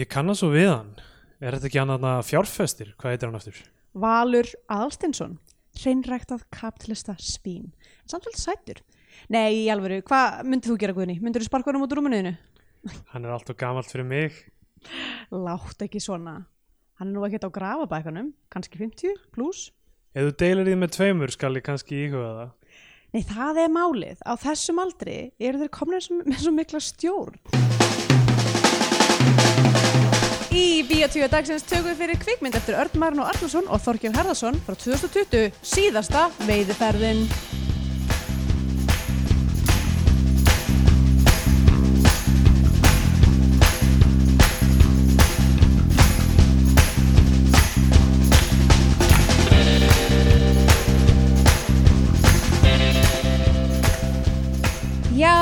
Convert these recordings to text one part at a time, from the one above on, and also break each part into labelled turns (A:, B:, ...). A: Ég kannast svo við hann. Er þetta ekki hann að fjárfestir? Hvað heitir hann aftur?
B: Valur Aðalstinsson hreinræktað kapitalista spín en samt vel sættur Nei, í alvöru, hvað myndir þú gera Guðni? Myndir þú sparka honum út úr rúmunuðinu?
A: Hann er alltaf gamalt fyrir mig.
B: Látt ekki svona Hann er nú ekkert á grafabækanum, kannski 50 pluss
A: Ef þú deilir því með tveimur skal ég kannski íhuga það.
B: Nei, það er málið, á þessum aldri eru þeir komnir sem, með svo mikla stjórn Í Bíotvíu dagsins tökum við fyrir kvikmynd eftir Örn Marn og Arnason og Þorkjörn Herðarsson frá 2020, síðasta veiðiferðin Já,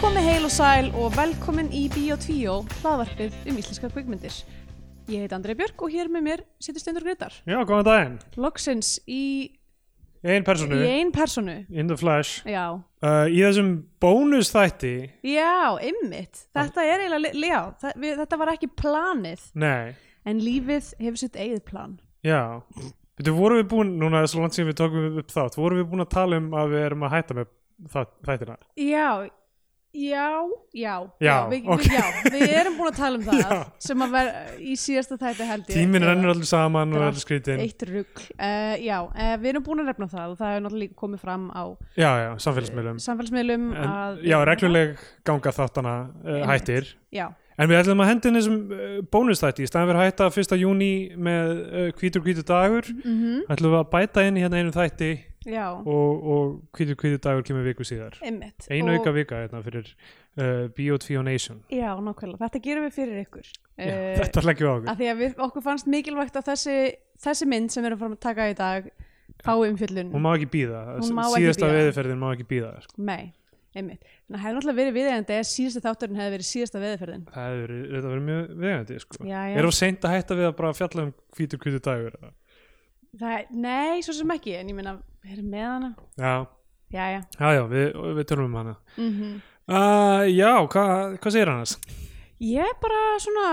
B: komið heil og sæl og velkomin í Bíotvíó, hlaðvarpið um íslenskar kvikmyndir. Ég heit Andrei Björk og hér með mér situr Steindur Greitar.
A: Já, góðan daginn.
B: Loksins í,
A: Einn
B: í
A: personu,
B: ein personu.
A: in the flesh.
B: Já,
A: Uh, í þessum bónus þætti,
B: já, ymmit. Þetta er eiginlega, li- já, þa- við, þetta var ekki planið,
A: nei,
B: en lífið hefur sitt eigið plan.
A: já. Þetta vorum við búin, núna svo langt sem við tókum upp þátt, vorum við búin að tala um að við erum að hætta með þátt, þættina.
B: Já, já, já.
A: Já,
B: við,
A: ok.
B: við, já við erum búin að tala um það
A: Já.
B: sem að vera í síðasta þætti held ég.
A: Tíminn
B: Eða-
A: rennur allir saman og
B: Þetta er
A: allir skrítin.
B: Eitt rugg, uh, já, uh, við erum búin að nefna það og það hefur náttúrulega líka komið fram á
A: Já, já, samfélagsmiðlum.
B: samfélsmiðlum
A: En,
B: að,
A: já, regluleg ganga þáttana uh,
B: Einmitt.
A: hættir.
B: Já,
A: En við ætlum að hendi henni sem uh, bónustætti í staðan fyrir að hætta 1. júni með uh, hvítur hvítur dagur
B: Mhm.
A: ætlum við að bæta inn í hérna einum þætti
B: já,
A: og, og hvítur hvítur dagur kemur viku síðar
B: einmitt
A: einu
B: Og-
A: auka vika hérna fyrir uh, Bio2 Nation
B: Já, nákvæmlega, þetta gerum við fyrir ykkur
A: Já,
B: Eh,
A: Þetta leggjum við á okkur
B: Af því að við, okkur fannst mikilvægt að þessi, þessi mynd sem við erum farin að taka í dag fái umfjöllun
A: Hún má ekki býða,
B: Hún má ekki
A: síðasta
B: bíða.
A: veðurferðin má ekki býða sko.
B: Nei, einmitt Þannig að hefði náttúrulega verið viðeigandi eða síðasta þátturinn hefði verið síðasta veðurferðin
A: Það hefur verið- þetta hefur verið mjög vegandi sko.
B: Já, já.
A: Er það seint að hætta við að bara fjalla um hvítur hvítur dagur eða?
B: Það er, nei, svo sem ekki, en ég meina, við erum með hana
A: Já,
B: Jæja,
A: já, já við, við tölum um hana
B: mhm
A: uh, Já, hvað hva segir hann þess?
B: Ég er bara svona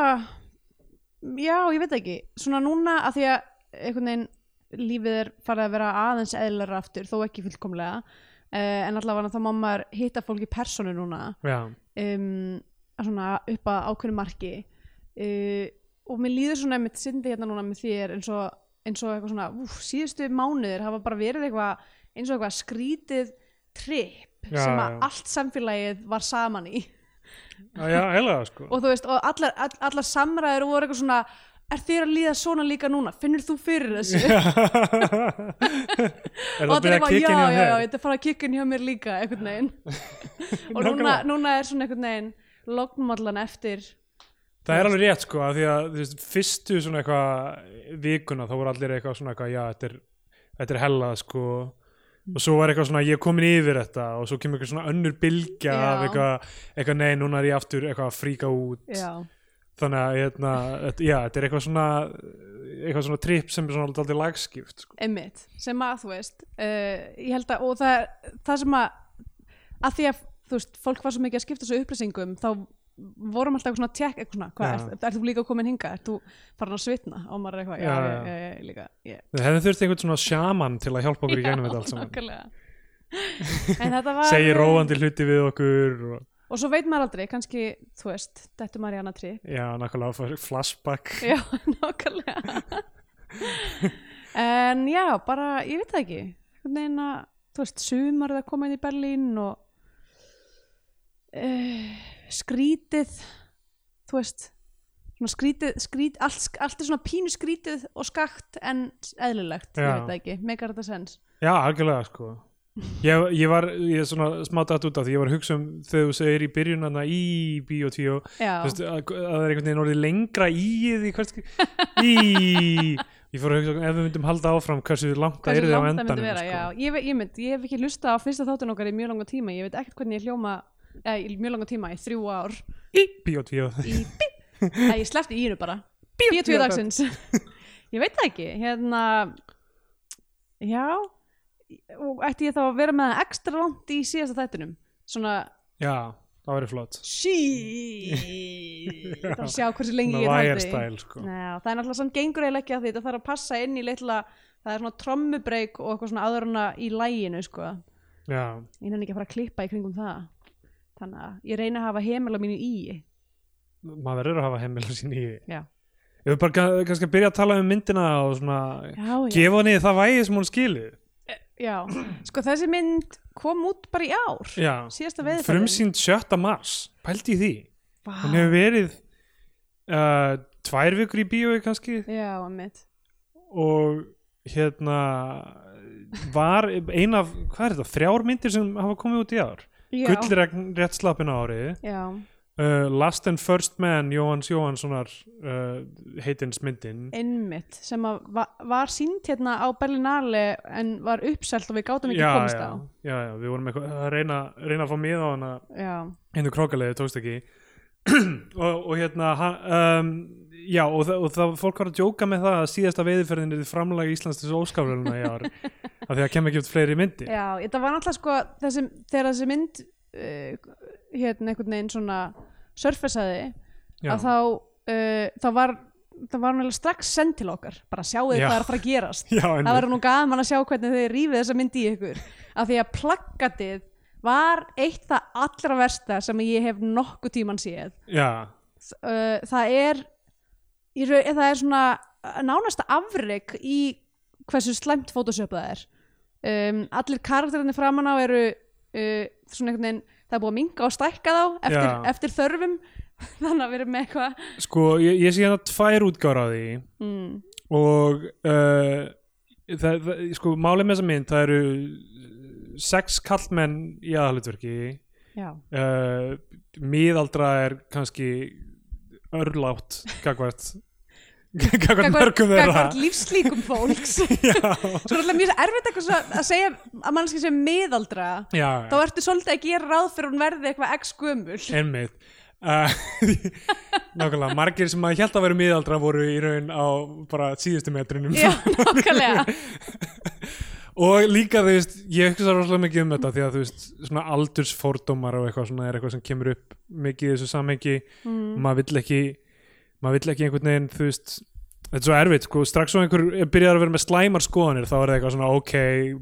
B: já, ég veit það ekki svona núna að því að einhvern veginn lífið er farið að vera aðeins eðlara aftur, þó ekki fullkomlega uh, en allavega þá má maður hitta fólk í personu núna
A: Já,
B: um, að svona upp að ákveðnu marki uh, og mér líður svona einmitt sindi hérna núna með þér eins og, eins og eitthvað svona, úf, síðustu mánuðir hafa bara verið eitthvað eins og eitthvað skrítið tripp
A: Já,
B: sem að
A: já.
B: allt samfélagið var saman í
A: já, já eiginlega, sko
B: og þú veist, og allar, all, allar samræður voru eitthvað svona er þér að líða svona líka núna, finnur þú fyrir þessu
A: er það
B: og
A: að
B: þetta er
A: byrja að kikka inn
B: eitthvað, já, já,
A: hjá
B: já,
A: þér
B: þetta er farið að kikkin hjá mér líka einhvern veginn, og núna,
A: Nákvæmlega.
B: núna er svona einhvern veginn lognmallan eftir
A: það er alveg rétt sko af því að þú veist, fyrstu svona eitthvað vikuna þá voru allir eitthvað svona eitthvað já, þetta er, þetta er hella sko
B: Mm.
A: og svo var eitthvað svona ég er komin yfir þetta og svo kemur eitthvað svona önnur bylgja af
B: Já.
A: eitthvað, eitthvað nei, núna er ég aftur eitthvað að fríka út
B: já,
A: þannig að hérna, þetta- já, þetta er eitthvað svona eitthvað svona trip sem er svona alltaf lagskipt sko.
B: einmitt, sem að þú veist uh, ég held að, og það, það sem að að því að, þú veist, fólk var svo mikið að skipta svo upplýsingum, þá vorum alltaf eitthvað svona tjekk, eitthvað svona, hvað,
A: Já.
B: ert er þú líka komin hinga, ert þú farin að svitna og maður er eitthvað, já,
A: Já,
B: já,
A: já.
B: já, já, já líka, já
A: við hefðum þurft einhvern svona sjaman til að hjálpa okkur í gegnum
B: Já,
A: þetta allt saman
B: nákvæmlega. en þetta var eh,
A: segir róandi hluti við okkur og
B: og svo veit maður aldrei, kannski, þú veist þetta maður í annað trí
A: Já, nákvæmlega fær flashback
B: já, nákvæmlega en já, bara, ég veit það ekki einhvern veginn að, þú veist, sumar að koma inn í Berlín og uh, skrítið þú veist svona skrítið, skrít, allt, sk- allt er svona pínu skrítið og skakt en eðlilegt, ég
A: Já.
B: veit það ekki, megar þetta sens
A: Já, algjörlega sko Ég, ég var, ég er svona smátt aðt út af því ég var að hugsa um þegar þú segir í byrjun hana í bíó tíó
B: já,
A: að, að það er einhvern veginn orðið lengra í því hvert skil í Ég fór að hugsa um, ef við myndum halda áfram hversu langt það
B: hversu
A: yrði á
B: langt það myndi
A: endanum
B: vera,
A: sko.
B: já, ég, ve- ég, mynd, ég hef ekki hlusta á fyrsta þáttun okkar í mjög langa tíma ég veit ekkert hvernig ég hljóma eða, í mjög langa tíma, í þrjú ár
A: Í bíó tíó
B: í bíp, eða ég sleppti í hennu bara bíp tvið dagsins ég veit það ekki, hérna já og ætti ég þá að vera með það ekstra langt í síðasta þættinum svona,
A: Já, það væri flott
B: Shit Það er að sjá hversu lengi
A: með
B: ég
A: wire
B: get haldi
A: style sko.
B: Ná, Það er náttúrulega samt gengur eiginlega ekki að því þetta þarf að passa inn í litla það er svona trommubreik og eitthvað svona aðurna í læginu sko.
A: já,
B: ég nenni ekki að fara að klippa í kringum það þannig að ég reyna að hafa heimila mínu í
A: maður verður að hafa heimilega sín í
B: Já.
A: ég vil bara kann- kannski að byrja að tala um myndina og svona
B: Já, já,
A: gefa henni það vægi sem hún skilur
B: já Sko þessi mynd kom út bara í ár
A: já,
B: síðasta veðurferðin Ah.
A: frumsýnd 7. mars pældi í því,
B: Vá.
A: hún hefur verið uh, tvær vikur í bíói kannski
B: Já, mitt
A: og hérna var ein af, hvað er þetta, þrjár myndir sem hafa komið út í ár
B: Já,
A: Gullregn rétt slappin á árið
B: já,
A: uh, Last and First Man Jóhanns Jóhannssonar uh, heitins myndin
B: einmitt sem að va var sínt hérna á Berlinale en var uppselt og við gátum ekki
A: já,
B: komist
A: já,
B: á
A: já, já, við vorum eitthvað að reyna, reyna að fá mið á hana
B: Já,
A: hendur krókalegið tókst ekki og, og hérna ha- um, já og, þa og það fólk var að djóka með það að síðasta veiðiferðin er framlag Íslands til óskaflunum í ár af því að kemur ekki út fleiri myndir
B: já, þetta var náttúrulega sko þessi, þegar þessi mynd uh, hérna einhvern veginn svona surfaceaði
A: Já.
B: að þá, uh, þá var það var náttúrulega strax send til okkar bara sjáu þið
A: Já.
B: hvað er að fara að gerast
A: Já,
B: það
A: einmitt.
B: verður nú gaman að sjá hvernig þið rífið þessa mynd í ykkur af því að plaggatið var eitt það allra versta sem ég hef nokkuð tíman séð
A: já,
B: uh, það er í raun- það er svona nánasta afrek í hversu slæmt Photoshop það er um, allir karakterinni framan á eru uh, svona einhvern veginn það er búið að minga og stækka þá eftir,
A: Já.
B: eftir þörfum þannig að við erum með eitthvað
A: sko ég, ég sé hérna tvær útgára á því
B: mm,
A: og uh, það, það, sko málið með þessa mynd það eru sex kallmenn í aðalutverki
B: já,
A: uh, miðaldra er kannski örlátt gagvart gagvart mörgum þeirra
B: gagvart lífslíkum fólks sko
A: já,
B: er alltaf mjög erfitt eitthvað svo að segja að mannski sem miðaldra
A: já,
B: þá ertu svolítið að gera ráð fyrir hún verði eitthvað x gömul
A: einmitt uh, nákvæmlega, margir sem að hjælt að vera miðaldra voru í raun á bara síðustu metrunum
B: já, nákvæmlega
A: og líka þú veist, ég hugsa rosalega mikið um þetta því að þú veist, svona aldursfórdómar og eitthvað svona er eitthvað sem kemur upp mikið í þessu samhengi,
B: mm,
A: maður vill ekki maður vill ekki einhvern veginn, þú veist þetta er svo erfitt, sko, strax svo einhver er byrjar að vera með slæmar skoðanir, þá er það eitthvað svona ok,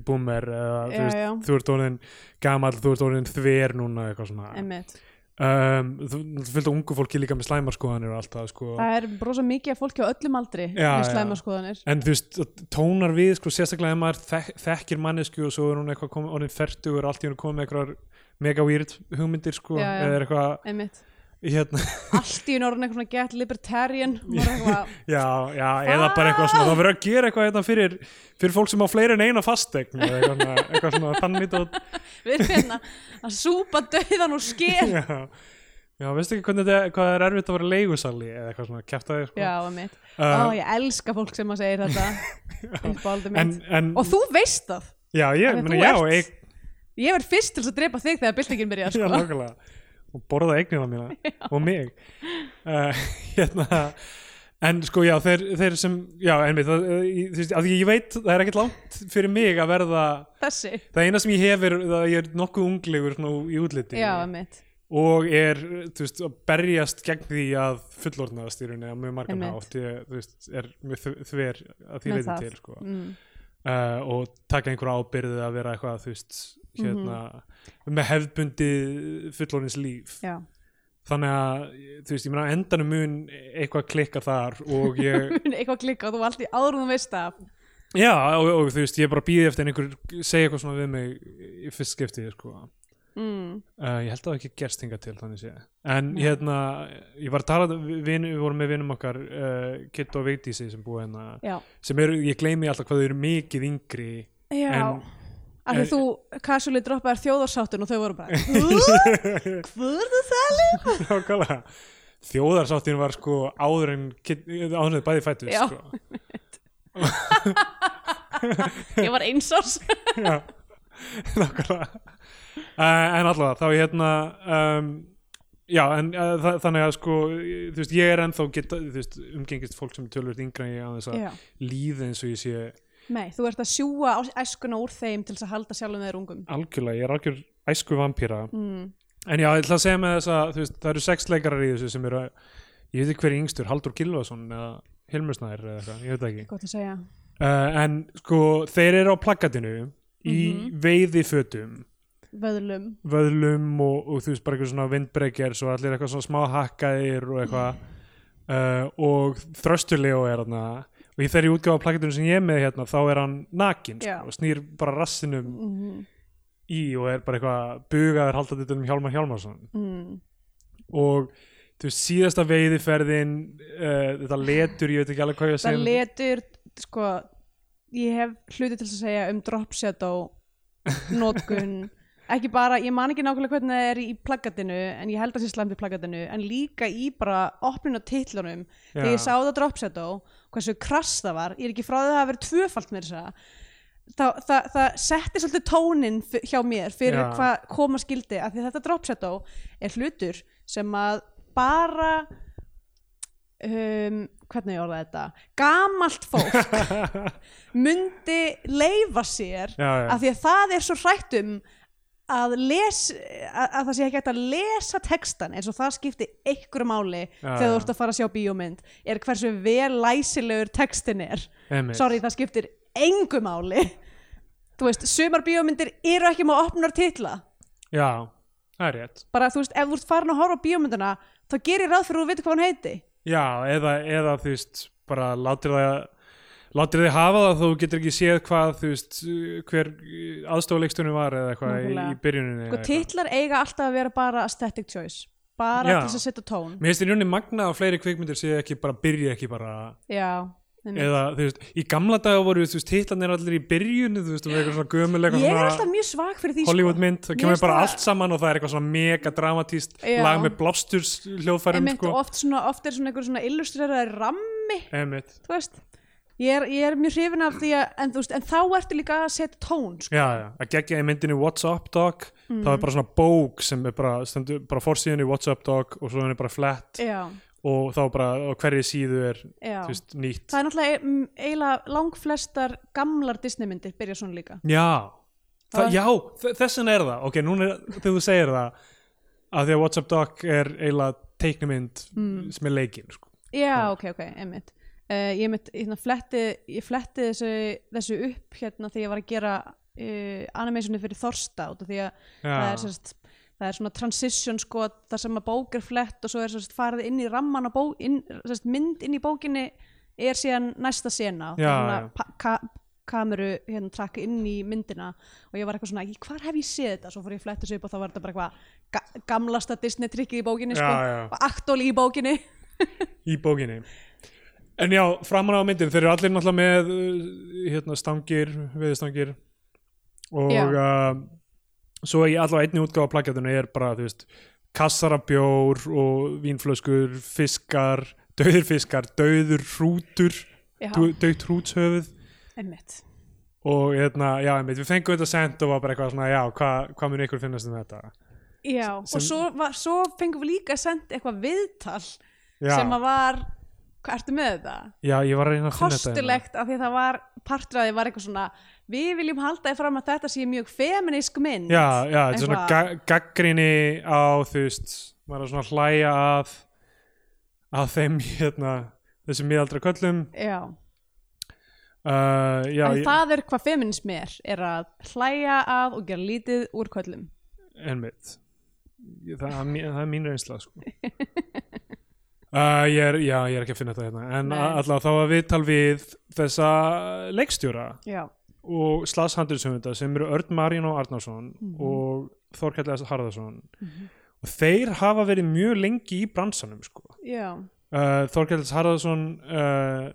A: boomer, eða,
B: Já,
A: þú veist
B: já.
A: þú ert orðin gamall, þú ert orðin þver núna, eitthvað svona
B: einmitt
A: um, þú þú fylgta ungu fólki líka með slæmar skoðanir og alltaf, sko
B: Það er brosa mikið af fólki á öllum aldri
A: Já,
B: með
A: já.
B: slæma skoðanir
A: En þú veist, það tónar við, sko, sérstaklega ef maður þek þekkir mannesku og svo er hún eitthvað komin, orðin fertugur, allt í hún komið með eitthvað mega weird hugmyndir, sko,
B: Já, já.
A: eða er eitthvað,
B: einmitt.
A: hérna,
B: Allt í norðin eitthvað svona get libertarian og maður eitthvað,
A: já, já, eða bara eitthvað svona, það verður að gera eitthvað hérna fyrir, fyrir fólk sem á fleiri en eina fastegn, eða eitthvað, svona- eitthvað svona tannmít og,
B: við erum hérna að súpa döðan og sker
A: já, já, veistu ekki hvernig þetta, er- hvað er erfitt að vera leigusali, eða eitthvað svona, kæfta þig, sko.
B: Já, einmitt
A: Uh,
B: Ó, ég elska fólk sem að segir þetta uppáldi mitt
A: en, en,
B: Og þú veist það
A: já, ég,
B: en
A: meni,
B: þú
A: já,
B: ert-
A: eig,
B: Ég verð fyrst til þess að drepa þig þegar byltingin byrja
A: Já,
B: sko.
A: nákvæmlega og borða eignina mína og mig uh, hérna en sko já, þeir, þeir sem já, einmitt, það, eh, ég, þú veist, að ég veit það er ekkert langt fyrir mig að verða
B: Þessi
A: það eina sem ég hef er það að ég er nokkuð unglegur svona í útliti
B: Já, einmitt
A: og er, þú veist, að berjast gegn því að fullorðnaðast í rauninni á mjög margan
B: Einmitt.
A: hátt, ég, þú veist, er mjög þv- þver að því
B: Með
A: leiti
B: það.
A: til sko
B: mm.
A: uh, og taka einhverja ábyrði að vera eitthvað, þú veist, hérna með hefðbundi fullorðins líf
B: Mhm. Já,
A: þannig að, þú veist, ég meina á endanum mun eitthvað klikka þar og ég,
B: eitthvað klikka og þú allt í áður en þú veist það
A: já, og, og þú veist, ég bara býði eftir en einhver segja eitthvað svona við mig í fyrst skiptið, sko
B: mm.
A: uh, ég held að það hafi ekki gerst hingað til, þannig sé en
B: Nei.
A: hérna, ég var að tala við, vin- við vorum með vinum okkar uh, Kitt og Vigdísi sem búið hérna
B: Já,
A: sem eru, ég gleymi alltaf hvað þau eru mikið yngri
B: Já.
A: En-
B: Af því
A: en-
B: þú casually droppaðir þjóðarsáttun og þau voru bara "Hú? Hvað er það salið?
A: Nákvæmlega Þjóðarsáttin var sko áður en kid- áður en þau bæði fættu
B: Já.
A: sko.
B: Ég var einsás
A: Já, Nákvæmlega uh, En allavega, þá hérna um, Já, en uh, þa- þannig að sko þú veist, ég er ennþá geta, þú veist, umgengist fólk sem tölvöld yngra en ég á þess að
B: Já.
A: líða eins og ég sé
B: Nei, þú ert að sjúga á æskuna úr þeim til þess að halda sjálfum þeir ungum
A: algjörlega, ég er algjör æsku vampíra
B: mm.
A: en já, ég ætla að segja með þess að þú veist, það eru sex leikarar í þessu sem eru ég veit ekki hver er yngstur, Haldur Gilvason eða Hilmur Snær eða eitthvað, ég veit það ekki
B: gott að segja
A: uh, en sko, þeir eru á plakatinu í veiðifötum
B: vöðlum
A: vöðlum og, og þú veist bara eitthvað svona vindbreykjars og allir eitthvað svona smá hakkaðir og eitthvað uh, og þröstulegu er þarna og í þeirri útgáfa plakatinu sem ég er með hérna þá er hann nakin
B: Já.
A: sko, og snýr bara rassinum
B: mm
A: í og er bara eitthvað bugaður haldandi utan um Hjálmar Hjálmarsson
B: mm.
A: og þú veist síðasta veiðiferðin uh, þetta letur, ég veit ekki alveg hvað ég að
B: það
A: segja um
B: letur sko, ég hef hluti til að segja um drop shadow notkun ekki bara, ég man ekki nákvæmlega hvernig það er í plaggatinu en ég held að sé slæmt í plaggatinu en líka í bara opnun á titlunum þegar ég sá það drop shadow hversu krass það var, ég er ekki frá því að það hafa verið tvöfalt mér þess að það, það, það setti svolítið tónin hjá mér fyrir
A: Já.
B: hvað koma skildi af því að þetta drop shadow er hlutur sem að bara um, hvernig ég orða þetta gamalt fólk myndi leifa sér
A: já, já,
B: af því að það er svo hrætt um að, les, að, að það sé ekki hægt að lesa textan eins og það skipti einhverju máli
A: Já,
B: þegar þú
A: já.
B: ert að fara að sjá bíómynd er hversu vel læsilegur textin er
A: einmitt.
B: sorry það skiptir engu máli þú veist, sumar bíómyndir eru ekki með opnar titla
A: já, það er rétt
B: bara þú veist, ef þú ert farin að horfa á bíómyndina þá gerir ráð fyrir að þú veitir hvað hann heiti
A: Já, eða, eða þú veist, bara látir það látir þið hafa það þó þú getur ekki séð hvað, þú veist, hver aðstofleikstunum var eða eitthvað í, í
B: Nákvæmlega.
A: byrjuninni
B: sko,
A: eða eitthvað.
B: titlar eiga alltaf að vera bara aesthetic choice bara
A: Já.
B: til þess að setja tón
A: Mér finnst í rauninni magna að fleiri kvikmyndir séu ekki bara, byrja ekki bara
B: já, einmitt.
A: eða, þú veist, í gamla daga voru, þú veist, titlanir allir í byrjunni, þú veist, og eitthvað svona gömul eitthvað
B: ég er
A: svona
B: alltaf mjög svag fyrir því sko.
A: Hollywoodmynd, það
B: Mér
A: kemur
B: finnst
A: bara
B: það-
A: allt saman og það er eitthvað svona mega dramatíst
B: Já.
A: lag með blásturs hljóðfærum,
B: Einmitt,
A: sko,
B: og oft, svona, oft er svona einhver svona illustreraði rammi
A: emitt
B: þú veist ég er, ég er mjög hrifin af því að en, þú veist, en þá ertu líka að setja tón sko.
A: Já, já, að gegja í myndinni What's Up Dog
B: Mm.
A: þá er bara svona bók sem er bara, stendur bara forsíðan í What's Up Dog og svo hann er bara flett
B: já,
A: og þá bara á hverju síðu er
B: já.
A: þú veist, nýtt
B: það er náttúrulega mm, eiginlega langflestar gamlar Disneymyndir byrja svona líka
A: Já, Þa,
B: Það-
A: já þ- þess vegna er það ok, núna er, þegar þú segir það að því að What's Up Dog er eiginlega teiknumynd
B: Mm.
A: sem er leikinn sko.
B: já, ok, ok, einmitt uh, ég, mitt, hérna, fletti, ég fletti þessu, þessu upp hérna þegar ég var að gera uh, animationu fyrir Þorsta út af því að það er, sérst, það er svona transition sko það sem að bók er flett og svo er sérst, farið inn í ramman og bó, inn, sérst, mynd inn í bókinni er síðan næsta sena og það
A: Já,
B: er svona
A: já.
B: pa- ka- kameru hérna trakk inn í myndina og ég var eitthvað svona, "Í, hvar hef ég séð þetta svo fór ég að fletta þessu upp og þá var þetta bara eitthvað ga gamlasta Disney trikkið í bókinni
A: Já,
B: sko,
A: já.
B: og aktól í bókinni
A: í bókinni en já, framan á myndin, þeir eru allir náttúrulega með uh, hérna, stangir, veðistangir og uh, svo í allavega einni útgáfa plakjatinu er bara, þú veist, kassar af bjór og vínflöskur, fiskar dauður fiskar, dauður hrútur
B: já,
A: dauðt hrútshöfuð
B: einmitt
A: og hérna, já, einmitt, við fengum þetta sent og var bara eitthvað svona, já, hvað hva mun ykkur finnast um þetta?
B: já,
A: Sem-
B: og svo, var, svo fengum við líka sendt eitthvað viðtal
A: Já,
B: sem að var, hvað ertu með þetta?
A: já, ég var að reyna að finna þetta hérna.
B: kostulegt af því að það var partur að því var eitthvað svona við viljum halda þið fram að þetta sé mjög feminísk mynd
A: já, já, þetta er svona
B: Eitthvað.
A: ga gaggrinni á þú veist, maður er svona að hlæja að að þeim hérna, þessum miðaldra köllum
B: Já.
A: uh, já,
B: en
A: ég,
B: það er hvað feminismi er er að hlæja að og gera lítið úr köllum
A: en mitt Ég- það, það er mín- það er mín reynsla sko. uh, ég er, já, ég er ekki að finna þetta hérna en
B: Nei.
A: allavega þá var viðtal við þessa leikstjóra
B: Já.
A: og slagshandilsöfunda sem eru Örn Marín og Arnarsson
B: Mhm.
A: og Þorkell S. Harðarsson og þeir hafa verið mjög lengi í bransanum sko.
B: Já.
A: uh, Þorkels Harðarsson uh,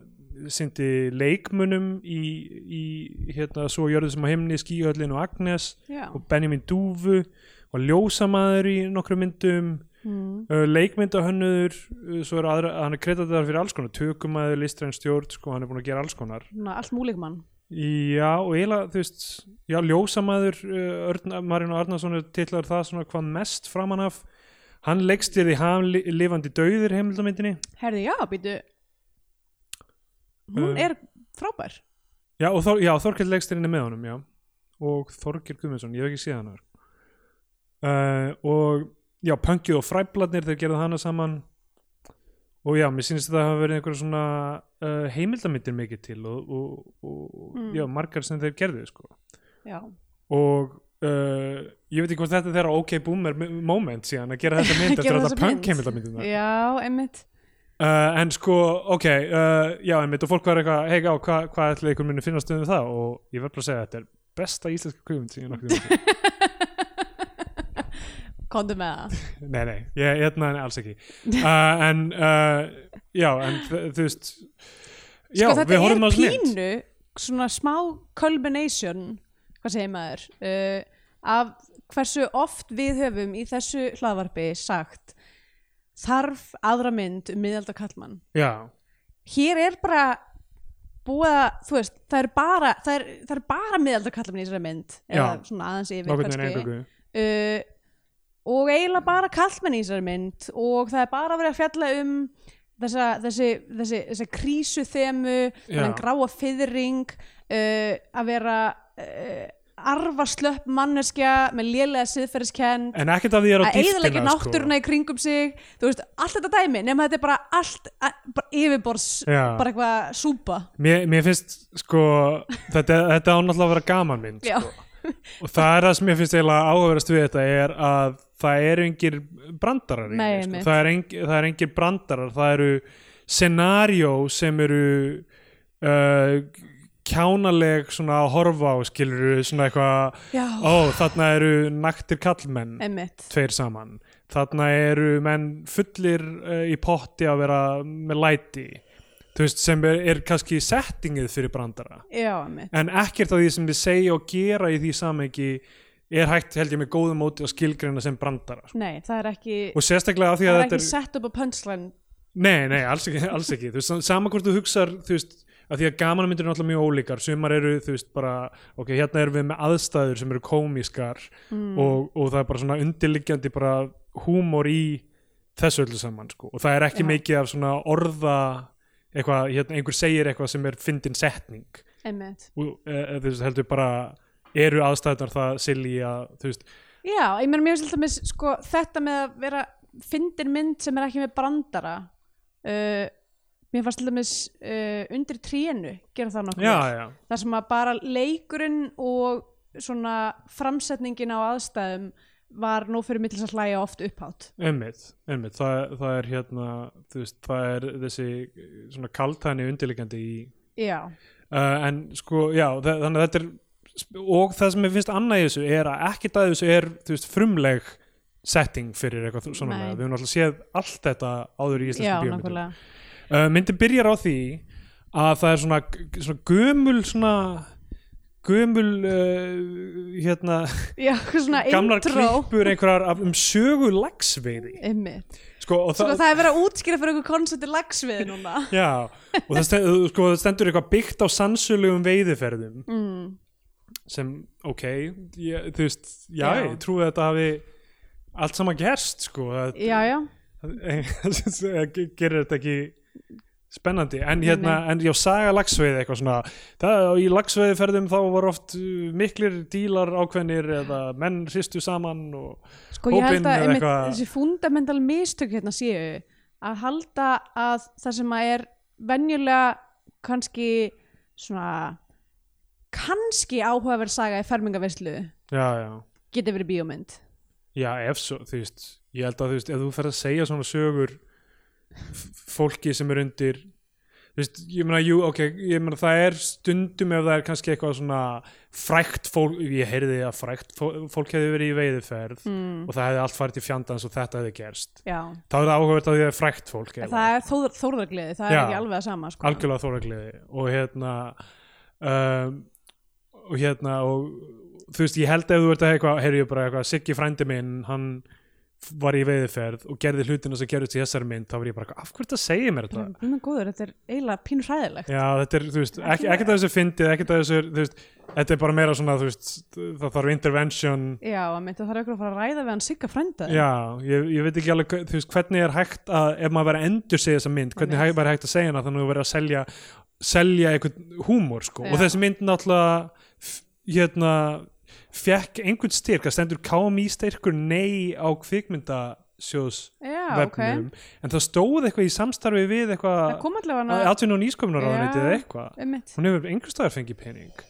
A: sindi leikmunum í, í hérna, svo jörðu sem á himni skíhöllin og Agnes
B: Já.
A: og Benjamin Dúfu og ljósamaður í nokkrum myndum
B: Mm.
A: uh, leikmyndahönnur uh, svo er aðra, hann er kreditaðar fyrir alls konar tökumaður, listræn stjórn, sko, hann er búin að gera alls konar
B: Svona, allt múlikmann
A: já, og eiginlega, þú veist já, ljósamaður, uh, Örn, Marino Arnarsson er titlar það svona hvað mest framan af hann leikst í hann lifandi dauðir heimildamindinni
B: herði já, býtu hún
A: Um.
B: er frábær
A: Já, og Þor, já, Þorkell Legsterinn er með honum, já og Þorkell Guðmundsson, ég hef ekki séð hann uh, og já, pönkið og fræbladnir þeir gerðu hana saman og já, mér sýnist að það hafa verið einhverja svona uh, heimildamyndir mikið til og, og, og
B: Mm.
A: já, margar sem þeir gerðu sko.
B: já,
A: og uh, ég veit ekki hvort þetta er þeirra ok boomer m- moment síðan að gera þetta mynd
B: Gera
A: eftir að
B: þessa
A: þetta punk
B: mynd.
A: heimildamyndina
B: já, einmitt
A: Uh, en sko, ok, uh, já, einmitt og fólk var eitthvað, hei, á, hvað hva ætlaði ykkur minni finnast um það og ég verð bara að segja að þetta er besta íslenska kvímynd sem ég nokkuð tímann séð.
B: komdu með það
A: Nei, nei, ég, hérna, nei, alls ekki uh, En, uh, já, en þ- þú veist Já,
B: sko,
A: við horfum á
B: þetta
A: þessu
B: er
A: mynd
B: pínu svona smá culmination hvað segir maður uh, af hversu oft við höfum í þessu hlaðvarpi sagt þarf aðra mynd um miðalda kallmann
A: Já,
B: hér er bara búið að, þú veist, það er bara það er, það er bara miðalda kallmann í þessari mynd eða
A: Já.
B: svona aðeins yfir
A: nokkuð neginn
B: kannski
A: einhverju
B: uh, og eiginlega bara kallmenn í þessari mynd og það er bara verið að fjalla um þessa, þessi, þessi, þessi krísu þemu, þennan gráa fyrring uh, að vera uh, arfarslöpp manneskja með lélega siðferðiskend
A: En ekkert af því er á sko.
B: að eiginlega
A: dýftina,
B: náttúruna í kringum sig þú veist, allt þetta dæmi nema þetta er bara allt a- bara yfirborðs,
A: Já.
B: bara eitthvað súpa
A: mér, mér finnst, sko, þetta, þetta á náttúrulega að vera gaman mynd
B: Já,
A: og það er það sem ég finnst eiginlega áhugaverðast við þetta er að það eru engir brandarar í
B: Nei,
A: henni,
B: einmitt.
A: sko. það, er engir, það er engir brandarar það eru scenario sem eru uh, kjánaleg svona að horfa á skilur svona eitthvað
B: já,
A: ó þarna eru naktir kallmenn
B: emmitt
A: tveir saman þarna eru menn fullir uh, í potti að vera með læti þú veist sem er, er kannski settingið fyrir brandara
B: Já, emmitt
A: en ekkert af því sem þið segja og gera í því samengi er hægt held ég með góðu móti að skilgreina sem brandara sko.
B: Nei, það er ekki,
A: og sérstaklega af því
B: það
A: að
B: er
A: þetta
B: ekki
A: er
B: sett upp á punchline
A: nei, nei, alls ekki, alls ekki. Þú veist, sama hvort þú hugsar þú veist, að því að gamanmyndir eru náttúrulega mjög ólíkar sumar eru, þú veist, bara ok, hérna erum við með aðstæður sem eru komískar
B: Mm.
A: og, og það er bara svona undirliggjandi bara húmor í þessu öllu saman, sko, og það er ekki
B: Já.
A: mikið af svona orða eitthvað, hérna, einhver segir eitthvað sem er fyndin setning
B: Emmitt
A: og, e, e, þú veist, heldur bara eru aðstæðnar það silly að þú veist,
B: Já, ég meina mér finnst alltaf með sko, þetta með að vera fyndin mynd sem er ekki með brandara uh, mér fannst alltaf með uh, undir trénu gera það nokkuð
A: já,
B: vel.
A: já,
B: þar sem að bara leikurinn og svona framsetningin á aðstæðum var nóg fyrir mittlis að hlæja oft upphátt
A: einmitt, einmitt það, það er hérna, þú veist, það er þessi eh, svona kaltæni undirliggjandi í,
B: Já,
A: uh, en sko, já, þa- þannig að þetta er og það sem ég finnst annað í þessu er að ekkert að þessu er, þú veist, frumleg setting fyrir eitthvað þú- svona
B: Nei.
A: með. við höfum alltaf séð allt þetta áður í
B: já,
A: íslenskum bíómyndum
B: nákvæmlega
A: uh, myndin byrjar á því að það er svona, svona gömul svona gömul uh, hérna
B: Já, svona
A: gamlar
B: intro
A: klippur einhverjar af, um sögu lagsveiði
B: Einmitt.
A: sko, og
B: Sko
A: það,
B: það er verið að útskýra fyrir einhver konsepti lagsvið núna
A: Já, og það stendur, sko, það stendur eitthvað byggt á sannsöluðum veiðiferðum
B: mm.
A: sem, ok, ég, þú veist já,
B: Já.
A: ég trúi að þetta hafi allt saman gerst, sko það,
B: Já, já,
A: það gerir þetta ekki spennandi, en hérna en já, saga lagsveiði eitthvað svona það, í lagsveiðiferðum þá var oft uh, miklir dílar ákveðnir eða menn hristu saman og
B: Sko ég held
A: hópinn
B: að
A: eða
B: einmitt,
A: eitthvað-
B: þessi fundamental mistök hérna séu að halda að það sem að er venjulega kannski svona kannski áhugaverð saga í fermingaveislu
A: já, já
B: geti verið bíómynd
A: Já, ef svo, þú veist, ég held að þú veist, ef þú ferð að segja svona sögur f- fólki sem er undir þú veist, ég meina, jú, ok ég meina, það er stundum ef það er kannski eitthvað svona frækt fólk ég heyrði að frækt fó- fólk hefði verið í veiðiferð
B: mm.
A: og það hefði allt farið til fjandans og þetta hefði gerst
B: Já,
A: þá er það áhugavert að því að það er frækt fólk
B: En
A: eða-
B: það er þóður, þórðargleði, það
A: Já.
B: er ekki alveg að sama sko.
A: algjörlega þóragliði og hérna um, og hérna og þú veist, ég held ef þú ert að eitthvað, heyrðu ég bara eitthvað, Siggi frændi minn hann var í veiðiferð og gerði hlutina sem gerðist í þessari mynd, þá var ég bara eitthvað, af hverju þetta segir mér þetta?
B: Guð minn góður, þetta er eiginlega pínu hræðilegt
A: Já, þetta er, þú veist, ekki, ekkert að þessu fyndið, ekkert að þessu, er, þú veist, þetta er bara meira svona, þú veist, það þarf intervention
B: Já, að myndi það er okkur að fara að ræða við hann sigga frænda þinn.
A: Já, ég, ég veit ekki alveg hve- þú veist, hvernig er hægt að, ef maður verið að endur segja þessa mynd, hvernig
B: Einmitt.
A: hægt, væri hægt að segja hana þannig að þú verið að selja selja einhvern húmor, sko, og
B: Já.
A: þessi mynd náttúrulega f- hérna fekk einhvern styrk að stendur KMI styrkur nei á kvikmyndasjóðs
B: já, ok
A: vefnum en það stóð eitthvað í samstarfi við
B: það
A: eitthvað
B: kom allavega
A: að
B: hana
A: atvinna og nýsköpunar á
B: Já.
A: eða eitthvað
B: einmitt.
A: hún hefur einhvers staðar fengið pening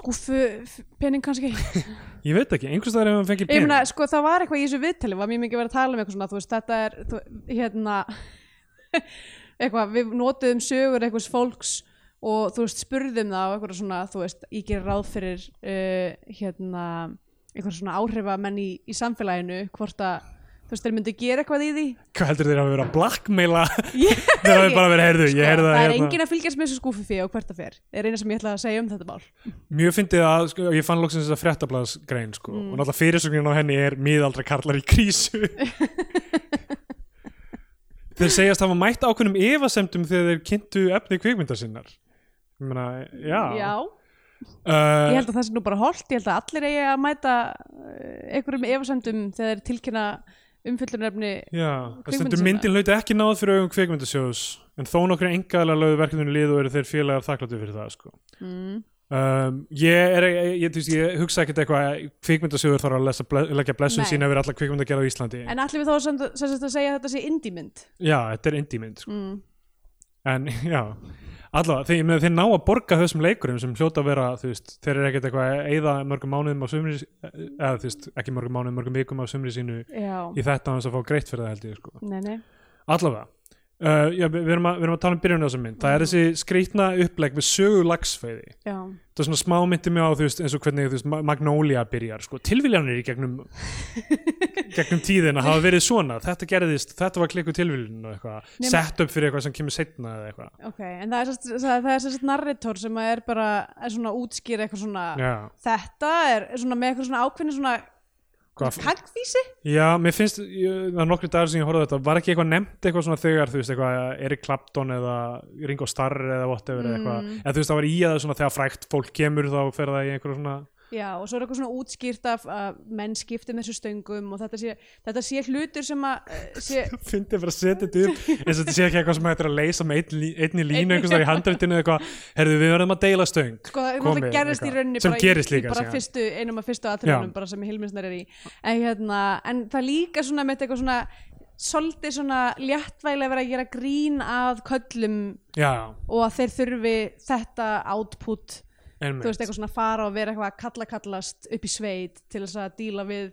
B: skúfu f- pening kannski ekki
A: ég veit ekki, einhvers staðar hefur hún fengið
B: ég
A: pening
B: meina, sko, það var eitthvað í þessu viðtali var mjög mikið verið að tala um eitthvað svona þú veist, þetta er, þú, hérna eitthvað, við notuðum sögur eitthvað fólks og þú veist, spurðum það á eitthvað svona, þú veist, ég ger ráð fyrir uh, hérna eitthvað svona áhrifamenn í, í samfélaginu hvort að, þú veist, þeir myndi gera eitthvað í því
A: hvað heldur þeir hafa verið að blackmaila
B: Ég-
A: þeir hafa bara verið, heyrðu,
B: Sko,
A: ég heyrði
B: það
A: það
B: er
A: hérna.
B: enginn að fylgjast með þessu skúfi fyrir og hvert það fer er eina sem ég ætla að segja um þetta mál
A: mjög fyndið að, sko, ég fann loksins þess að fréttablaðsgrein, sko,
B: Mm.
A: og náttúrulega fyrirsögnin á henni er miðaldra karlar í krísu þeir segjast hafa mætt ákveðnum efasemdum þegar þeir kynntu efni kvikmyndar sinnar ég meina, já,
B: ég
A: Uh,
B: held að það sé nú bara holt ég held að allir eigi að mæta eh, einhverjum efasemdum þegar þeir tilkynna umfyllunarefni
A: já það stendur
B: Kvikmyndasinnar.
A: myndin lauti ekki náð fyrir augum kvikmyndasjóðs en þó nokkri engaðlega lögðu verkefninu lið og eru þeir félagar þakkláttu fyrir það, sko
B: mm.
A: Um, ég, er, ég, ég, þú veist, ég hugsa ekkert eitthvað kvikmyndasjóður þarf að lesa, ble, leggja blessun
B: Nei.
A: sína yfir alla kvikmyndagerð á Íslandi
B: en allir við þá sem, sem sagt að segja að þetta sé indímynd
A: já, þetta er indie mynd sko.
B: mm.
A: en já, allavega þeir, ég meina, þeir ná að borga þessum leikurum sem hljóta að vera þú veist, þeir eru ekkert eitthvað að eyða mörgum mánuðum á sumri, eða þú veist, ekki mörgum mánuðum mörgum vikum á sumri sínu
B: já,
A: í þetta á þess að fá greitt fyrir það held ég sko.
B: nei, nei
A: allavega Uh, já, við, við, erum að, við erum að tala um byrjun á þessum mynd það er þessi skrýtna upplegg með sögu lagsfæði
B: já,
A: það er svona smá myndi mig á þú veist, eins og hvernig þú veist, Ma- Magnolia byrjar sko. tilviljanir í gegnum gegnum tíðina hafa verið svona þetta gerðist, þetta var klikku tilviljun og eitthvað,
B: Nema-
A: sett upp fyrir eitthvað sem kemur setna eða eitthvað
B: ok en það er sérst, það, það er sérst narrator sem að er bara er svona útskýr eitthvað svona
A: Já,
B: þetta er svona með eitthvað svona ákveðni svona
A: hvað,
B: kagfísi
A: já, mér finnst ég, það er nokkri dagar sem ég horfði á þetta, var ekki eitthvað nefnt eitthvað svona þegar, þú veist, eitthvað Erik Clapton eða Ringo Starr eða whatever eða eitthvað,
B: Mm.
A: eða þú veist, það var í að það svona þegar frækt fólk kemur þá fer það í einhverjum svona
B: Já, og svo er eitthvað svona útskýrt af að menn skipti með þessu stöngum og þetta sé, þetta sé hlutur sem að eh, sé,
A: fyndi bara að setja þetta upp eins og þetta sé ekki eitthvað sem hægt er að leysa með einn lí- einni
B: Einni-
A: línu einhvers þar í handreitinu eða eitthvað, herðu við verðum að deila stöng
B: sko, það er
A: Komið,
B: náttúrulega gerðist í
A: eitthvað.
B: rauninni
A: Sem
B: bara,
A: gerist
B: í,
A: líka
B: í bara
A: síðan.
B: fyrstu, einum af fyrstu atriðunum
A: Já.
B: bara sem Hilmisnar er í en, hérna, en það líka svona með eitthvað svona svolítið svona léttvægilega verið að gera grín að köllum
A: já,
B: og að þeir þurfi þetta output þú veist
A: einmitt,
B: eitthvað svona fara og vera eitthvað að kalla kallast upp í sveit til þess að díla við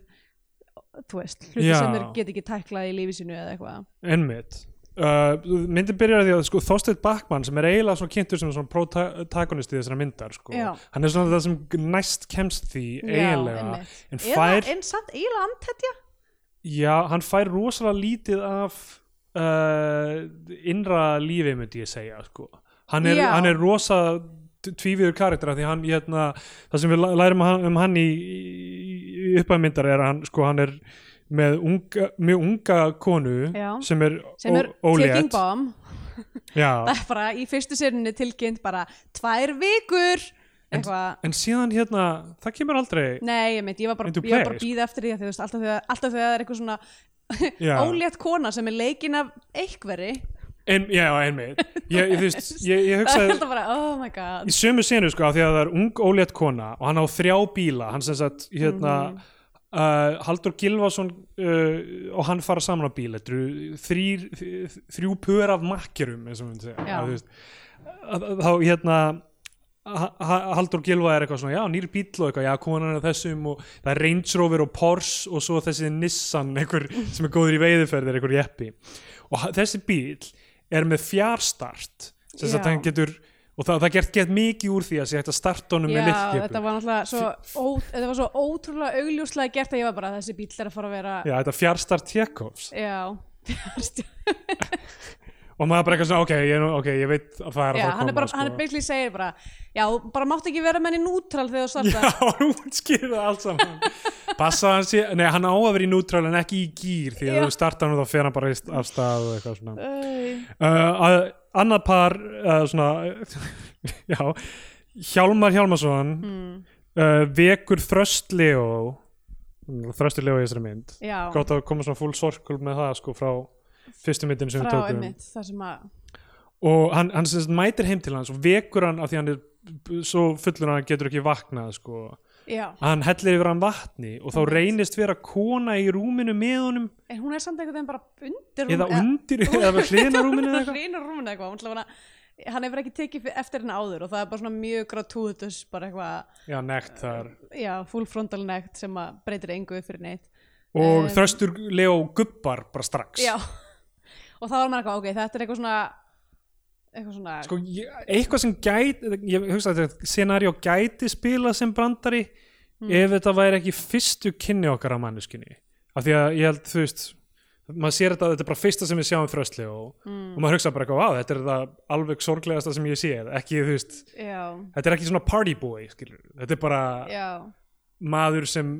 B: þú veist, hluti
A: Já.
B: sem þeir get ekki tæklað í lífi sínu eða eitthvað
A: einmitt. Uh, myndin byrjar á því að sko, Þorsteinn Bakmann sem er eiginlega svona kynntur sem svona protagonist í þessara myndar sko.
B: Já.
A: hann er svona það sem næst kemst því
B: Já,
A: eiginlega
B: einmitt.
A: en
B: eða,
A: fær,
B: en samt eiginlega andhetja
A: já, hann fær rosalega lítið af uh, innra lífi myndi ég segja sko. hann, er,
B: Já.
A: hann er rosa tvífiður karakter af því hann, hérna, það sem við læ- lærum um hann- um hann í, í uppæðmyndar er að hann, sko, hann er með unga, mjög unga konu
B: Já.
A: sem er,
B: sem er
A: ó- ólétt.
B: taking bomb
A: Já,
B: það er bara í fyrstu sérinu tilkynnt bara tvær vikur eitthvað
A: en síðan hérna, það kemur aldrei
B: Nei, ég meint, ég var bara,
A: Into
B: ég var
A: play,
B: bara að
A: sko.
B: býða eftir því að því, þú veist, alltaf þegar, alltaf þegar það er eitthvað svona
A: Já.
B: ólétt kona sem er leikin af einhveri,
A: en, Já, einmitt Ég, ég, þú veist, ég, ég
B: það er
A: hugsaði
B: alltaf bara, oh my god,
A: í sömu senu sko, af því að það er ung ólétt kona og hann á þrjá bíla hann sem sagt, hérna uh, Haldur Gilvason uh, og hann fara saman á bíl þetta eru þrír, þ- þrjú pör af makkerum eins og hún segja
B: Já.
A: Að, þú veist, að- að- þá hérna Ha- Ha- Halldór Gilva er eitthvað svona já, nýr bíl og eitthvað, já, konan er á þessum og það er Range Rover og Porsche og svo þessi Nissan, einhver sem er góður í veiðuferðir, einhver jeppi og ha- þessi bíl er með fjárstart sem sagt
B: Já.
A: hann getur og það, það er gert, gert mikið úr því að sé hægt að starta honum með
B: já, þetta
A: lyftkipum
B: var náttúrulega svo, ó, þetta var svo ótrúlega augljóslega gert að ég var bara, þessi bíl er að fara að vera,
A: já, þetta er fjárstart Tjekovs
B: já,
A: og maður bara eitthvað svona, ok, ég, nú- ok, ég veit að það er að
B: já,
A: fara að
B: hann
A: koma
B: er
A: sko.
B: bara, hann er basically segir bara, já, bara mátt ekki vera með henni nútral þegar þú startar,
A: Já, hún útskýrði það allt saman Passa að hann sé, nei hann á að vera í neutral en ekki í gýr því að
B: Já.
A: þú startar hann og þá fer hann bara í st- af stað og eitthvað svona
B: Æ.
A: uh, að- Annað par uh, svona, já Hjálmar Hjálmarsson
B: Hmm.
A: uh, vekur Þröst Leo Þröst Leo í þessari mynd
B: Já,
A: gott að koma svona full circle með það sko frá fyrstu myndin sem við
B: frá
A: tókum
B: einmitt það sem að
A: og hann, hann sem sagt mætir heim til hans og vekur hann af því hann er b- svo fullur að hann getur ekki vaknað sko.
B: já,
A: hann hellir yfir hann vatni og þá reynist vera kona í rúminu með honum
B: en hún er samt einhvern veginn bara undir
A: eða undir, eða við hlýðina rúminu eða eitthvað
B: hlýna rúminu eða eitthvað hún ætla að vera- hann hefur ekki tekið fyr- eftir henni áður og það er bara svona mjög gratuitus bara eitthvað,
A: já, nekt þar
B: já, full frontal nekt sem að breytir engu fyrir neitt
A: og
B: Um,
A: þröstur Leo gubbar bara strax
B: já, og þá er maður eitthvað, ok, þetta er eitthvað svona eitthvað svona
A: sko, ég, eitthvað sem gæti ég hugsa að þetta scenario gæti spila sem brandari ef þetta væri ekki fyrstu kynni okkar af manneskinni af því að ég held, þú veist maður sér þetta, þetta er bara fyrsta sem við sjáum fröstli og, og maður hugsa bara eitthvað, á, þetta er það alveg sorglegasta sem ég sé ekki, þú veist,
B: já,
A: þetta er ekki svona party boy skilur. þetta er bara
B: já,
A: maður sem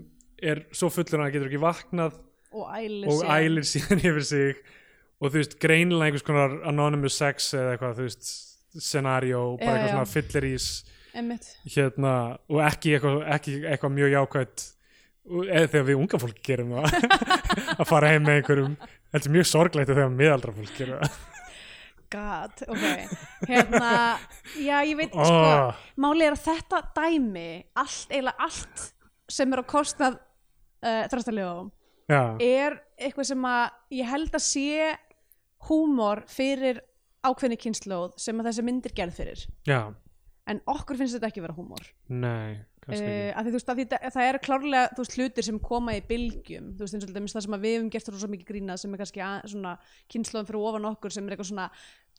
A: er svo fullur að hann getur ekki vaknað
B: og ælir
A: og
B: sig.
A: ælir síðan yfir sig og þú veist, greinilega einhvers konar anonymous sex eða eitthvað, þú veist scenario, bara
B: Já,
A: eitthvað
B: já.
A: svona fyllerís
B: einmitt,
A: hérna, og ekki eitthvað, ekki eitthvað mjög jákvætt og- eða þegar við unga fólk gerum það að fara heim með einhverjum þetta er mjög sorglegt að þegar miðaldra fólk gerum það
B: god, ok hérna, já, ég veit sko,
A: oh,
B: máli er að þetta dæmi allt, eiginlega allt sem er á kostnað uh, þrastarlegum
A: já,
B: er eitthvað sem að ég held að sé húmor fyrir ákveðni kynnslóð sem að þessi myndir gerð fyrir
A: já,
B: en okkur finnst þetta ekki vera húmor
A: nei kannski
B: Uh, af því, þú veist, af því, það- það eru klárlega þú veist, hlutir sem koma í bylgjum þú veist, eins og til dæmis það sem að við hefum gert rosa mikið grína sem er kannski að, svona kynnslóðum fyrir ofan okkur sem er eitthvað svona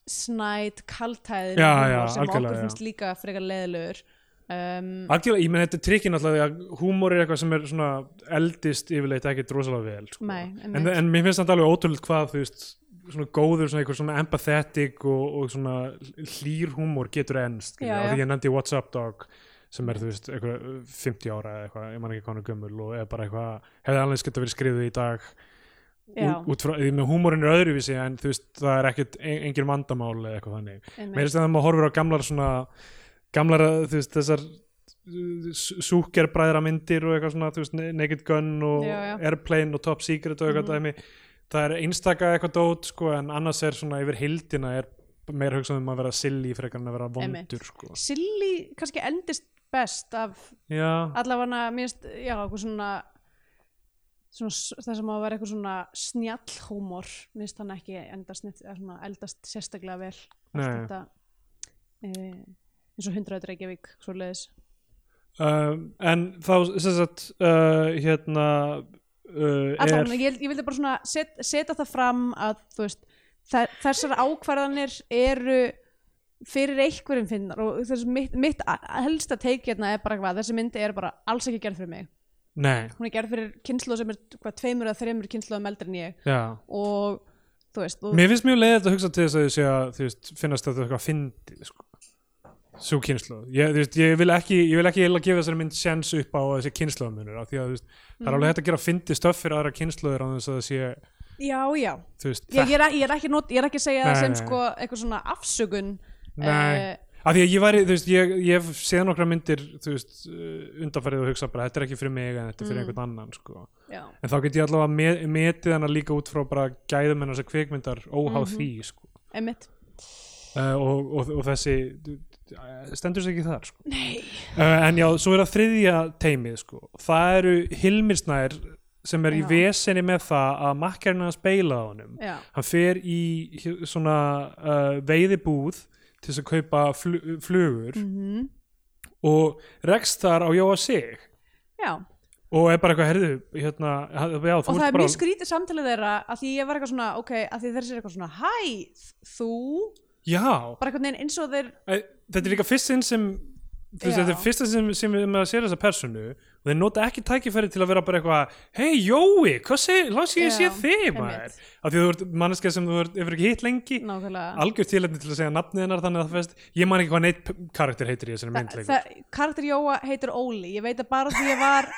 B: snæt, kaltæðir
A: Já,
B: húmor
A: já,
B: sem okkur
A: algjörlega,
B: finnst líka frekar leðilegur um,
A: ekki algjörlega, ég menn þetta er trikkin alltaf því að húmor er eitthvað sem er svona eldist yfirleitt ekki drosalega vel sko.
B: Nei,
A: en,
B: einmitt.
A: en mér finnst þetta alveg ótrúlega hvað þú veist, svona góður, svona einhver svona empathetic og, og svona hlýr húmor getur ennst,
B: Já,
A: af
B: já.
A: því ég nefndi WhatsApp dog sem er þú veist, eitthvað uh, 50 ára eða eitthvað, ég man ekki hvað hann er gömul og er bara eitthvað, hefði alveg geta verið skrifuð í dag
B: já,
A: út, út frá, því með húmorinn er öðruvísi en þú veist, það er ekkert en, engin vandamál eða eitthvað þannig
B: einmitt.
A: meira þess að maður horfir á gamlar svona gamlar, þú veist, þessar súkerbræðra myndir og eitthvað svona, þú veist, Naked Gun og
B: Já, Mhm. já.
A: Airplane og Top Secret og eitthvað dæmi það er einstaka eitthvað dót, sko, en annars er svona yfir hildina er meira hugsað um að vera silly frekar en að vera
B: Einmitt.
A: vondur, sko
B: Silly kannski endist best af
A: Já,
B: allavega minnst, já, eitthvað svona svona, s- það sem á að vera eitthvað svona snjallhúmor minnst hann ekki endast, neitt- eða svona, eldast sérstaklega vel allt
A: Nei.
B: þetta e, eins og 100 Reykjavík svo leiðis
A: um, en þá, sem sagt uh, hérna uh,
B: allavega, ég, held- ég vildi bara svona set, setja það fram að þú veist þær- þessar ákvarðanir eru fyrir einhverjum finnar og þess, mitt, mitt a- helsta teik hérna er bara hvað, þessi mynd er bara alls ekki gerð fyrir mig
A: nei,
B: hún er gerð fyrir kynslu sem er hvað, tveimur eða þreimur kynsluðum eldri en ég
A: já
B: og þú veist og,
A: Mér finnst mjög leiðið að hugsa til þess að ég sé að þú veist, finnast þetta eitthvað fyndið sko. svo kynslu ég, þú veist, ég vil ekki, ég vil ekki eiginlega gefa þessari mynd sjens upp á þessi kynsluðamunur af því að þú veist, það
B: Mm.
A: er alveg hægt að gera fyndið stöff fyrir aðra kynsluður á þess að það sé
B: já, já,
A: þú veist,
B: ég, ég, er, ég, er ekki not, ég er ekki að segja það
A: Nei,
B: sem
A: nei.
B: sko eitthvað svona afsökun
A: Nei,
B: eh,
A: af því að ég væri, þú veist, ég, ég hef séð nokkra myndir, þú veist, uh, undanfærið og hugsa bara, þetta er ekki fyrir mig en þetta er fyrir
B: Mm.
A: einhvern annan, sko.
B: já,
A: En þá get ég allavega met, metið hana líka út frá bara gæðum hennar sem kvikmyndar óháð
B: Mhm.
A: því, sko.
B: einmitt
A: uh, og, og, og þessi eh, stendur sig ekki þar sko. uh, en já, svo er það þriðja teimið sko. það eru Hilmir Snær sem er í
B: Já.
A: vesenni með það að makkarinn hans beila á honum
B: já,
A: hann fer í hi- svona uh, veiðibúð til þess að kaupa fl flugur
B: mhm,
A: og rekst þar á Jóa sig
B: já.
A: og er bara eitthvað herðu hérna, hann- já,
B: og
A: þú
B: það
A: ert
B: er
A: bara
B: mjög skrítið samtalið þeirra að því ég var eitthvað svona, ok, að því þeir sér eitthvað svona hæ, þú,
A: já,
B: bara eitthvað neginn eins og þeir
A: Æ, þetta er líka fyrst sinn sem þú veist,
B: Já.
A: þetta er fyrst sinn sem, sem við maður sér þessa personu og þeir nota ekki tækifæri til að vera bara eitthvað hei Jói, hvað segir, lás ég sé
B: Já,
A: þig maður
B: einmitt.
A: af því að þú ert manneskja sem þú ert hefur ekki hitt lengi
B: nákvæmlega
A: algjör tilefni til að segja nafnið hennar þannig að það fest, ég man ekki hvað neitt p- karakter heitir í þessari mynd
B: Þa-
A: lengur.
B: það- karakter Jóa heitir Óli ég veit að bara því ég var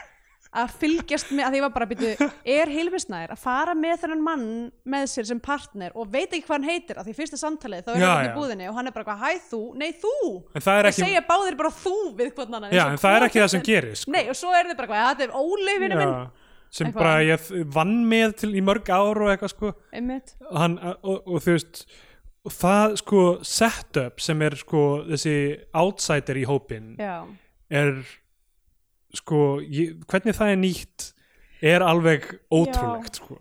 B: að fylgjast með, að því ég var bara að byrja er Hilmisnær að fara með þennan mann með sér sem partner og veit ekki hvað hann heitir að því fyrsta samtalið þá er
A: Já,
B: hann í
A: já.
B: búðinni og hann er bara eitthvað hæ þú, nei þú
A: en það er
B: það
A: ekki,
B: segja báðir bara þú við hvern annan
A: já,
B: eins og
A: en það er
B: hvor
A: ekki það
B: þetta
A: sem gerist sko.
B: nei og svo er þið bara eitthvað, "Ja, þetta er Óli vinnu minn
A: Já, sem
B: Eitthvað.
A: bara ég vann með til í mörg ár og eitthvað sko
B: einmitt,
A: og, hann, og, og þú veist og það sko setup sem er sko þessi outsider í hópin
B: já,
A: er sko, ég, hvernig það er nýtt er alveg ótrúlegt sko.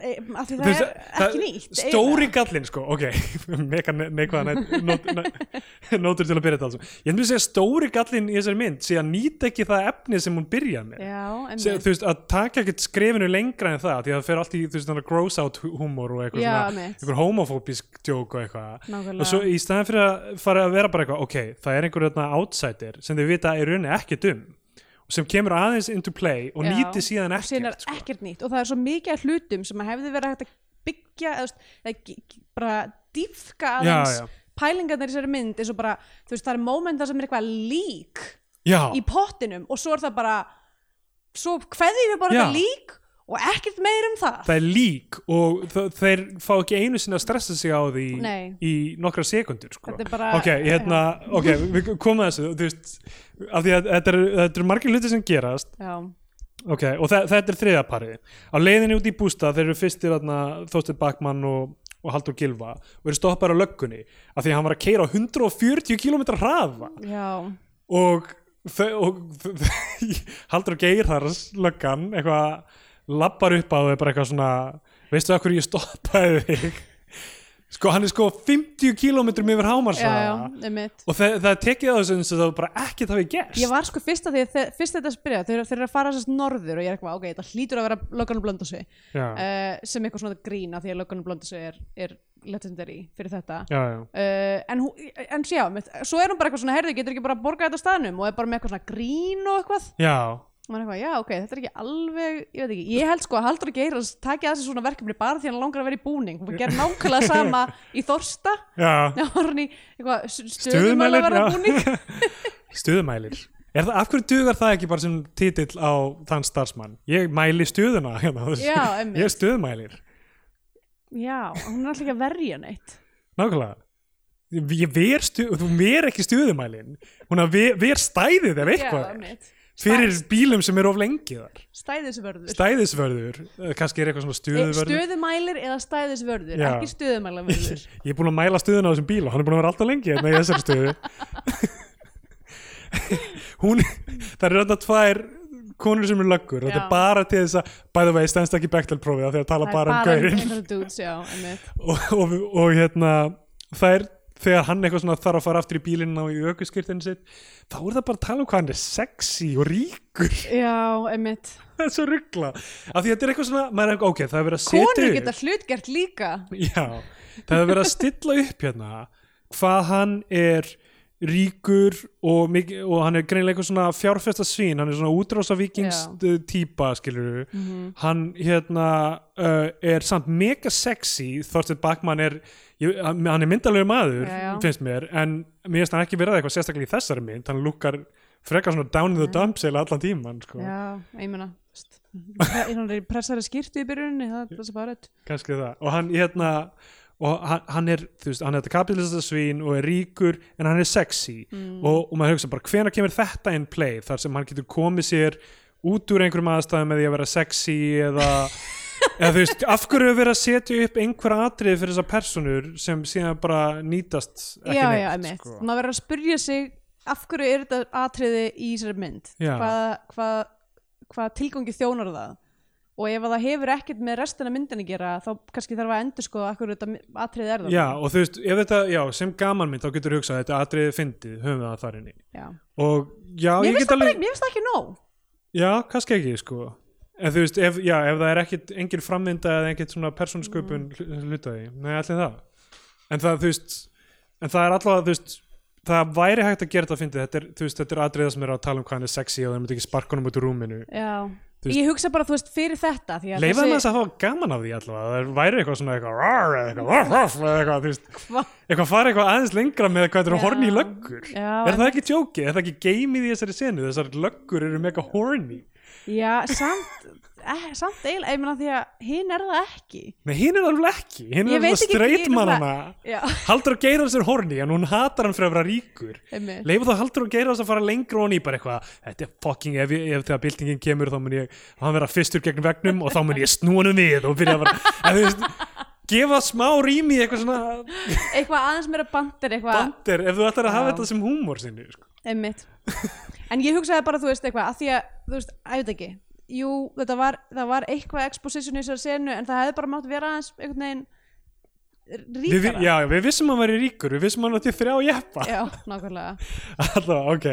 B: e, af því
A: Þú
B: það
A: veist,
B: er ekki nýtt
A: stóri gallin sko, ok mega ne- neikvæða ne not, ne notur til að byrja þetta alveg ég myndi að segja stóri gallin í þessari mynd sé að nýta ekki það efni sem hún byrjaði með
B: já,
A: Se,
B: einmitt.
A: þú veist, að taka ekkert skrefinu lengra en það því að það fer allt í, þú veist, þannig gross out hu- húmor og eitthvað
B: Já,
A: svona,
B: einmitt.
A: einhver homofóbisk djók og eitthvað
B: Nákvæmlega.
A: og svo í staðan fyrir að fara að vera bara eitthvað ok, það er einhver þarna outsider sem þau vita er rauninni ekkert um og sem kemur aðeins into play og
B: Já.
A: nýti síðan
B: og síðan er
A: ekkert sko.
B: ekkert nýtt og það er svo mikið af hlutum sem að hefði verið hægt að byggja eða, þú veist, eða g- g- bara dýfka
A: já,
B: aðeins
A: já,
B: pælingarnir í þessari mynd eins og bara, þú veist, það er mómenta sem er eitthvað lík
A: já,
B: í pottinum og svo er það bara svo hverðið við bara
A: Já.
B: þetta lík og ekkert meir um það
A: það er lík og þ- þeir fá ekki einu sinni að stressa sig á því
B: Nei.
A: í nokkra sekundur sko.
B: Þetta er bara-
A: ok, hérna, ok, við komum að þessu þú veist, af því að þetta eru þetta eru margir hluti sem gerast
B: já,
A: Ok, og þe þetta er þriðja parið. Á leiðinni út í bústa þeir eru fyrstir þarna Þósteinn Bakmann og, og Haldur Gilva og eru stoppar á löggunni af því að hann var að keira á 140 km hraða
B: já,
A: og, þau- og þ- þ- Haldur Geirhars löggan eitthvað lappar upp á þau bara eitthvað svona veistu það hverju ég stoppaði þig? Sko hann er sko 50 km yfir
B: já, já,
A: hámarshraða
B: einmitt
A: og það, það er tekið á þessu eins og það bara ekkert hafi gerst.
B: Ég var sko fyrst að því að þe- fyrst þetta spyrja þeir, þeir eru að fara sérst norður og ég er eitthvað, ok, þetta hlýtur að vera löggan og blönda sig
A: Já,
B: sem eitthvað svona grín af því að löggan og blönda sig er, er legendary fyrir þetta
A: já, já.
B: uh, en, hún- en sjá, mitt, svo er hún bara eitthvað svona herðu, getur ekki bara að borga þetta á staðnum og er bara með eitthvað svona grín og eitthvað
A: Já,
B: og maður er eitthvað, já ok, þetta er ekki alveg ég veit ekki, ég held sko að Haldur Geiras taki að þessi svona verkefni bara því hann langar að vera í búning hún gerir nákvæmlega sama í Þorsta
A: já.
B: þá var hann í eitthvað
A: Stöðumælir,
B: stöðumæla verða
A: já.
B: búning
A: stuðumælir er það, af hverju dugar það ekki bara sem titill á þann starfsmann ég mæli stuðuna hérna, þú veist.
B: Já, einmitt.
A: ég er stuðumælir,
B: já, hún er alltaf ekki að verja neitt
A: nákvæmlega Ég- ég ver stuð, þú ver ekki stuðumælin hún að ver, ver stæðið ef eitthvað
B: já,
A: er.
B: mitt,
A: fyrir bílum sem eru of lengi þar
B: stæðisvörður
A: stæðisvörður, eh, kannski er eitthvað svona
B: Eh,
A: stuðvörður
B: stöðumælir eða stæðisvörður
A: Já.
B: ekki stöðumælavörður
A: ég er búin að mæla stuðuna á þessum bíl og hann er búin að vera alltaf lengi hérna í þessari stuðu hún það eru alltaf tvær konur sem eru löggur þetta
B: Já.
A: er bara til þess að by the way, stendst ekki Bechtel prófið af því að tala bara um gaurinn
B: einhverja dudes, já, einmitt
A: og, og, og hérna það er þegar hann eitthvað svona þarf að fara aftur í bílinn og í aukuskirtin sitt þá er það bara að tala um hvað hann er sexy og ríkur
B: já, einmitt
A: það er svo ruggla af því þetta er eitthvað svona, maður er eitthvað, ok, það er verið að setja
B: konur
A: upp-
B: geta hlutgert líka
A: Já, það er verið að stilla upp hérna hvað hann er ríkur og, mikið, og hann er greinilega eitthvað svona fjárfesta svín, hann er svona útrása
B: Já. Mhm.
A: típa, skilur hann hérna uh, er samt mega sexy Þorsteinn Bakman er, ég, hann er myndalegur maður,
B: Já, já.
A: finnst mér en mér finnst hann ekki verið eitthvað sérstaklega í þessari mynd hann lukkar frekar svona down in the dumps eða allan tíman, sko,
B: Já, ég meina st- pre- hún er í pressari skýrtu í byrjuninni það er þess að fara rétt
A: kannski það og hann hérna og hann, hann er, þú veist, hann er þetta kapitalista svín og er ríkur en hann er sexy
B: Mm.
A: og, og maður hugsa bara hvenær kemur þetta in play þar sem hann getur komið sér út úr einhverjum aðstæðum með því að vera sexy eða, eða þú veist, af hverju er verið að setja upp einhver atrið fyrir þessar personur sem síðan bara nýtast ekki
B: Já, já,
A: neitt
B: einmitt,
A: sko.
B: maður verður að spyrja sig af hverju er þetta atriði í þessari mynd
A: Já.
B: hvað hva, hva tilgangi þjónar það og ef að það hefur ekkert með restina myndin að gera þá kannski þarf að endur sko af hverju þetta mi- atriði er það
A: já, og þú veist, ef þetta, já, sem gaman mynd þá getur þú hugsað að þetta atriðið er fyndið höfum við það þar inni
B: Já.
A: og já,
B: Mér
A: ég
B: finnst
A: get
B: það
A: alveg
B: bara- mér finnst það ekki nóg
A: Já, kannski ekki, sko En þú veist, ef, já, ef það er ekkit engin framvinda eða engin svona persónsköpun mm. hlutaði, nei, allir það En það, þú veist, en það er allavega, þú veist það væri hægt að gera þetta að fyndi þetta er, þú veist, þetta er atriða sem er að tala um hvað hann er sexy og það myndi ekki sparkunum út úr rúminu
B: Já,
A: Þú veist-
B: ég hugsa bara, þú veist, fyrir þetta því að
A: Leifaði maður þess að hafa gaman af því allavega það væri eitthvað svona eitthvað rar eða eitthvað ruff, ruff, eða eitthvað, þú veist
B: Hva?
A: eitthvað fara eitthvað aðeins lengra með hvað þetta eru
B: Já.
A: horny löggur
B: Já,
A: Er það ekki tjóki? Er það ekki geimið í þessari senu? Þessar löggur eru mega horny
B: Já, samt, eh, samt eiginlega, ég meina því að hinn er það ekki
A: Nei, hinn er alveg ekki, hinn
B: Ég
A: er alveg
B: veit ekki- hérna- ég er
A: streitmannana
B: Já,
A: Haldur og Geirars er horni en hún hatar hann fyrir að vera ríkur
B: einmitt
A: Leifu þá Haldur og Geirars að fara lengra og í bara eitthvað Þetta er fucking, ef, ég- ef þegar byltingin kemur þá mun ég, hann vera fyrstur gegn vegnum og þá mun ég snúa hann við og byrja að vera en þú veist, gefa smá rými í eitthvað svona
B: Eitthvað aðeins meira bandir, eitthvað
A: bandir ef þú ætlar að hafa
B: Já.
A: þetta sem húmor sinni sko.
B: Einmitt en ég hugsaði bara, þú veist, eitthvað að því að, þú veist, að ég veit ekki jú, þetta var, það var eitthvað exposition í þessari senu, en það hefði bara mátt vera aðeins einhvern veginn
A: Við,
B: ríkara
A: já, við vissum að hann væri ríkur, við vissum að hann átti þrjá jeppa.
B: já, nákvæmlega
A: Alltaf, ok.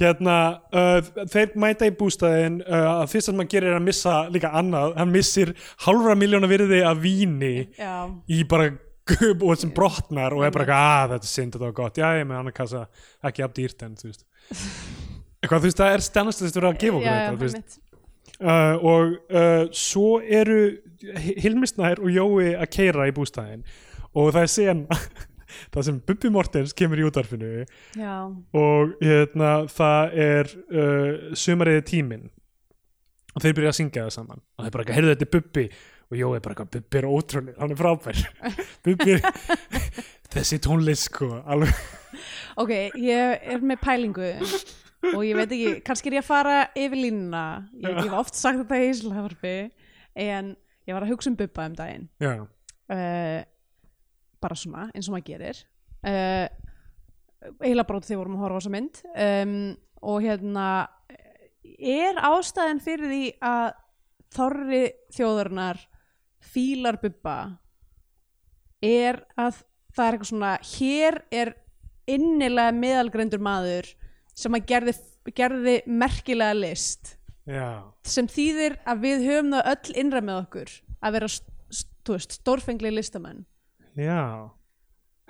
A: Hérna, uh, þeir mæta í bústæðin, uh, fyrst sem maður gerir er að missa líka annað, hann missir halvra miljóna virði af víni
B: já,
A: í bara gub og sem brotnar og er bara eitthvað, að þetta er synd, þetta var gott, já, ég með annar kassa, ekki af dýrt en, þú veist. Eitthvað, þú veist, það er stennast að vera að gefa okkur
B: já,
A: þetta, þú veist.
B: einmitt.
A: uh, og uh, svo eru Hilmisnær og Jói að keira í bústæðin og það er sena það sem Bubbi Mortens kemur í útarfinu
B: já,
A: og hérna, það er uh, sumariði tíminn og þeir byrja að syngja það saman og þeir bara, eitthvað, heyrðu þetta er Bubbi og Jói er bara, eitthvað, Bubbi er ótrúlega, hann er frábær Bubbi er þessi tónlist sko, alveg
B: ok, ég er með pælingu og ég veit ekki, kannski er ég að fara yfir línuna, ég, ég hef oft sagt þetta í Íslaðarfi, en ég var að hugsa um Bubba um daginn
A: já,
B: uh, bara svona, eins og maður gerir uh, eiginlega bara út af því að við vorum að horfa á þessa mynd um, og hérna er ástæðan fyrir því að þorri þjóðarinnar fílar bubba er að það er eitthvað svona hér er innilega meðalgreindur maður sem að gerði, gerði merkilega list
A: já,
B: sem þýðir að við höfum það öll innra með okkur að vera st- st- þú veist, stórfengli listamenn
A: já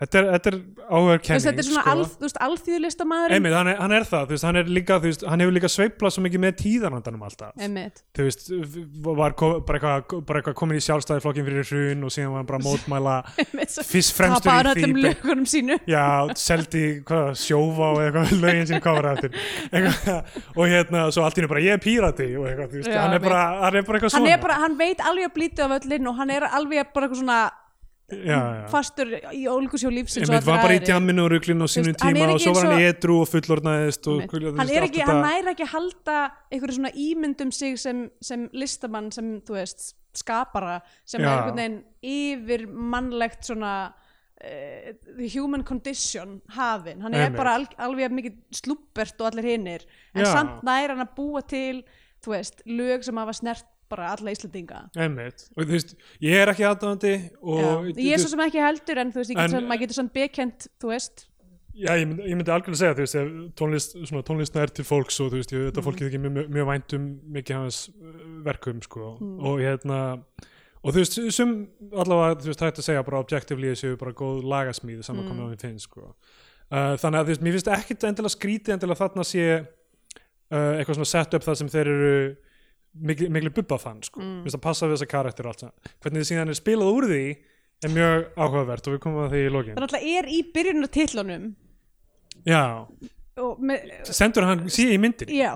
A: Þetta er, þetta er áhverkenning
B: Þú veist, þetta er svona sko. alþ, þú veist, alþýðu listamæður
A: Einmitt, hann er, hann er það, þú veist, hann, er líka, þú veist, hann hefur líka sveiplað svo mikið með tíðanandanum alltaf
B: einmitt,
A: þú veist, var ko bara eitthvað, bara eitthvað komin í sjálfstæðiflokkin fyrir hrun og síðan var hann bara að mótmæla
B: einmitt svo-
A: fyrst fremstur
B: tapaði hann
A: í
B: öllum
A: því
B: lögunum sínu
A: já, seldi hvað, sjófa og eitthvað lögin sem hvað var eftir eitthvað, og hérna, svo allt í henni bara ég er pírati og eitthvað, þú veist,
B: Já,
A: hann, er
B: einmitt.
A: bara, hann er bara eitthvað
B: hann,
A: svona
B: er bara, hann veit alveg að blítu af öllin og hann er alveg bara eitthvað svona
A: já, já.
B: fastur í ólgusjó lífsins og
A: Einmitt,
B: allra
A: var bara í
B: aðrir.
A: djamminu og ruglinu og sínum
B: veist, hann er
A: tíma og
B: ekki
A: svo var
B: eins
A: hann
B: og-
A: í edru og fullornaðist og,
B: Einmitt.
A: þú veist,
B: hann, er
A: allt
B: ekki,
A: þetta-
B: hann næri ekki að halda einhverju svona ímyndum sig sem, sem listamann sem þú veist skapara
A: Já.
B: sem er einhvern veginn yfir mannlegt svona uh, the human condition hafin, hann er
A: Einmitt.
B: bara al, alveg mikið slúppert og allir hinnir en
A: Já.
B: samt næri hann að búa til þú veist, lög sem hafa snert bara alla Íslandinga
A: Einmitt. og þú veist, ég er ekki aðdóðandi og
B: Já. ég er svo sem ekki heldur en þú veist, ég
A: En-
B: getur, en, maður getur svona bekent þú veist,
A: Já, ég myndi, ég myndi algjörlega segja, þú veist, ef tónlist, svona tónlist nær til fólks og þú veist, ég, þetta fólki þykir mjög, mjög vænt um mikið hans uh, verkum, sko, og hérna, og þú veist, sem allavega, þú veist, hægt að segja bara objectively séu bara góð lagasmíð saman komið á mér finnst, sko. Uh, þannig að, þú veist, mér finnst ekkit endilega skrítið endilega þarna sé uh, eitthvað svona set up það sem þeir eru mikli, mikli bubbafann, sko, þú veist, að passa við þessa karakter og allt það. Hvernig þið síðan er spilað úr því er mjög áhugavert og við komum að því í lokin.
B: það náttúrulega er í byrjunartitlunum
A: Já.
B: og með,
A: sendur hann síðan í myndinni
B: já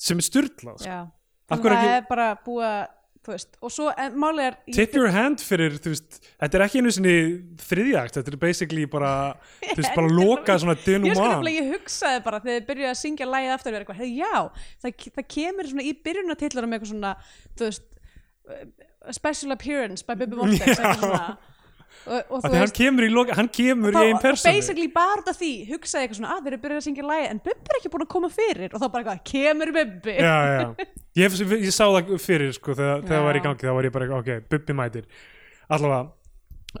A: sem er styrlað sko.
B: Já,
A: Af
B: af
A: hverju
B: það
A: ekki-
B: er bara búið að, þú veist, og svo en, málið er ég-
A: tip your hand fyrir, þú veist, þetta er ekki einu sinni þriðjagt, þetta er basically bara þú veist, bara loka svona
B: Ég sko
A: denouement
B: nefnilega, ég hugsaði bara þegar þið byrjuði að syngja lagið aftur og vera eitthvað, hey, já, það, það kemur svona í byrjunartillar um eitthvað svona, þú veist, uh, special appearance by Bibi
A: Já.
B: Mortex, eitthvað svona. Og,
A: af
B: og þú
A: því hann
B: veist,
A: kemur í loka, hann kemur
B: þá
A: í einn personu
B: basically bara út af því, hugsaði eitthvað svona, að þeir eru byrjuð að syngja lagið, en Bibi er ekki búin að koma fyrir, og þá bara eitthvað, kemur Bibi.
A: já, já. Ég, ég sá það fyrir sko, þegar þegar það var í
B: Já.
A: gangi, þá var ég bara ok, bubbi mætir allavega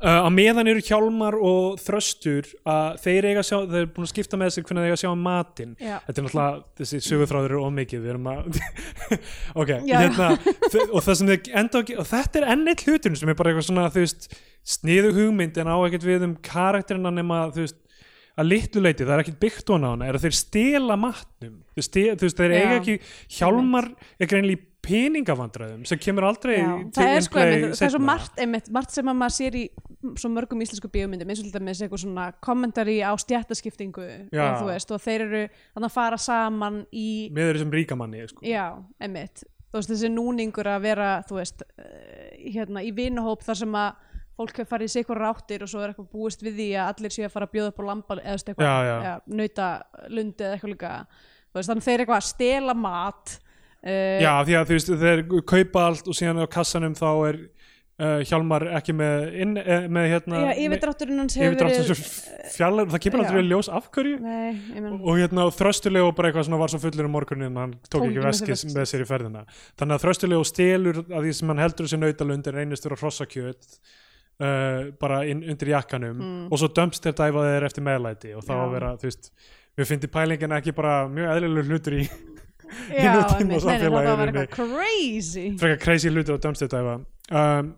A: Uh, að meðan eru Hjálmar og Þröstur að þeir eiga að sjá, þeir eru búin að skipta með sig hvernig þeir eiga að sjá um matinn
B: Já.
A: þetta er náttúrulega, þessi sögurþráður eru ómikið við erum að ok,
B: Já.
A: hérna, þe- og það sem þið enda ekki og þetta er enn eitt hluturinn sem er bara eitthvað svona þú veist, sniðu hugmynd en á ekkert við um karakterina nema þú veist, að litlu leiti, það er ekkert byggt ofan á hana er að þeir stela matnum þeir, stel, þú veist, þeir
B: Já.
A: eiga ekki, Hjálmar er greinlega í peningavandræðum sem kemur aldrei
B: Já,
A: til
B: það er sko
A: gameplay
B: einmitt, það er svo
A: seinna.
B: margt, einmitt, margt sem að maður sér í svo mörgum íslensku bíómyndum eins og þetta með þessi eitthvað svona kommentari á stjættaskiptingu
A: Já.
B: og þú veist og þeir eru þannig að fara saman í
A: með þessum ríkamanni sko.
B: já, einmitt, þú veist þessi núningur að vera þú veist eh, hérna í vinahóp þar sem að fólk hefur farið í sikur ráttir og svo er eitthvað búist við því að allir séu að fara að bjóða upp á lambal eða þú veist, eitthvað,
A: Já, já.
B: nautalundi eða eitthvað líka Þú veist, þannig að þeir eru eitthvað að stela mat uh,
A: Já, því að þú veist, þeir kaupa allt og síðan á kassanum þá er uh, Hjálmar ekki með, inn, uh, með hérna,
B: já, yfirdrátturinn hans hefur
A: yfirdrátt
B: verið
A: svo fjallar, það kemur
B: Já.
A: aldrei í ljós af hverju
B: nei, ég menn
A: og hérna og þröstulegu bara eitthvað svona var svo fullur um morgunin hann tók
B: Tók
A: ekki
B: ekki með sér
A: veskið
B: veskið.
A: með sér í ferðina þannig að þröstulegu stelur að því sem hann heldur sér nautalund en reynist vera hrossakjöt uh, bara inn undir jakkanum
B: Mm.
A: og svo dömst þér dæfa þeir eftir meðlæti og þá
B: Já.
A: að vera, þú veist, við fyndi pælingin ekki bara mjög eðlilegur hlutur í
B: já,
A: mínum tíma
B: einmitt,
A: og
B: nei, nei, það var
A: samfélaginu.
B: eitthvað crazy
A: frekar crazy hlutur á dömst þér dæfa um,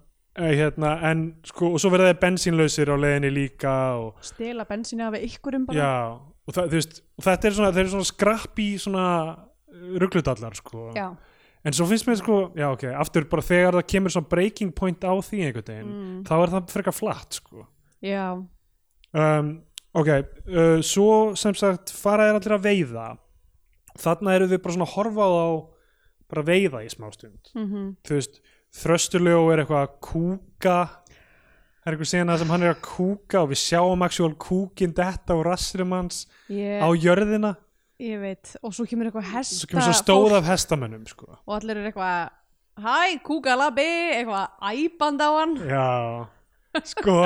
A: eh, hérna, en sko og svo verða þeir bensínlausir á leiðinni líka og
B: stela bensinu af ykkurum bara
A: Já, og það, þú veist, og þetta er svona, þeir eru svona skrapp í svona rugglutallar, sko.
B: já,
A: En svo finnst mér, sko, já, ok, aftur bara þegar það kemur svona breaking point á því einhvern veginn,
B: Mm.
A: þá er það frekar flatt, sko.
B: já.
A: Um, ok, uh, svo sem sagt fara þeir allir að veiða. Þarna eru þau bara svona að horfa á þá bara að veiða í smástund.
B: Mm
A: Þú veist, þröstulegu er eitthvað að kúka, það er einhver sena sem hann er að kúka og við sjáum actual kúkin detta og rassirum hans
B: ég,
A: á jörðina.
B: ég veit og svo kemur eitthvað hesta
A: svo kemur svo stóð af hestamönnum sko.
B: og allir eru eitthvað hæ, kúkalabi, eitthvað æband á hann
A: já sko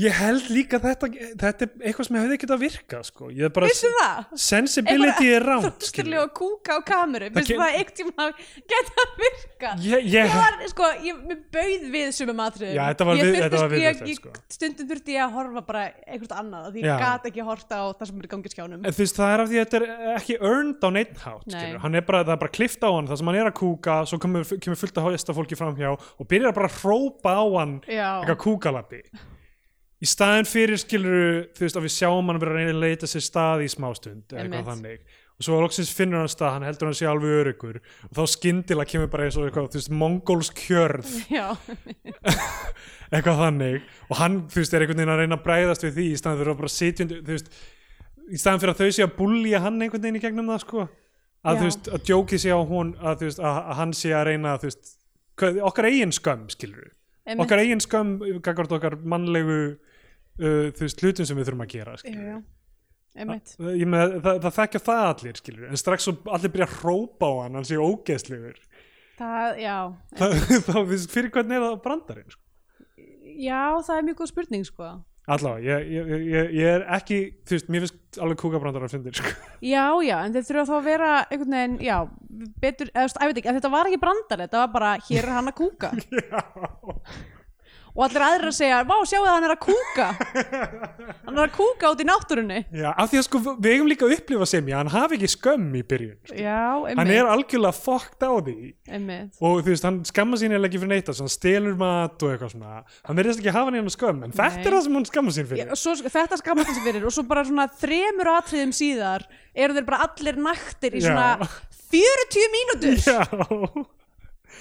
A: ég held líka þetta þetta er eitthvað sem hefði ekkert að virka sko. ég er bara
B: vissu það?
A: sensibility er ránt
B: þurftilega að kúka á kameru
A: Það
B: vissu
A: ge-
B: það eitt tíma að geta að virka
A: ég, ég,
B: ég var, sko, ég mér bauð við sumum atriðum
A: Já, þetta var
B: Ég
A: við-
B: þurfti,
A: þetta var
B: sko, ég-
A: viðbjóðslegt,
B: ég-
A: sko.
B: stundum þurfti ég að horfa bara eitthvað annað af því
A: Já.
B: ég gat ekki að horta á það sem er í gangi í skjánum
A: En þú veist, það er af því að þetta er ekki earned á neitt hátt,
B: Nei.
A: skilur. Hann er bara, það er bara klift á hann, það sem hann er að kúka, svo kemur, kemur fullt að hóðista fólki framhjá og byrjar bara að hrópa á hann
B: Já.
A: eitthvað kúkalabbi. Í staðin fyrir skilur, þú veist, að við sjáum hann vera að reyna að leita sér stað í smástund eða
B: Einmitt.
A: eitthvað þannig. Og svo loksins finnur hann stað, hann heldur hann sé alveg örugur og þá skyndilega kemur bara eins og eitthvað, þú veist, mongolsk hjörð
B: já,
A: eitthvað þannig og hann, þú veist, er einhvern veginn að reyna að bræðast við því í staðan fyrir að bara sitja undir, þú veist í staðan fyrir að þau sé að búlja hann einhvern veginn í gegnum það, sko að,
B: Já.
A: þú veist, að djókið sé á hún að, þú veist, að, að hann sé að reyna þú veist, hvað- okkar eigin skömm, skilur
B: Einmitt.
A: okkar eigin skömm, gagvart okkar mannlegu uh, þú veist, hlutum sem við þurfum að gera,
B: já,
A: skilur
B: já. Einmitt.
A: Ég með, það, það þekkja það allir, skilur en strax svo allir byrja að hrópa á hann hann sé ógeðslegur
B: Það, já,
A: þá, þá, þú veist, fyrir hvernig er það brandarinn, sko
B: já, það er mjög góð spurning sko.
A: Allavega, ég, ég, ég, ég er ekki, þú veist, mér finnst alveg kúkabrandar að fyndir, sko.
B: já, já, en þeir þurfa þá að vera einhvern veginn, já, betur eða, þú veist, að, ekki, að þetta var ekki brandar, þetta var bara hér er hann að kúka
A: Já.
B: og allir aðrir að segja, vá, sjáu það hann er að kúka hann er að kúka út í náttúrunni
A: Já, af því að sko, við eigum líka að upplifa sem ég, hann hafi ekki skömm í byrjun. Sko.
B: já,
A: Hann
B: einmitt,
A: er algjörlega fokkt á því
B: einmitt.
A: og þú veist, hann skamma sín eða ekki fyrir neitt, þess að hann stelur mat og eitthvað svona. Hann verðist ekki hafa neina skömm, en
B: Nei.
A: þetta er það sem hann skamma sín
B: Já,
A: fyrir.
B: og svo, þetta skammast þessi fyrir og svo bara svona þremur atriðum síðar eru þeir bara allir naktir í
A: Já.
B: svona 40 mínútur
A: Já,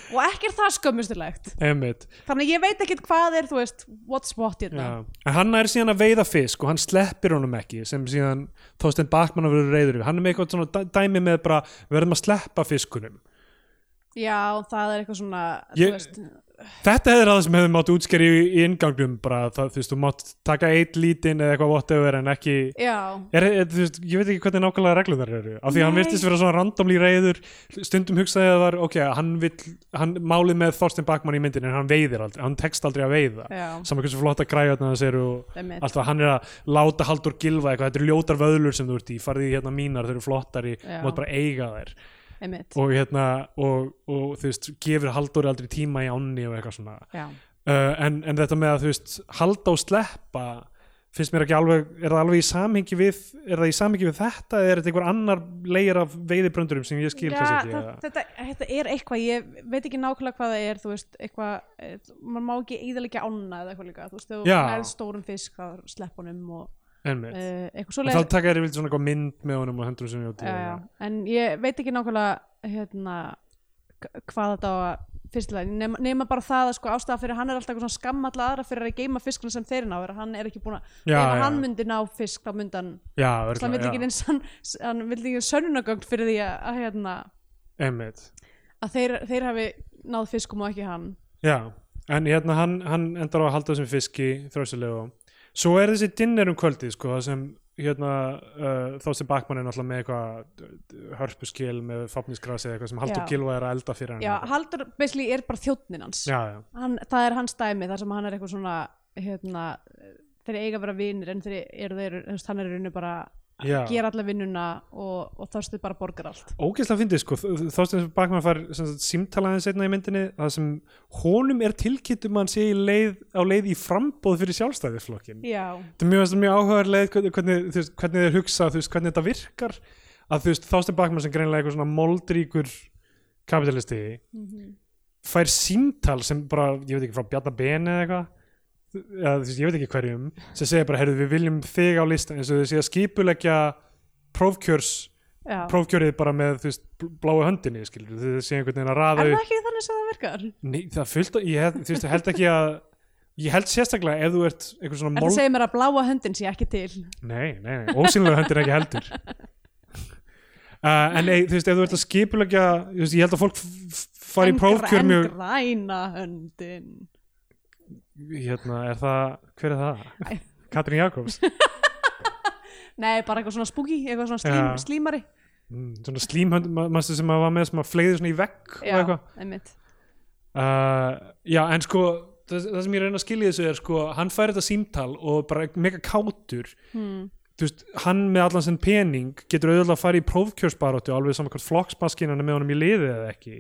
B: og ekki er það skömmustilegt
A: emmitt.
B: þannig að ég veit ekkert hvað er þú veist what's what hérna
A: Já. En hann er síðan að veiða fisk og hann sleppir honum ekki sem síðan Þorstein Bakman að vera reyður yfir. Hann er með eitthvað svona dæ- dæmi með bara, við verðum að sleppa fiskunum.
B: Já, það er eitthvað svona
A: Ég-
B: þú veist,
A: Þetta hefur það sem hefur mátt útskeri í, í ingangnum bara, það, þú veist, þú mátt taka eitt lítinn eða eitthvað whatever en ekki
B: Já,
A: er, er, þú veist, ég veit ekki hvernig nákvæmlega reglum þar eru, af því að hann
B: Nei.
A: virtist vera svona randomli reyður, stundum hugsaði að það var ok, hann vill, hann málið með Þorstein Bakman í myndinu, en hann veiðir aldrei, hann tekst aldrei að veiða,
B: Já.
A: saman hversu flotta græðarna þess eru og
B: Einmitt.
A: allt það, hann er að láta Haldur gilfa eitthvað, þetta eru ljótar vöðlur sem þú ert í, farði í hérna mínar, þau eru flottari,
B: Já.
A: mátt bara eiga þær
B: einmitt
A: og hérna, og, og þú veist, gefur Haldur aldrei tíma í ánni og eitthvað svona
B: Já,
A: uh, en, en þetta með að þú veist halda og sleppa finnst mér ekki alveg, er það alveg í samhengi við er það í samhengi við þetta eða er þetta einhver annar leir af veiðibröndurum sem ég skil
B: Já
A: þess ekki
B: það,
A: eða-
B: þetta, þetta er eitthvað ég veit ekki nákvæmlega hvað það er þú veist, eitthvað, eh, maður má ekki íðalega ána eða eitthvað líka, þú veist, þú
A: Já.
B: helst stórum fisk þá slepp honum og
A: einmitt.
B: uh,
A: en
B: eitthvað
A: mitt
B: svoleið
A: þá taka þér yfirleitt svona eitthvað mynd með honum og hendur sem ég átti
B: já, já. en ég veit ekki nákvæmlega hérna, k- hvað þetta á að fyrstilega, nema, nema bara það að sko ástæða fyrir að hann er alltaf eitthvað svona skamma alla aðra fyrir að geima fiskuna sem þeir ná er að hann er ekki búin að,
A: Já,
B: ef að
A: já.
B: hann myndi ná fisk þá myndi hann,
A: já,
B: Svo hann vill
A: örgulega,
B: ekki
A: já.
B: eins hann, hann vill ekki sönnunagögn fyrir því að, að hérna,
A: einmitt
B: að þeir, þeir hafi náð fiskum og ekki hann
A: Já, en hérna hann, hann endar á að halda þessum fiski þrjóðsilegu svo er þessi dinner um kvöldið sko, það sem hérna uh, þá sem bakmann er náttúrulega með eitthvað eh, hörpuskil með fafnisgrasi eða eitthvað sem
B: Já.
A: Haldur Gilva er að elda fyrir hann
B: já, Haldur basically er bara þjóttnin hans
A: já, já,
B: hann, það er hans dæmi þar sem hann er eitthvað svona hérna, þeir eiga bara vinir en þeir eru þeir, þú veist, hann er í rauninu bara að
A: Já.
B: gera alla vinnuna og, og þorstuð bara borgar allt
A: ógeðslega fyndið sko Þorstein Bakman fær sem sagt símtalaðin setna í myndinni það sem honum er tilkynnt um að hann sé í leið, á leið í frambóð fyrir sjálfstæðisflokkin
B: já,
A: þetta er mjög, þetta er mjög áhugaður leið hvernig, hvernig, þú veist, hvernig þeir hugsa, þú veist, hvernig þetta virkar að þú veist, Þorstein Bakman sem greinlega eitthvað svona moldríkur kapitalisti fær símtal sem bara, ég veit ekki, frá Bjarna Bene eða eitthvað eða, þú veist, ég veit ekki hverjum sem segir bara, heyrðu, við viljum þig á listan eins og þau sé að skipuleggja prófkjörs,
B: já.
A: prófkjörið bara með, þú veist, bl- bláu höndinni skilur, þau sé einhvern veginn að
B: er
A: raða
B: það
A: upp
B: ekki þannig sem það virkar?
A: Nei, það er fullt, að- ég hef, þú veist, ég held ekki að ég held sérstaklega ef þú ert einhver svona
B: Er
A: mold-
B: það segir mér að bláa höndin sé ekki til
A: Nei, nei, nei, ósynlega höndir ekki heldur uh, En nei, þú veist, ef þú ert að skipulegja þú veist, ég held að fólk f- f- fari í
B: En
A: prófkjör
B: græn-
A: mjög
B: græna höndin
A: Hérna, er það, hver er það?
B: Æ.
A: Katrín Jakobs
B: Nei, bara eitthvað svona spooky, eitthvað svona slím,
A: Já.
B: slímari
A: mm, Svona slímhönd, ma- manstu sem að var með sem að fleiði svona í vegg og
B: Já,
A: eitthvað
B: einmitt
A: uh, Já, en sko það, það sem ég reyna að skilja í þessu er sko hann fær þetta símtal og bara mega kátur
B: hmm.
A: þú veist, hann með allan sinn pening getur auðvitað að fara í prófkjörsbaróttu alveg saman hvort flokksmaskinan er með honum í liði eða ekki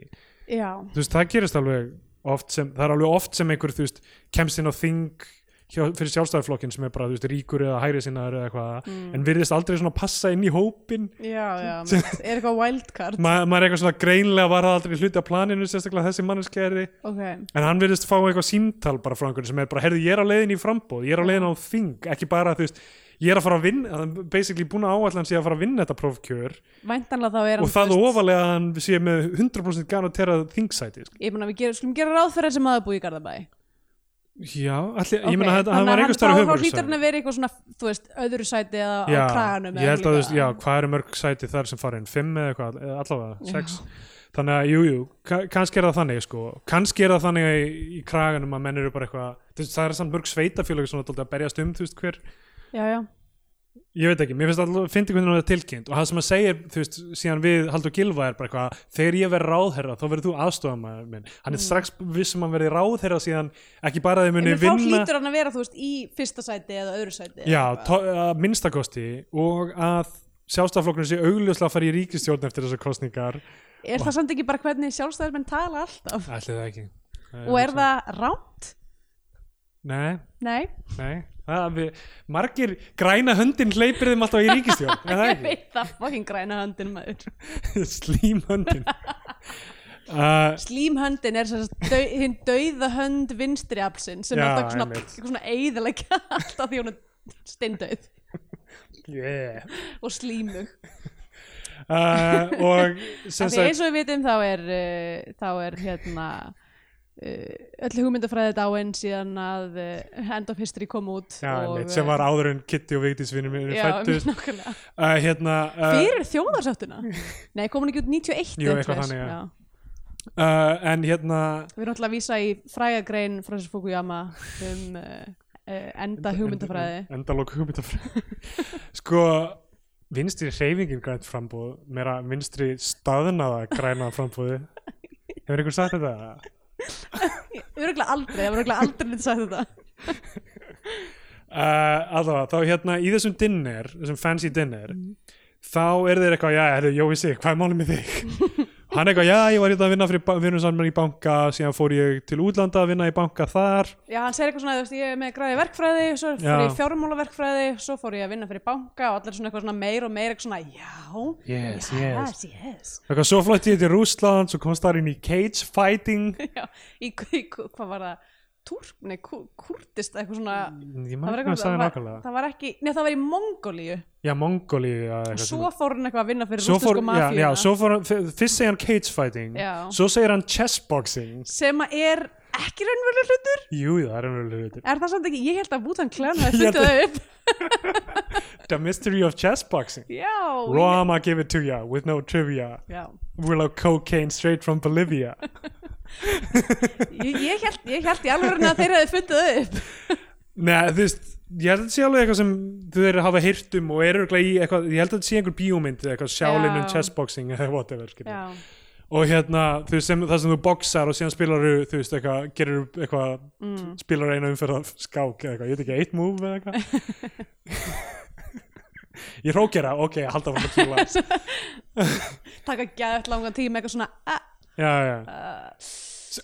B: Já,
A: þú veist, það gerist alveg oft sem, það er alveg oft sem einhver, þú veist, kemst inn á þing hjá, fyrir sjálfstæðarflokkin sem er bara, þú veist, ríkur eða hægri sinnaður eða eitthvað, en virðist aldrei svona passa inn í hópin,
B: já, já einmitt. Er eitthvað wildcard
A: Ma, maður er eitthvað svona greinlega var það aldrei hluti af planinu, sérstaklega þessi manneskæri,
B: Ok,
A: en hann virðist fá eitthvað símtal bara frá einhvern sem er bara, heyrðu, ég er á leiðin í frambóð, ég er á leiðin á um þing, ekki bara, þú veist, ég er að fara að vinna, hann er basically búin að áallan sé að fara að vinna þetta prófkjör
B: væntanlega þá er hann
A: og það
B: þú veist,
A: ofalega að hann sé með 100% garanterað þingsæti, sko.
B: Ég meina við gerum, skulum gera ráð fyrir sem maður búið í Garðabæ
A: Já, allir,
B: Ok,
A: ég meina að hann var
B: þannig að
A: einhver stærri
B: þá-
A: höfum
B: Þá hlýtur hann að vera eitthvað svona, þú veist, öðru sæti eða á um kraganum
A: ég
B: eða
A: held að þú veist,
B: líka.
A: já, hvað eru mörg sæti þar sem fara inn, fimm eða eitthvað, eða allavega sex, þannig að jú, jú ka- kannski er það þannig, sko, kannski er það þannig í, í kraganum að menn eru bara eitthvað þú veist, það er samt mörg sveitafélag svona dálítið að berjast um, þú veist, hver,
B: Já, já,
A: ég veit ekki, mér finnst alltaf, fyndi hvernig hann er tilkynnt og það sem að segja, þú veist, síðan við Haldur Gilva er bara eitthvað, þegar ég verð ráðherra þá verður þú aðstofamaður minn, hann er strax vissum að verði ráðherra síðan ekki bara að þið muni
B: Mm. en þá
A: vinna
B: hlýtur hann að vera, þú veist, í fyrsta sæti eða öðru sæti eða
A: Já,
B: eitthvað.
A: to- að minnstakosti og að sjálfstaflokkurinn sé augljóslega að fara í ríkistjórn eftir þessar kostningar
B: Er það samt ekki bara hvernig sjálfstæðismenn tala alltaf?
A: Ætli það ekki
B: Og er það rámt?
A: Nei,
B: Nei,
A: nei það, við, Margir græna höndin hleypir þeim alltaf í ríkistjórn Er það
B: ég
A: ekki?
B: veit það fokkin græna höndin maður
A: Slím höndin uh,
B: Slímhöndin er sem sagt dau, hinn dauða hönd vinstri aflsinn sem
A: Já,
B: er alltaf svona,
A: einmitt.
B: eitthvað svona eiðilega alltaf því hún er steindauð
A: yeah.
B: og slímug
A: uh, Og sem
B: Af því eins
A: sagt
B: og við vitum þá er uh, þá er hérna uh, öll hugmyndafræði dáin síðan að uh, End of History kom út
A: Já, neitt, sem var áður en Kitty og Vigdís vinnum
B: uh,
A: minni
B: eh, já,
A: fættust
B: nákvæmlega.
A: uh, hérna, uh,
B: Fyrir þjóðarsáttuna Nei, kom hún ekki út 91
A: Jú, eitthvað
B: eða svoleiðis?
A: þannig, já.
B: Já.
A: uh, En hérna
B: Við erum alltaf að vísa í frægagrein frá þessu Fukuyama um uh, uh, enda hugmyndafræði
A: Enda- endalok hugmyndafræði sko vinstri hreyfingin grænt frambúð meira vinstri staðnaða græna frambúði hefur einhver sagt þetta?
B: Öruglega aldrei, það var öruglega aldrei nýtt sagt þetta
A: Uh, allavega, þá hérna í þessum dinner, þessum fancy dinner
B: Mm.
A: þá er þeir eitthvað, já, herri, Jói sig hvað er málið með þig? hann eitthvað, já, ég var hérna að vinna fyrir vinnum saman í banka síðan fór ég til útlanda að vinna í banka þar
B: Já, hann segir eitthvað svona, þú veist, ég er með græði verkfræði svo fór
A: Já.
B: ég í fjármálaverkfræði, svo fór ég að vinna fyrir banka og allir svona eitthvað svona meir og meir eitthvað svona, já,
A: Yes,
B: yes, yes,
A: eitthvað, svo flott ég til Rússland, svo komst þar inn í cage fighting
B: Já, í, í, hvað var það Túrk, nei, kú- kúrdist eitthvað svona
A: ég
B: það var,
A: maður ekki
B: eitthvað,
A: að sagði
B: það, var,
A: nákvæmlega
B: það var ekki, nei það var í Mongolíu
A: já, Mongóli eða eitthvað svona.
B: svo fór hann eitthvað að vinna fyrir
A: svo fór,
B: rústusku
A: já,
B: mafíuna
A: já, svo fór hann, f- fyrst segir hann cage fighting
B: Já.
A: svo segir hann chessboxing
B: sem að er ekki raunveruleg hlutur
A: jú, það er einhverju hlutur
B: er það samt ekki, ég held að Bútan Klan hafi
A: Ég held
B: fundið það upp
A: the mystery of chessboxing
B: já, ég-
A: Roma give it to ya with no trivia
B: já.
A: will of cocaine straight from Bolivia
B: Ég, ég held ég held í alveg að þeir hafi fundið það upp
A: Nei, þú veist, ég held að þetta sé alveg eitthvað sem þú þeir hafa hýrt um og eru örugglega í eitthvað, ég held að þetta sé einhver bíómynd eða eitthvað sjálinn um
B: Já.
A: chessboxing eða whatever, skiljum.
B: já,
A: Og hérna, þú veist, sem, það sem þú boxar og síðan spilar þú veist, eitthvað, gerir eitthvað,
B: mm.
A: spilar eina umferð af skák eða eitthvað, ég veit ekki, eitt move eða eitthvað. ég hrókera, ok, ég halda frá að kýla.
B: taka gæðt langan tíma eitthvað svona uh,
A: Já, já.
B: uh,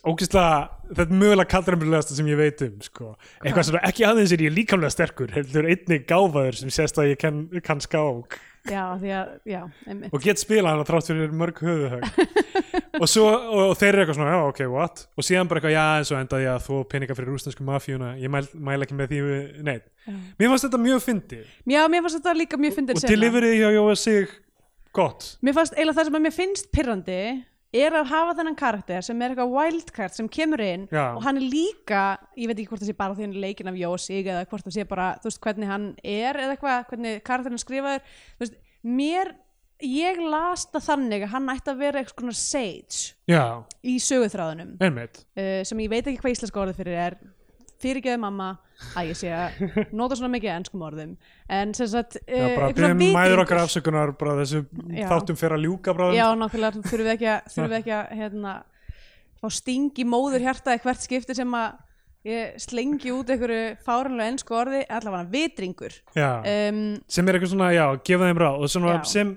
A: ógislega, þetta er mögulega kaldræmurlegasta sem ég veit um sko. eitthvað sem ekki aðeins er ég líkamlega sterkur heldur einnig gáfaður sem sést að ég kann, kann skák
B: já, því að, já, einmitt
A: og get spilað hana þrátt fyrir mörg höfuhög og, svo, og, og þeir eru eitthvað svona já, ok, what, og síðan bara eitthvað já, eins og endaði ég að þó peninga fyrir rústensku mafíuna ég mæl, mæl ekki með því, við- nei mér fannst þetta mjög fyndið
B: já, mér fannst þetta líka mjög fyndin
A: og deliverið hjá Jóa sig gott
B: mér fannst eiginlega það sem að mér finnst pirrandi er að hafa þennan karakter sem er eitthvað wildcard sem kemur inn
A: Já.
B: og hann er líka, ég veit ekki hvort það sé bara því hann er leikinn af Jósík eða hvort það sé bara þú veist hvernig hann er eða eitthvað hvernig karakterinn er skrifaður þú veist, mér, ég las það þannig að hann ætti að vera eitthvað svona sage
A: já,
B: í söguþráðunum
A: einmitt
B: uh, sem ég veit ekki hvað íslenska orðið fyrir er fyrirgeðu mamma að ég sé að nota svona mikið af enskum orðum en sem sagt
A: já,
B: uh,
A: bara
B: einhver svona
A: byrjum mæður
B: vitringur-
A: okkar afsökunar bara þessu
B: Já.
A: þáttum fyrir að ljúka bráðum
B: Já, nákvæmlega, þurfum við ekki að, þurfum við ekki að hérna, fá sting í móður hjartaði hvert skipti sem að ég slengi út einhverju fáranlega ennsku orði, allavega vitringur.
A: Já.
B: Um,
A: sem er eitthvað svona, já, gefa þeim ráð og svona
B: Já.
A: sem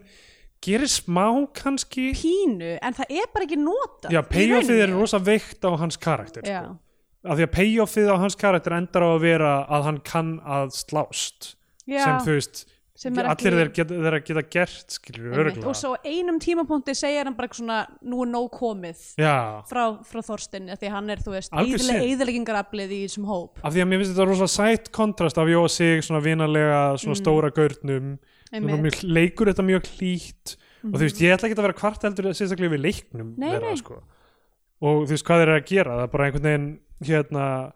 A: gerir smá kannski
B: pínu, en það er bara ekki notað.
A: já,
B: í
A: payoffið er
B: rauninni.
A: rosa veikt á hans karakter
B: Já,
A: sko. af því að payoffið á hans karakter endar á að vera að hann kann að slást sko,
B: já,
A: sem þú veist
B: sem er
A: allir þeir geta, þeir geta gert skilur
B: Einmitt.
A: örgulega
B: Og svo á einum tímapunkti segir hann bara eitthvað svona, nú er nóg komið
A: já,
B: frá, frá Þorstin, því að hann er, þú veist,
A: Algjör synd.
B: eðalegingaraflið í þessum hóp.
A: af því að mér finnst þetta rosa sætt kontrast af Jóa sig svona vinalega, svona stóra gaurnum
B: Mm. Einmitt. Mhm.
A: Svona mjög- leikur þetta mjög hlýtt og þú veist, ég ætla ekki að vera kvart heldur sérstaklega við leiknum
B: Nei,
A: þeirra,
B: nei.
A: Sko. og þú veist, hvað þeir eru að gera það er bara einhvern veginn hérna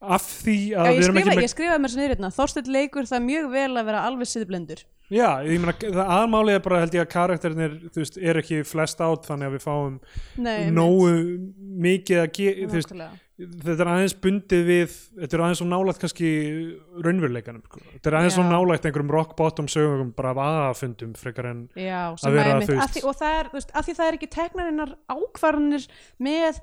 A: af því að
B: Já, ég,
A: við erum
B: skrifa,
A: ekki með
B: ég skrifaði mér svona yfirreitna, Þorsteinn leikur það mjög vel að vera alveg siðblindur.
A: já, ég meina, það aðmálið er bara held ég að karakterinir, þú veist, er ekki flest átt þannig að við fáum
B: Nei, einmitt.
A: nógu mikið að ge, þú veist,
B: Nákvæmlega.
A: þetta er aðeins bundið við þetta er aðeins svo nálægt kannski raunveruleikanum, sko. þetta er aðeins svo
B: Já.
A: nálægt einhverjum rock bottom sögum, bara aðafundum frekar en,
B: Já, sem
A: Að
B: að
A: vera,
B: einmitt,
A: þú veist-
B: að því, og það er, þú veist, að því það er ekki teknarinnar ákvarðanir með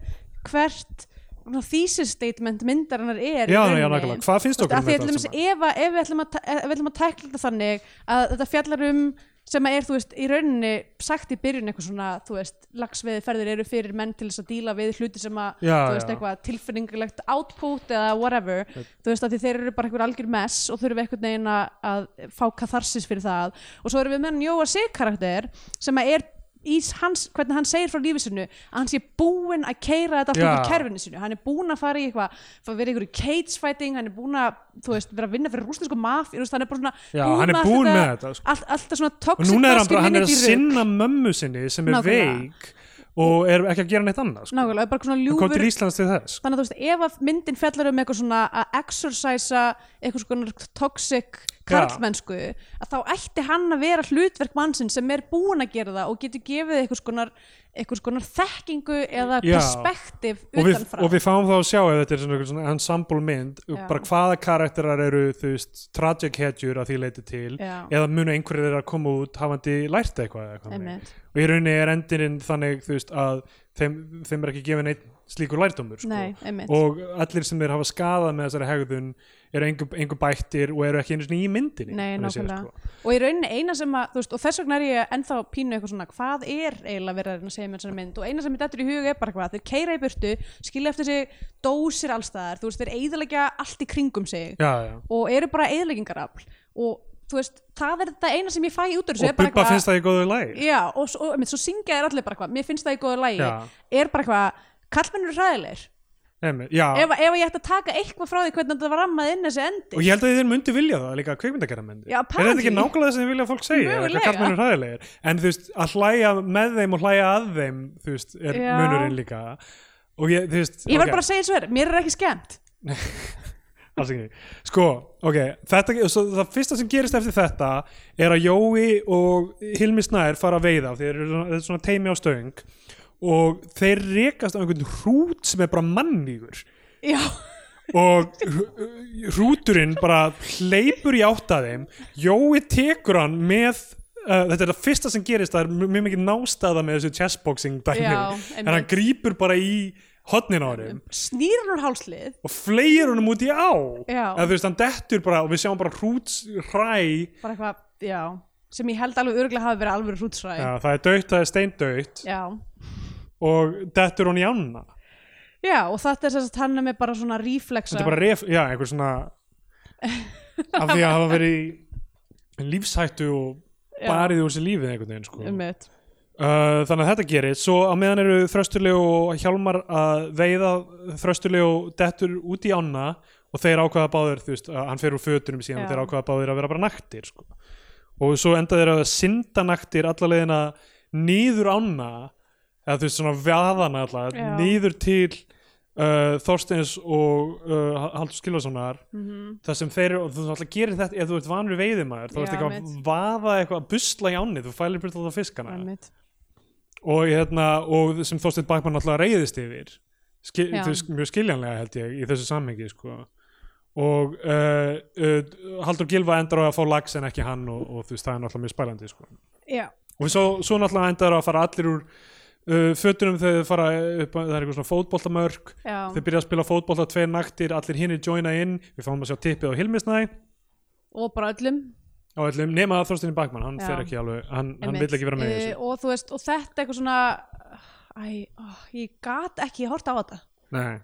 B: hvert svona thesis statement myndarinnar er í
A: já, já,
B: rauninni.
A: nákvæmlega, hvað finnst
B: Þú veist,
A: okkur um
B: að því að til
A: allt
B: dæmis
A: saman?
B: ef, að- ef við ætlum að, ta- ef við ætlum að tekla þetta þannig að þetta fjallar um sem að er, þú veist, í rauninni sagt í byrjun eitthvað svona, þú veist, lagsveðiferðir eru fyrir menn til þess að díla við hluti sem að,
A: Já,
B: þú veist,
A: já.
B: eitthvað tilfinningulegt output eða whatever, þú veist, að því þeir eru bara einhver algjör mess og þurfum einhvern veginn að, að fá katharsis fyrir það og svo erum við með hann Jóa Sig karakter sem að er í hans, hvernig hann segir frá lífi sinu að hann sé búinn að keira þetta allt út í
A: Já.
B: kerfinu sinu, hann er búinn að fara í eitthvað fara að vera í einhverju cage fighting, hann er búinn að þú veist, vera að vinna fyrir rúsnesku maf veist, hann er bara svona
A: Já, hann er
B: að
A: búinn með þetta, sko.
B: allt, alltaf svona
A: og
B: toxic
A: núna er hann bara, hann er að
B: masculinity rugl.
A: sinna mömmu sinni sem er
B: Nákvæmlega.
A: veik og er ekki að gera neitt annað sko.
B: nákvæmlega, bara svona
A: hann kom
B: ljúfur
A: til Íslands til þess sko.
B: þannig að þú veist, ef að myndin fjallar um eitthvað svona að exorcisa eitthvað svona toxic karlmennsku að þá ætti hann að vera hlutverk mannsinn sem er búin að gera það og getur gefið eitthvað svona, eitthvað svona þekkingu eða
A: Já.
B: perspektiv
A: og, við,
B: utanfrá
A: og við fáum þá að sjá ef þetta er svona, einhver svona ensemble mynd
B: Já.
A: bara hvaða karakterar eru þú veist, tragic hetjur að því leiti til
B: Já.
A: eða munu einhverjir þeirra að koma út hafandi lært eitthvað, eða eitthvað þannig.
B: Einmitt.
A: og í rauninni er endurinn þannig þú veist, að þeim, þeim er ekki gefin einn slíkur lærdómur sko.
B: Nei, einmitt.
A: og allir sem þeir hafa skadað með þessari hegðun eru engu, engu bættir og eru ekki einu sinni í myndinni
B: Nei,
A: þannig séð,
B: nákvæmlega.
A: sko.
B: Og í rauninni eina sem að, þú veist, og þess vegna er ég ennþá pínu eitthvað svona, hvað er eiginlega verið að reyna að segja með þessari mynd? Og eina sem mér dettur í huga er bara hvað, þeir keira í burtu, skilja eftir sig dósir allstaðar, þú veist, þeir eiðalegja allt í kringum sig
A: já, já.
B: og eru bara eiðleggingarafl og þú veist, það er þetta eina sem ég fæ út úr þessu
A: og
B: er bara
A: Bubba
B: eitthvað-
A: finnst það í góðu læg
B: Já, og, s- og, og svo syngja þér allir bara eitthvað, mér finnst það í góðu lægi
A: Já.
B: er bara eitthvað, kallmenn eru hræðilegir
A: já,
B: ef, ef ég ætti að taka eitthvað frá því hvernig þetta var rammað inn þessi endi
A: og ég held að þeir myndi vilja það líka kveikmyndakæra myndi
B: Já,
A: er þetta ekki
B: apparently.
A: nákvæmlega þess að þeir vilja að fólk segja
B: Mögulega.
A: hvað kallmenn er hræðilegir en þú veist, að hlæja með þeim og hlæja að þeim þú veist, er
B: Já.
A: munurinn líka og ég, þú veist
B: ég
A: ok,
B: var bara að segja svo er, mér er ekki skemmt
A: alls ekki. sko, ok, þetta svo, það fyrsta sem gerist eftir þetta er að Jói og Hilmi Snær fara að veiða af því þeir eru svona, þetta er svona teimi á stöng og þeir rekast á einhvern hrút sem er bara mannvígur
B: Já,
A: og hrú- hrúturinn bara hleypur í átt að þeim Jói tekur hann með uh, þetta er það fyrsta sem gerist það er mjög- mjög mikið nástaða með þessu chessboxing dæmi
B: Já,
A: en hann
B: einmitt.
A: grípur bara í hotnin á þeim
B: snýr hann úr hálslið
A: og fleir honum út í á
B: Já.
A: eða þú veist hann dettur bara og við sjáum bara hrúts hræ
B: bara eitthvað, já sem ég held alveg örgulega hafi verið alveg hrútsræ já.
A: Já, það er döitt, það er steindöitt
B: já,
A: og dettur hún í ána
B: og þetta er sem sagt hann er með bara svona
A: þetta
B: reflexa
A: er bara ref, já, einhver svona af því að hafa verið í lífshættu og
B: Já. Um
A: barið úr sér lífið einhvern veginn sko. uh,
B: einmitt.
A: Eh, þannig að þetta gerir svo á meðan eru þröstulegu og hjálmar að veiða þröstulegu og dettur út í ána og þeir ákvaða báðir, þú veist, að hann fer úr fötunum síðan og
B: Já.
A: þeir ákvaða báðir að vera bara naktir sko. og svo enda þeir að synda naktir allalegina nýður ána eða þú veist svona vaðana alltaf
B: Já.
A: nýður til uh, Þorsteins og uh, Haldur Skilvasonar
B: Mhm.
A: það sem þeir, og þú alltaf gerir þetta ef þú ert vanur veiðimæður, þú
B: Já,
A: ert eitthvað að
B: mitt.
A: vaða eitthvað að busla í ánni, þú fælir byrjum alltaf fiskana
B: einmitt.
A: og, hérna, og sem Þorsteinn Bakman alltaf reyðist yfir Skil,
B: Já.
A: þú veist, mjög skiljanlega held ég í þessu samhengi sko. og uh, uh, Haldur Gilva endar á að fá lags en ekki hann og, og þú veist, það er alltaf mjög spælandi sko.
B: já,
A: og svo, svo náttúrulega endar að fara allir úr uh, fötunum þegar þau fara upp að- það er eitthvað svona fótboltamörk
B: já,
A: þau byrja að spila fótbolta tveir naktir allir hinnir joina inn, við fáum að sjá tippið á Hilmisnæ
B: og bara öllum um
A: á öllum, nema að Þorstinni Bakman hann
B: Já.
A: fer ekki alveg, hann, hann
B: Einmitt.
A: vill ekki vera með í
B: Eh,
A: þessu
B: og þú veist, og þetta eitthvað svona æ, ó, ég gat ekki hort á þetta
A: Nei.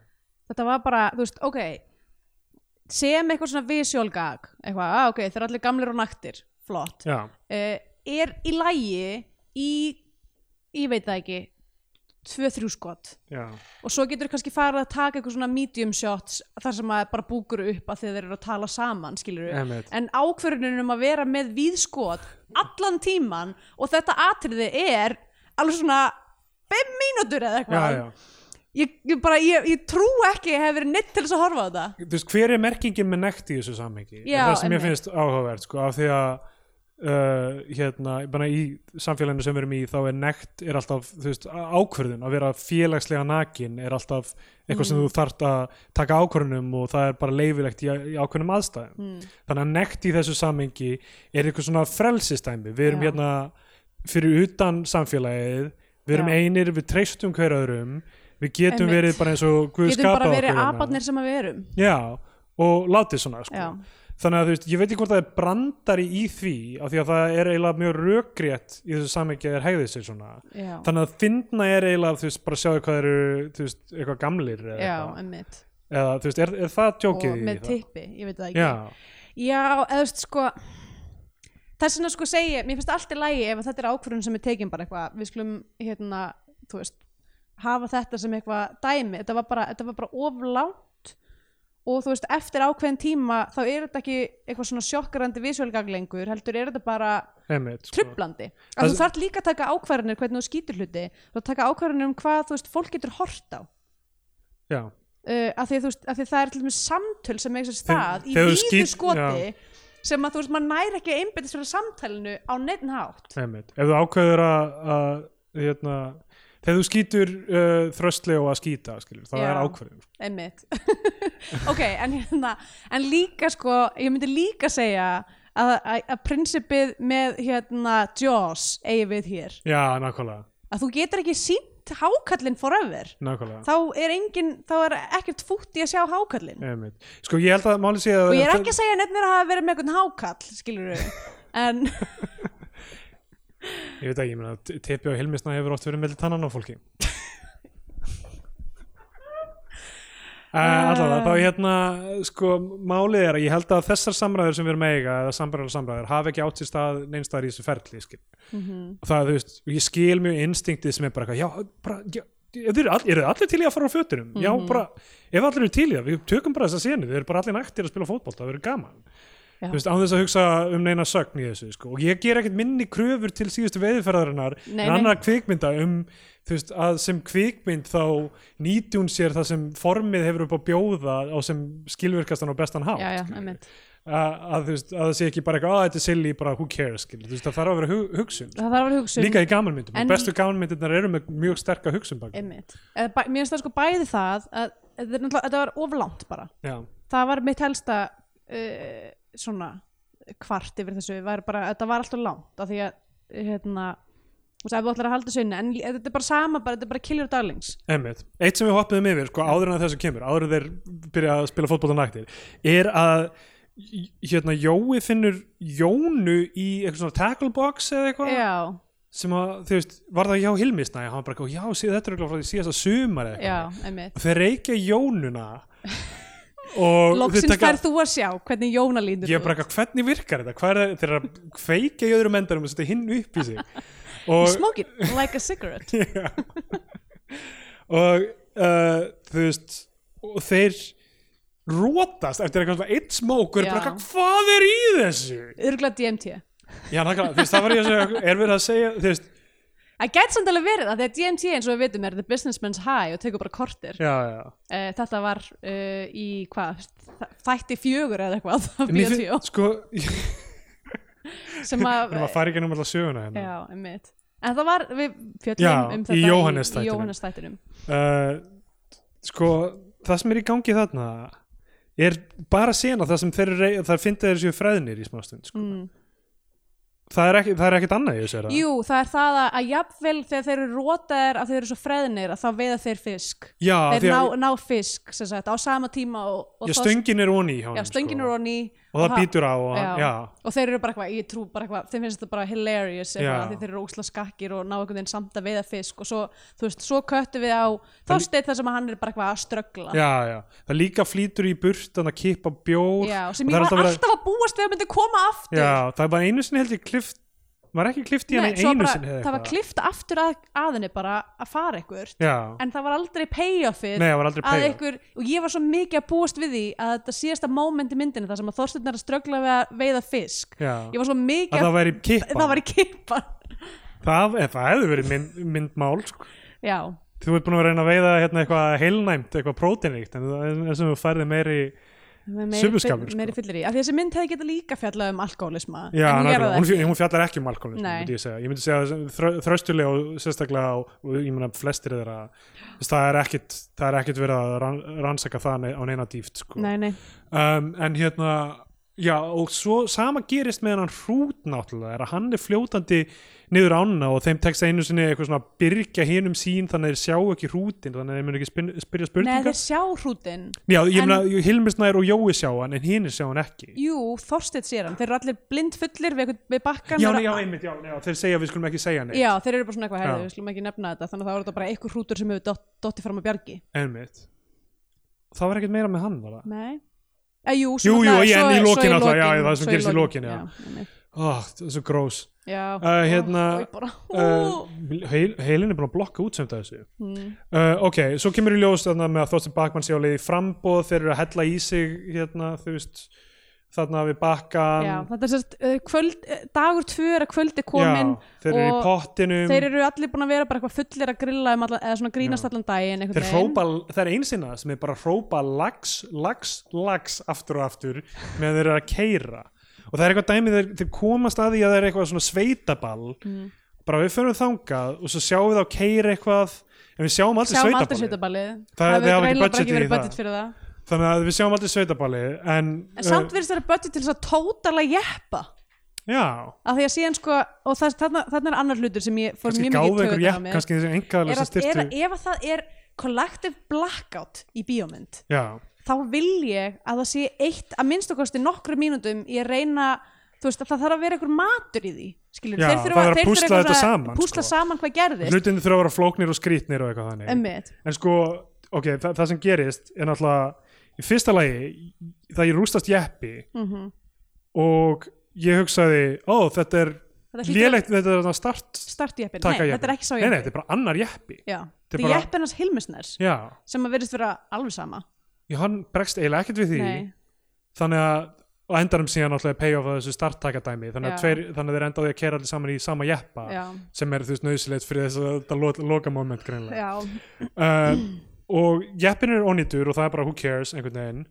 B: þetta var bara, þú veist, ok sem eitthvað svona visual gag eitthvað, ah, ok, þeir eru allir gamlir og naktir flott,
A: Já.
B: uh, er í lægi í, ég veit það ekki tvö, þrjú skot
A: Já.
B: og svo getur kannski farið að taka eitthvað svona medium shots þar sem að bara búkur upp að þeir eru að tala saman, skilur við
A: Einmitt.
B: en ákvörðunum um að vera með víðskot allan tíman og þetta atriði er alveg svona 5 mínútur eða
A: Já,
B: eitthvað
A: já.
B: Ég, ég bara, ég, ég trú ekki að ég hef verið neitt til þess að horfa á það
A: Þú veist, hver er merkingin með nekt í þessu samhengi
B: Já,
A: það sem ég
B: einmitt.
A: finnst áhugavert sko, af því að uh, hérna, bara í samfélaginu sem við erum í þá er nekt er alltaf þú veist, á- ákvörðun að vera félagslega nakin er alltaf eitthvað
B: Mm.
A: sem þú þart að taka ákvörðunum og það er bara leifilegt í, í ákvörðunum aðstæðum
B: Mm.
A: þannig að nekt í þessu samhengi er eitthvað svona frelsistæmi við erum
B: Já.
A: hérna fyrir utan samfélagið við erum
B: Já.
A: einir, við treystum hver öðrum við getum
B: Einmitt.
A: verið bara eins og Guð
B: getum bara
A: skapaði
B: verið
A: okkur hérna.
B: aparnir sem að við erum
A: Já, og látið svona sko.
B: Já.
A: þannig að þú veist, ég veit ekki hvort það er brandari í því, af því að það er eiginlega mjög rökrétt í þessu samhengi að þeir hegðið sér svona,
B: já,
A: þannig að fyndna er eiginlega, þú veist, bara sjáðu hvað eru þú veist, eitthvað gamlir eða,
B: já
A: eitthvað.
B: emmitt
A: eða þú veist, er, er það
B: og
A: tjókið í
B: með
A: það?
B: tippi, ég veit það ekki
A: Já,
B: já eða þú veist sko þess vegna sko segi, ég, mér finnst allt í lagi ef að þetta er ákvörðun sem er tekin bara eitthvað við skulum hérna, þú veist hafa þetta sem eitthvað dæmi þetta var bara, þetta var bara of langt og þú veist, eftir ákveðin tíma þá er þetta ekki eitthvað svona sjokkarandi visuálgag lengur, heldur er þetta bara
A: einmitt sko.
B: trublandi að þú
A: Það-
B: þarf líka að taka ákvarðanir hvernig þú skýtur hluti þú þarf að taka ákvarðanir um hvað þú veist fólk getur hort á uh,
A: Já,
B: að, Eh, því, að þú veist, að því það er til dæmis samtöl sem eiga sér stað í
A: þegar þú
B: víðu
A: skýt-
B: skoti sem að þú veist maður næri ekki að einbyttis fyrir samtalinu á neitt hátt
A: einmitt, ef þú ákveður að, að hérna, þegar þú skýtur uh, þröstlega og að skýta, skilur, það
B: Já.
A: er sko. ákveður
B: einmitt ok, en, hérna, en líka sko ég myndi líka segja að, að, að prinsipið með hérna Jaws eigi við hér
A: Já, nákvæmlega,
B: að þú getur ekki sínt hákallin forever
A: nákvæmlega
B: þá er engin, þá er ekkert fútt í að sjá hákallin
A: Einmitt. Sko ég held að máli sé að
B: og ég er ekki að segja neitt mér að hafa verið með einhvern hákall skilur við en
A: Ég veit ekki, ég meina, t- tepi á Hilmisna hefur oft verið meldi tannan á fólki. Uh, allavega, þá hérna sko, málið er að ég held að þessar samræður sem við erum að eiga, eða samræður samræður hafa ekki átt sér stað neinstar í þessu ferli skil. og það, þú veist, ég skil mjög instinktið sem er bara eitthvað, já, bara já, eru all, er allir til í að fara á fötunum já,
B: Mhm.
A: bara, ef allir eru til í það, við tökum bara þessa senu, við erum bara allir nættir að spila fótbolta það verður gaman,
B: Já.
A: þú veist, án þess að hugsa um neina sögn í þessu, sko, og ég ger ekkert minni kröfur til síðustu veiðferðarinnar
B: Nei,
A: en
B: nei.
A: annara kvikmynda um þú veist, að sem kvikmynd þá nýti hún sér það sem formið hefur upp að bjóða á sem skilvirkastan og bestan hátt skilurðu. að, að, þú veist, að það sé ekki bara eitthvað, að þetta er silly, bara who cares skil, þú veist, það þarf að vera hug, hugsun
B: það þarf að um vera hugsun
A: líka í gamanmyndum,
B: En-
A: og bestu gamanmyndirnar eru með mjög sterka hugsun bak við.
B: einmitt. Eða bæ- mér finnst það sko bæði það að þetta er náttúrulega- þetta var oflant bara
A: já,
B: það var mitt helsta uh, svona kvart yfir þessu var bara, þetta var alltaf langt af því að hérna þú veist, ef þú ætlar að halda þessu inn en lí- þetta er bara sama, bara, þetta er bara killjur daglings
A: emmitt eitt sem við hoppiðum yfir, sko, áður en að þessu kemur áður en þeir byrja að spila fótbolta nættir er að hérna Jói finnur Jónu í eitthvað svona tackle box eða eitthvað
B: já,
A: sem að, þú veist, var það hjá Hilmisnæ hann var bara, eitthvað, já, síð, þetta er eitthvað frá því síðasta sumar eða
B: já,
A: eitthvað
B: einmitt
A: og þeir reykja Jónuna og
B: loksins færð þú að sjá hvernig Jóna lítur
A: ég er bara, eitthvað, hvernig virkar þetta hvað er það, þeir eru að kveika í öðrum endanum og setja hinn upp í sig og,
B: smoking, like a cigarette
A: Já. og uh, þú veist og þeir rótast eftir eitthvað svona eitt smók og eru bara,
B: Já.
A: eitthvað, hvað er í þessu
B: örgulega DMT
A: já, nákvæmlega, þú veist, það var ég að segja er verið að segja, þú veist,
B: það gæti samt alveg verið að því að DMT eins og við vitum er the businessman's high og tekur bara kortir
A: já, já
B: uh, þetta var uh, í hvað, þ- þætti fjögur eða eitthvað af
A: Mér
B: Bíotvíó
A: finn- sko, ég
B: sem að
A: erum að fara ekki um alltaf söguna hérna
B: Já, einmitt. En það var, við fjöllum
A: Já,
B: um
A: í
B: þetta
A: Jóhannes-þættinum.
B: í Jóhannes-þættinum.
A: uh, sko það sem er í gangi þarna er bara sena það sem þeir rey- þar finna þeir séu fræðinir í smástund sko.
B: Mm.
A: það, er ekki, það er ekkert annað í þessu er það
B: Jú, það er það að, að jafnvel þegar þeir eru rótaðir að þeir eru svo freðnir að þá veiða þeir fisk.
A: já,
B: þeir
A: því
B: ná,
A: að
B: ná fisk, sem sagt, á sama tíma og, og
A: já, stöngin er onni í hjá
B: já,
A: honum,
B: stöngin
A: sko.
B: eru onni
A: og það býtur á og, hann, já.
B: og þeir eru bara eitthvað, ég trú bara eitthvað, þeim finnst þetta bara hilarious
A: Já.
B: eitthvað, því þeir eru ósla skakkir og ná einhvern veginn samt að veiða fisk og svo, þú veist, svo köttu við á þásteinn þar sem að hann er bara eitthvað að ströggla
A: Já, já. það líka flýtur í burt þannig að kippa bjór
B: Já,
A: og það
B: sem ég
A: er
B: var
A: alltaf
B: alltaf,
A: verið-
B: að búast við að myndi koma aftur
A: já, það er bara einu sinni held ég klift var ekki klift í hann
B: Nei, svo
A: einu
B: bara,
A: sinni eða
B: það var
A: eitthvað.
B: klift aftur að, að henni bara að fara ykkur
A: já,
B: en það var aldrei payoffið
A: Nei, það var aldrei
B: að
A: payoff.
B: ykkur, og ég var svo mikið að búast við því að þetta síðasta moment í myndinni það sem að Þorsteinn er að ströggla við að veiða fisk
A: já.
B: ég var svo mikið
A: að það væri
B: að
A: kippa
B: það var í kipa
A: það, eh, það hefði verið mynd, myndmál sko.
B: já,
A: þú ert búin að reyna að veiða hérna, eitthvað heilnæmt, eitthvað próteinrikt en það er sem þú færði meiri
B: með
A: Subbuskapur,
B: meiri,
A: sko.
B: meiri fyllir í af því að þessi mynd hefði getað líka fjallað um alkoholisma
A: já,
B: en hún
A: nákvæmlega.
B: gerði það
A: hún,
B: ekki.
A: fj- hún fjallar ekki um alkoholism
B: Nei.
A: myndi ég, segja. ég myndi segja að þrö, þröstulega og sérstaklega á, og ég meina flestir þeirra þú veist, það er ekkit, það er ekkit verið að rann, rannsaka það nei- á neina dýft sko.
B: nei, nei,
A: um, en hérna já og svo sama gerist með hann hrút náttúrulega er að hann er fljótandi niður ána og þeim tekst einu sinni eitthvað svona að byrgja hinum sín þannig að þeir sjá ekki hrútin þannig að þeir mun ekki spyn- spyrja
B: nei
A: spurningar
B: þeir sjá hrútin
A: Já, ég
B: En-
A: meina, Hilmisnær og Jói sjá hann en hinn sjá hann ekki
B: jú, Þorsteinn sér hann, þeir eru allir blind fullir við, einhvern- við bakkan
A: Já,
B: þeirra-
A: nei, já, einmitt, já, já, þeir segja við skulum ekki segja neitt
B: Já, þeir eru bara svona eitthvað
A: Já.
B: herðu, við slum ekki nefna þetta þannig að það voru þetta bara einhver hrútur sem hefur dott, dottið fram að bjargi
A: Einmitt Það var ekkert meira með hann, var það?
B: Nei eh, Jú,
A: Jú, jú,
B: náttúrulega-
A: ég- en í
B: svo- svo
A: lokin alltaf, já,
B: lokin,
A: það sem
B: svo
A: gerist í lokin, já.
B: einmitt.
A: Ó, það er svo grós
B: Já,
A: Uh, hérna,
B: ó, ég bara,
A: uh,
B: ó.
A: heil, Heilin er búin að blokka út sem þessu
B: Mm.
A: uh, Ok, svo kemur í ljós þarna með að Þorstein Bakmann sé á leiði frambóð þeir eru að hella í sig hérna, þú veist þarna við bakkan
B: Já, þetta er sérst uh, kvöld, uh, dagur tvö er að kvöldi komin
A: um, Já, þeir eru í
B: og
A: pottinum
B: Þeir eru allir búin að vera bara eitthvað fullir að grilla um alla, eða svona grínast
A: Já.
B: allan daginn einhvern
A: Þeir
B: veginn.
A: hrópa, það er einsina sem er bara að hrópa lax, lax, lax aftur og aftur meðan þeir eru að keira og það er eitthvað dæmi þeir, þeir komast að því að það er eitthvað svona sveitaball
B: Mm.
A: bara við förum þangað og svo sjáum við þá keira eitthvað en við sjáum aldrei
B: Sjáum aldrei
A: sveitaballið
B: sveitabalið
A: Það-
B: hefur
A: þið hafa ekki
B: greinilega bara
A: budgetið í
B: verið
A: það.
B: budget fyrir það
A: þannig að við sjáum aldrei sveitaballið en,
B: En samt verðist þeirra budget til þess að tótala jeppa
A: uh, já,
B: að því að síðan sko og það- þarna þarna er annar hlutur sem ég fór
A: kannski
B: mjög mikið
A: gáðu
B: í
A: einhver
B: taugarnar á
A: jafn,
B: mér.
A: kannski þessi
B: er
A: engaðlega sem
B: að, er
A: styrtu
B: að ef að það er collective blackout í bíómynd
A: já,
B: þá vil ég að það sé eitt að minnstu kosti nokkru mínútum í að reyna þú veist að það þarf að vera einhver matur í því skilur,
A: Já,
B: þeir þurfa
A: það er að
B: þeir
A: púsla
B: þurfa eitthvað
A: þetta
B: svona-
A: saman,
B: púsla
A: sko.
B: saman hvað gerðist
A: hlutinni þurfa að vera flóknir og skrýtnir og eitthvað þannig
B: Einmitt.
A: en sko, ok, þa það sem gerist er náttúrulega, í fyrsta lagi það ég rústast jeppi
B: Mhm.
A: og ég hugsaði, ó, þetta er
B: Þetta hlýtur-
A: lélegt, þetta er þarna start
B: start jeppin, nei
A: taka jeppi.
B: þetta er ekki sá
A: Nei, nei, þetta er bara annar jeppi
B: já,
A: er
B: þetta er
A: bara-
B: jeppin hans Hilmisners
A: Já,
B: sem að verðist vera alveg sama
A: ég, hann bregst eiginlega ekkert við því
B: nei,
A: þannig að og endarum síðan náttúrulega payoff að þessu starttakadæmi þannig að,
B: Já.
A: tveir, þannig að þeir enda á því að kera allir saman í sama jeppa
B: já,
A: sem er þú veist nöðsilegt fyrir þess að þetta lo loka moment greinlega
B: já,
A: uh, og jeppin er onýtur og það er bara who cares einhvern veginn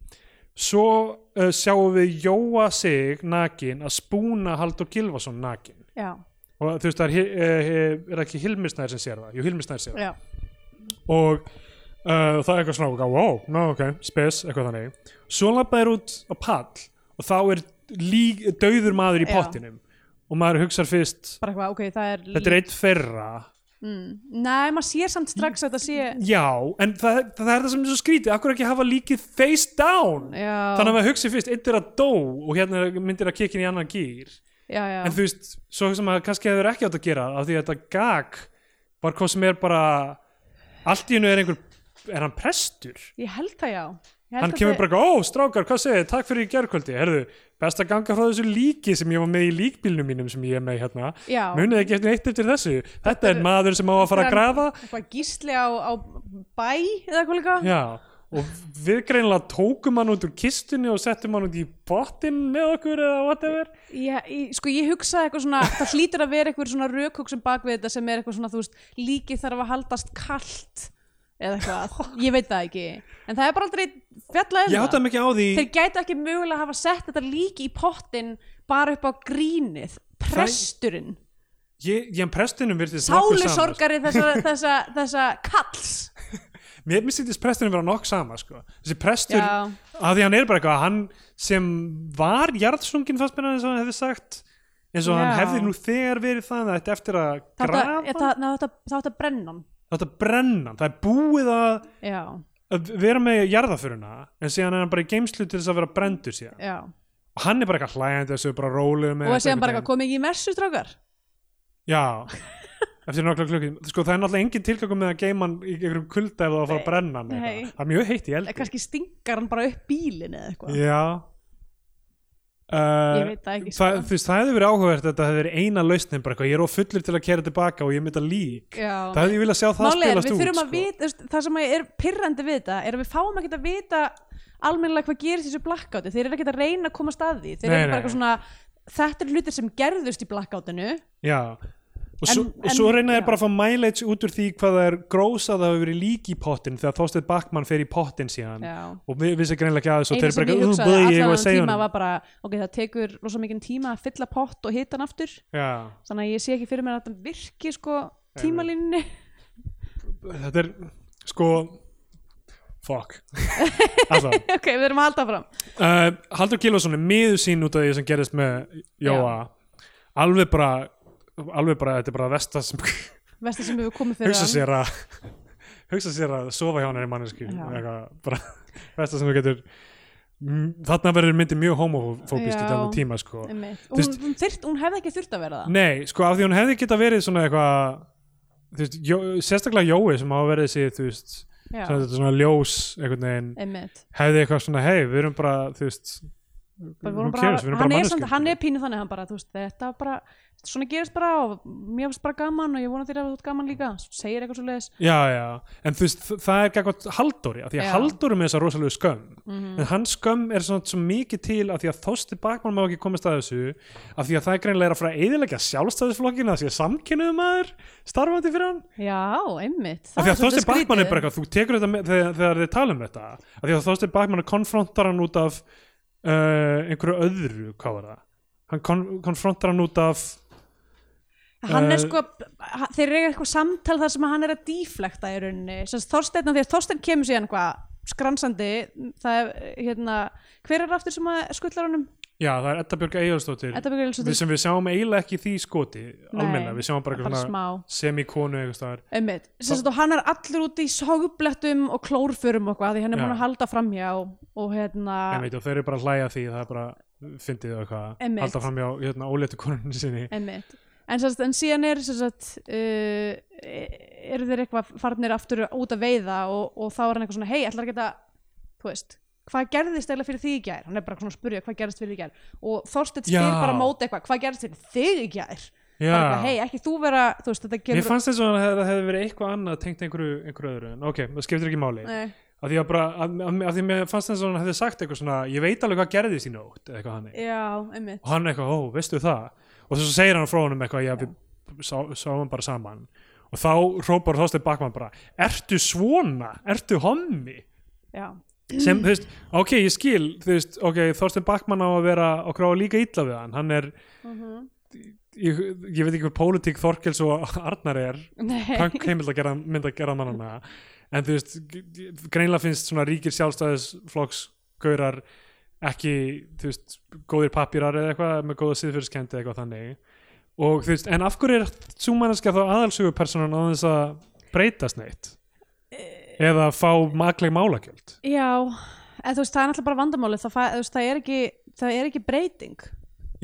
A: svo uh, sjáum við Jóa sig nakin að spúna Haldur Gilvason nakin
B: já,
A: og þú veist það er, hi- eh, eh, er það ekki Hilmisnær sem sér það jú Hilmisnær sér það
B: já.
A: og uh, og það er eitthvað svona, ok, wow, no, ok, spes eitthvað þannig, svo lappaðir út á pall og þá er lí, dauður maður í
B: Já.
A: pottinum og maður hugsar fyrst,
B: bara eitthvað, ok, það er
A: þetta er eitt ferra
B: mm. nei, maður sér samt strax að þetta sé
A: já, en það, það er það sem er svo skrítið akkur ekki hafa líkið face down
B: já,
A: þannig að maður hugsi fyrst, eitt er að dó og hérna er- myndir að kikkin í annan gýr
B: já, já,
A: en þú veist, svo sem að kannski hefur ekki átt að gera af því að þetta gag var hvað sem er bara allt í hennu er einhver, er hann prestur
B: ég held það já Ég held
A: hann
B: að
A: kemur
B: þau-
A: bara, ó, strákar, hvað segir þið, takk fyrir í gerkvöldi herðu, best að ganga frá þessu líki sem ég var með í líkbílnum mínum sem ég er með hérna
B: já,
A: munið ekki eftir eitt eftir þessu þetta
B: er-
A: er maður sem á að fara að
B: Þetta er-
A: grafa
B: eitthvað gísli á, á bæ eða eitthvað líka
A: já, og við greinilega tókum hann út úr kistunni og settum hann út í bottin með okkur eða whatever
B: Ég, ég, sko ég hugsaði eitthvað svona það hlýtur að vera eitthvað svona rökhugsun bak við þetta sem er eitthvað svona, þú veist, líkið þarf að haldast kalt eða eitthvað ég veit það ekki, en það er bara aldrei fjallaðið
A: ég átta mig ekki á því
B: þeir gætu ekki mögulega hafa sett þetta líki í pottin bara upp á grínið presturinn,
A: ég, ég en prestinum virtist nokkuð sama, sko.
B: sálusorgari þessa, þessa, þessa kalls
A: mér minnst presturinn vera nokk sama sko. þessi prestur,
B: Já.
A: að því hann er bara eitthvað hann sem var jarðsungin fannst mér eins og hann hefði sagt eins og hann
B: Já.
A: hefði nú þegar verið það þetta eftir að
B: þá
A: grafa
B: átti
A: þetta,
B: að, að, að brenna hann
A: þetta brenna, það er búið að,
B: já,
A: að vera með jarðaföruna en síðan er hann bara í geimslu til þess að vera brendur síðan
B: já
A: og hann er bara eitthvað hlægjandi þessu bara rólegur með
B: og
A: þetta
B: síðan bara
A: einhvern
B: eitthvað komið ekki í messu strákar
A: veginn. já, eftir nokkla klukkum sko það er náttúrulega engin tilgangum með að geima hann í einhverjum kulda ef það á að fara að brenna hann eða
B: Nei.
A: eitthvað. það er mjög heitt í
B: Eða
A: eldi
B: kannski stingar hann bara upp bílinn eða eitthvað
A: Já
B: Ég
A: Uh,
B: veit það ekki,
A: það,
B: sko.
A: þú veist, það hefði verið áhugavert að þetta hefði verið eina lausnin bara eitthvað, ég er of fullur til að kera tilbaka og ég mynda lík
B: Já.
A: það hefði ég viljað sjá það
B: Málið er,
A: spilast
B: við
A: út
B: þurfum að
A: sko.
B: vita, þú veist, það sem er pirrandi við þetta er að við fáum ekkert að vita almennilega hvað gerist í þessu blackouti, þeir eru ekkert að reyna að koma stað því, þeir
A: Nei,
B: eru bara
A: nei.
B: eitthvað svona þetta eru hlutir sem gerðust í blackoutinu
A: Já. og svo,
B: En-
A: og svo
B: en-
A: reyna
B: já.
A: þeir bara að fá mileage út úr því hvað það er grósað að hafa verið lík í pottin þegar Þorsteinn Backmann fer í pottin síðan
B: Já.
A: og við vissi greinlega ekki aðeins og þeir eru bara
B: einu sem ég
A: eitthvað, "Ú,
B: hugsaði
A: boy, ég
B: allan
A: var að
B: þann
A: segja
B: tíma
A: honum."
B: var bara ok, það tekur rosa mikinn tíma að fylla pott og hita hann aftur
A: Já.
B: þannig að ég sé ekki fyrir mér að þetta virki sko tímalínni
A: þetta er sko fuck alltaf
B: ok, við erum að halda fram
A: uh, Haldur Gilvason er miður sín út af því sem gerist með Jóa alveg bara alveg bara, þetta er bara vesta sem
B: vestið sem við komum fyrir
A: hugsa sér að hugsa sér að sofa hjá hann er manneski
B: Já.
A: eitthvað, bara vesta sem þú getur Mm, þarna verður myndið mjög homofóbist í
B: Já.
A: þennan tíma sko
B: Einmitt.
A: Þú veist-
B: hún, hún, þyrt, hún hefði ekki þurft að vera það
A: nei, sko af því hún hefði geta verið svona eitthvað þú veist, jó, sérstaklega Jói sem hafa verið sér þú veist,
B: Já.
A: svona, þetta svona ljós einhvern veginn,
B: Einmitt.
A: hefði eitthvað svona hei, við erum bara, þú veist
B: bara,
A: who
B: vorum bara,
A: cares, við erum
B: hann,
A: bara
B: er samt,
A: manneskjur.
B: hann er pínu þannig hann bara, þú veist, þetta var bara svona gerist bara og mér finnst bara gaman og ég vona þér að þú ert gaman líka segir eitthvað svo leiðis
A: Já, já, en þú veist, þ- það er gækvæmt Halldóri, af því að
B: Já. Mhm.
A: Halldóri er með þessa rosalegu skömm, en hans skömm er svona svo mikið til af því að þósti bakmann má ekki komast að þessu, af því að það er greinlega að fara að eyðilegja sjálfstæðisflokkina af því að samkynnuðu maður starfandi fyrir hann
B: já,
A: af
B: einmitt, það
A: því
B: er
A: að þósti
B: svolítið
A: bakmann er
B: skrítið.
A: bara eitthvað, þú tekur þetta með, þegar, þegar þið tala um þetta, af því að þósti bakmann konfrontar hann út af uh, einhverju öðru, hvað var það hann kon konfrontar hann út af
B: hann er
A: Eh,
B: sko, ha- þeir eru eitthvað samtal þar sem hann er að díflekta í rauninni sem sagt, Þorsteinn, af því að Þorsteinn kemur síðan hvað skransandi, það er hérna, hver er aftur sem að skullar honum
A: já, það er Edda Björg Eyjálfsdóttir
B: þetta byggur eins og
A: við sem við sjáum eiginlega ekki í því skoti almennilega, við sjáum bara
B: bara
A: eitthvað
B: smá.
A: svona semikonu eitthvað staðar
B: Einmitt, sem sagt og hann er allur úti í sógblettum og klórförum og hvað, því hann er
A: Já.
B: búin að halda framhjá og hérna,
A: einmitt, og þeir eru bara að hlæja að því það er bara, fyndið þau eitthvað
B: Einmitt.
A: halda fram hjá hérna, óléttu konunni sinni
B: Einmitt. En, sérst, en síðan er sérst, uh, eru þeir eitthvað farnir aftur út að veiða og, og þá er hann eitthvað svona, hei, ætlar ekki að þú veist, hvað gerðist eiginlega fyrir þig í gær hann er bara svona að spurja hvað gerðist fyrir þig í gær og Þorsteinn
A: Já.
B: spyr bara á móti eitthvað, hvað gerðist fyrir þig í gær
A: já,
B: bara eitthvað, hei, ekki þú vera, þú veist, þetta
A: mér
B: kemur
A: fannst þess að það hefði verið eitthvað annað tengt einhverju, einhverju öðru en ok, það skiptir ekki máli
B: Nei,
A: af því að, bara, að, að, að því mér fannst þess að hann hefði sagt eitthvað svona ég veit alveg hvað gerðist í nótt eða eitthvað hannig
B: já, einmitt
A: og hann eitthvað, ó, veistu það og svo segir hann frá honum eitthvað, já, við sá, sáum bara saman og þá hrópar Þorsteinn Bakman bara ertu svona, ertu hommi
B: já,
A: sem, þú veist, ok, ég skil þú veist, ok, Þorstein Backmann á að vera okkur á að líka illa við hann, hann er ég, ég veit ekki hvað pólitík Þorkels og Arnar er
B: nei,
A: punk heimild að gera, mynd að gera mannana en þú veist, g- greinlega finnst svona ríkir sjálfstæðisflokks gaurar ekki, þú veist, góðir pappírar eða eitthvað með góða siðfyrirskendi eitthvað þannig og þú veist, en af hverju er svo manneskja þá aðalsögupersonan á þess að breytast neitt eða fá makleg málagjöld
B: já, en þú veist, það er náttúrulega bara vandamáli það, fæ- þú veist, það, er, ekki, það er ekki breyting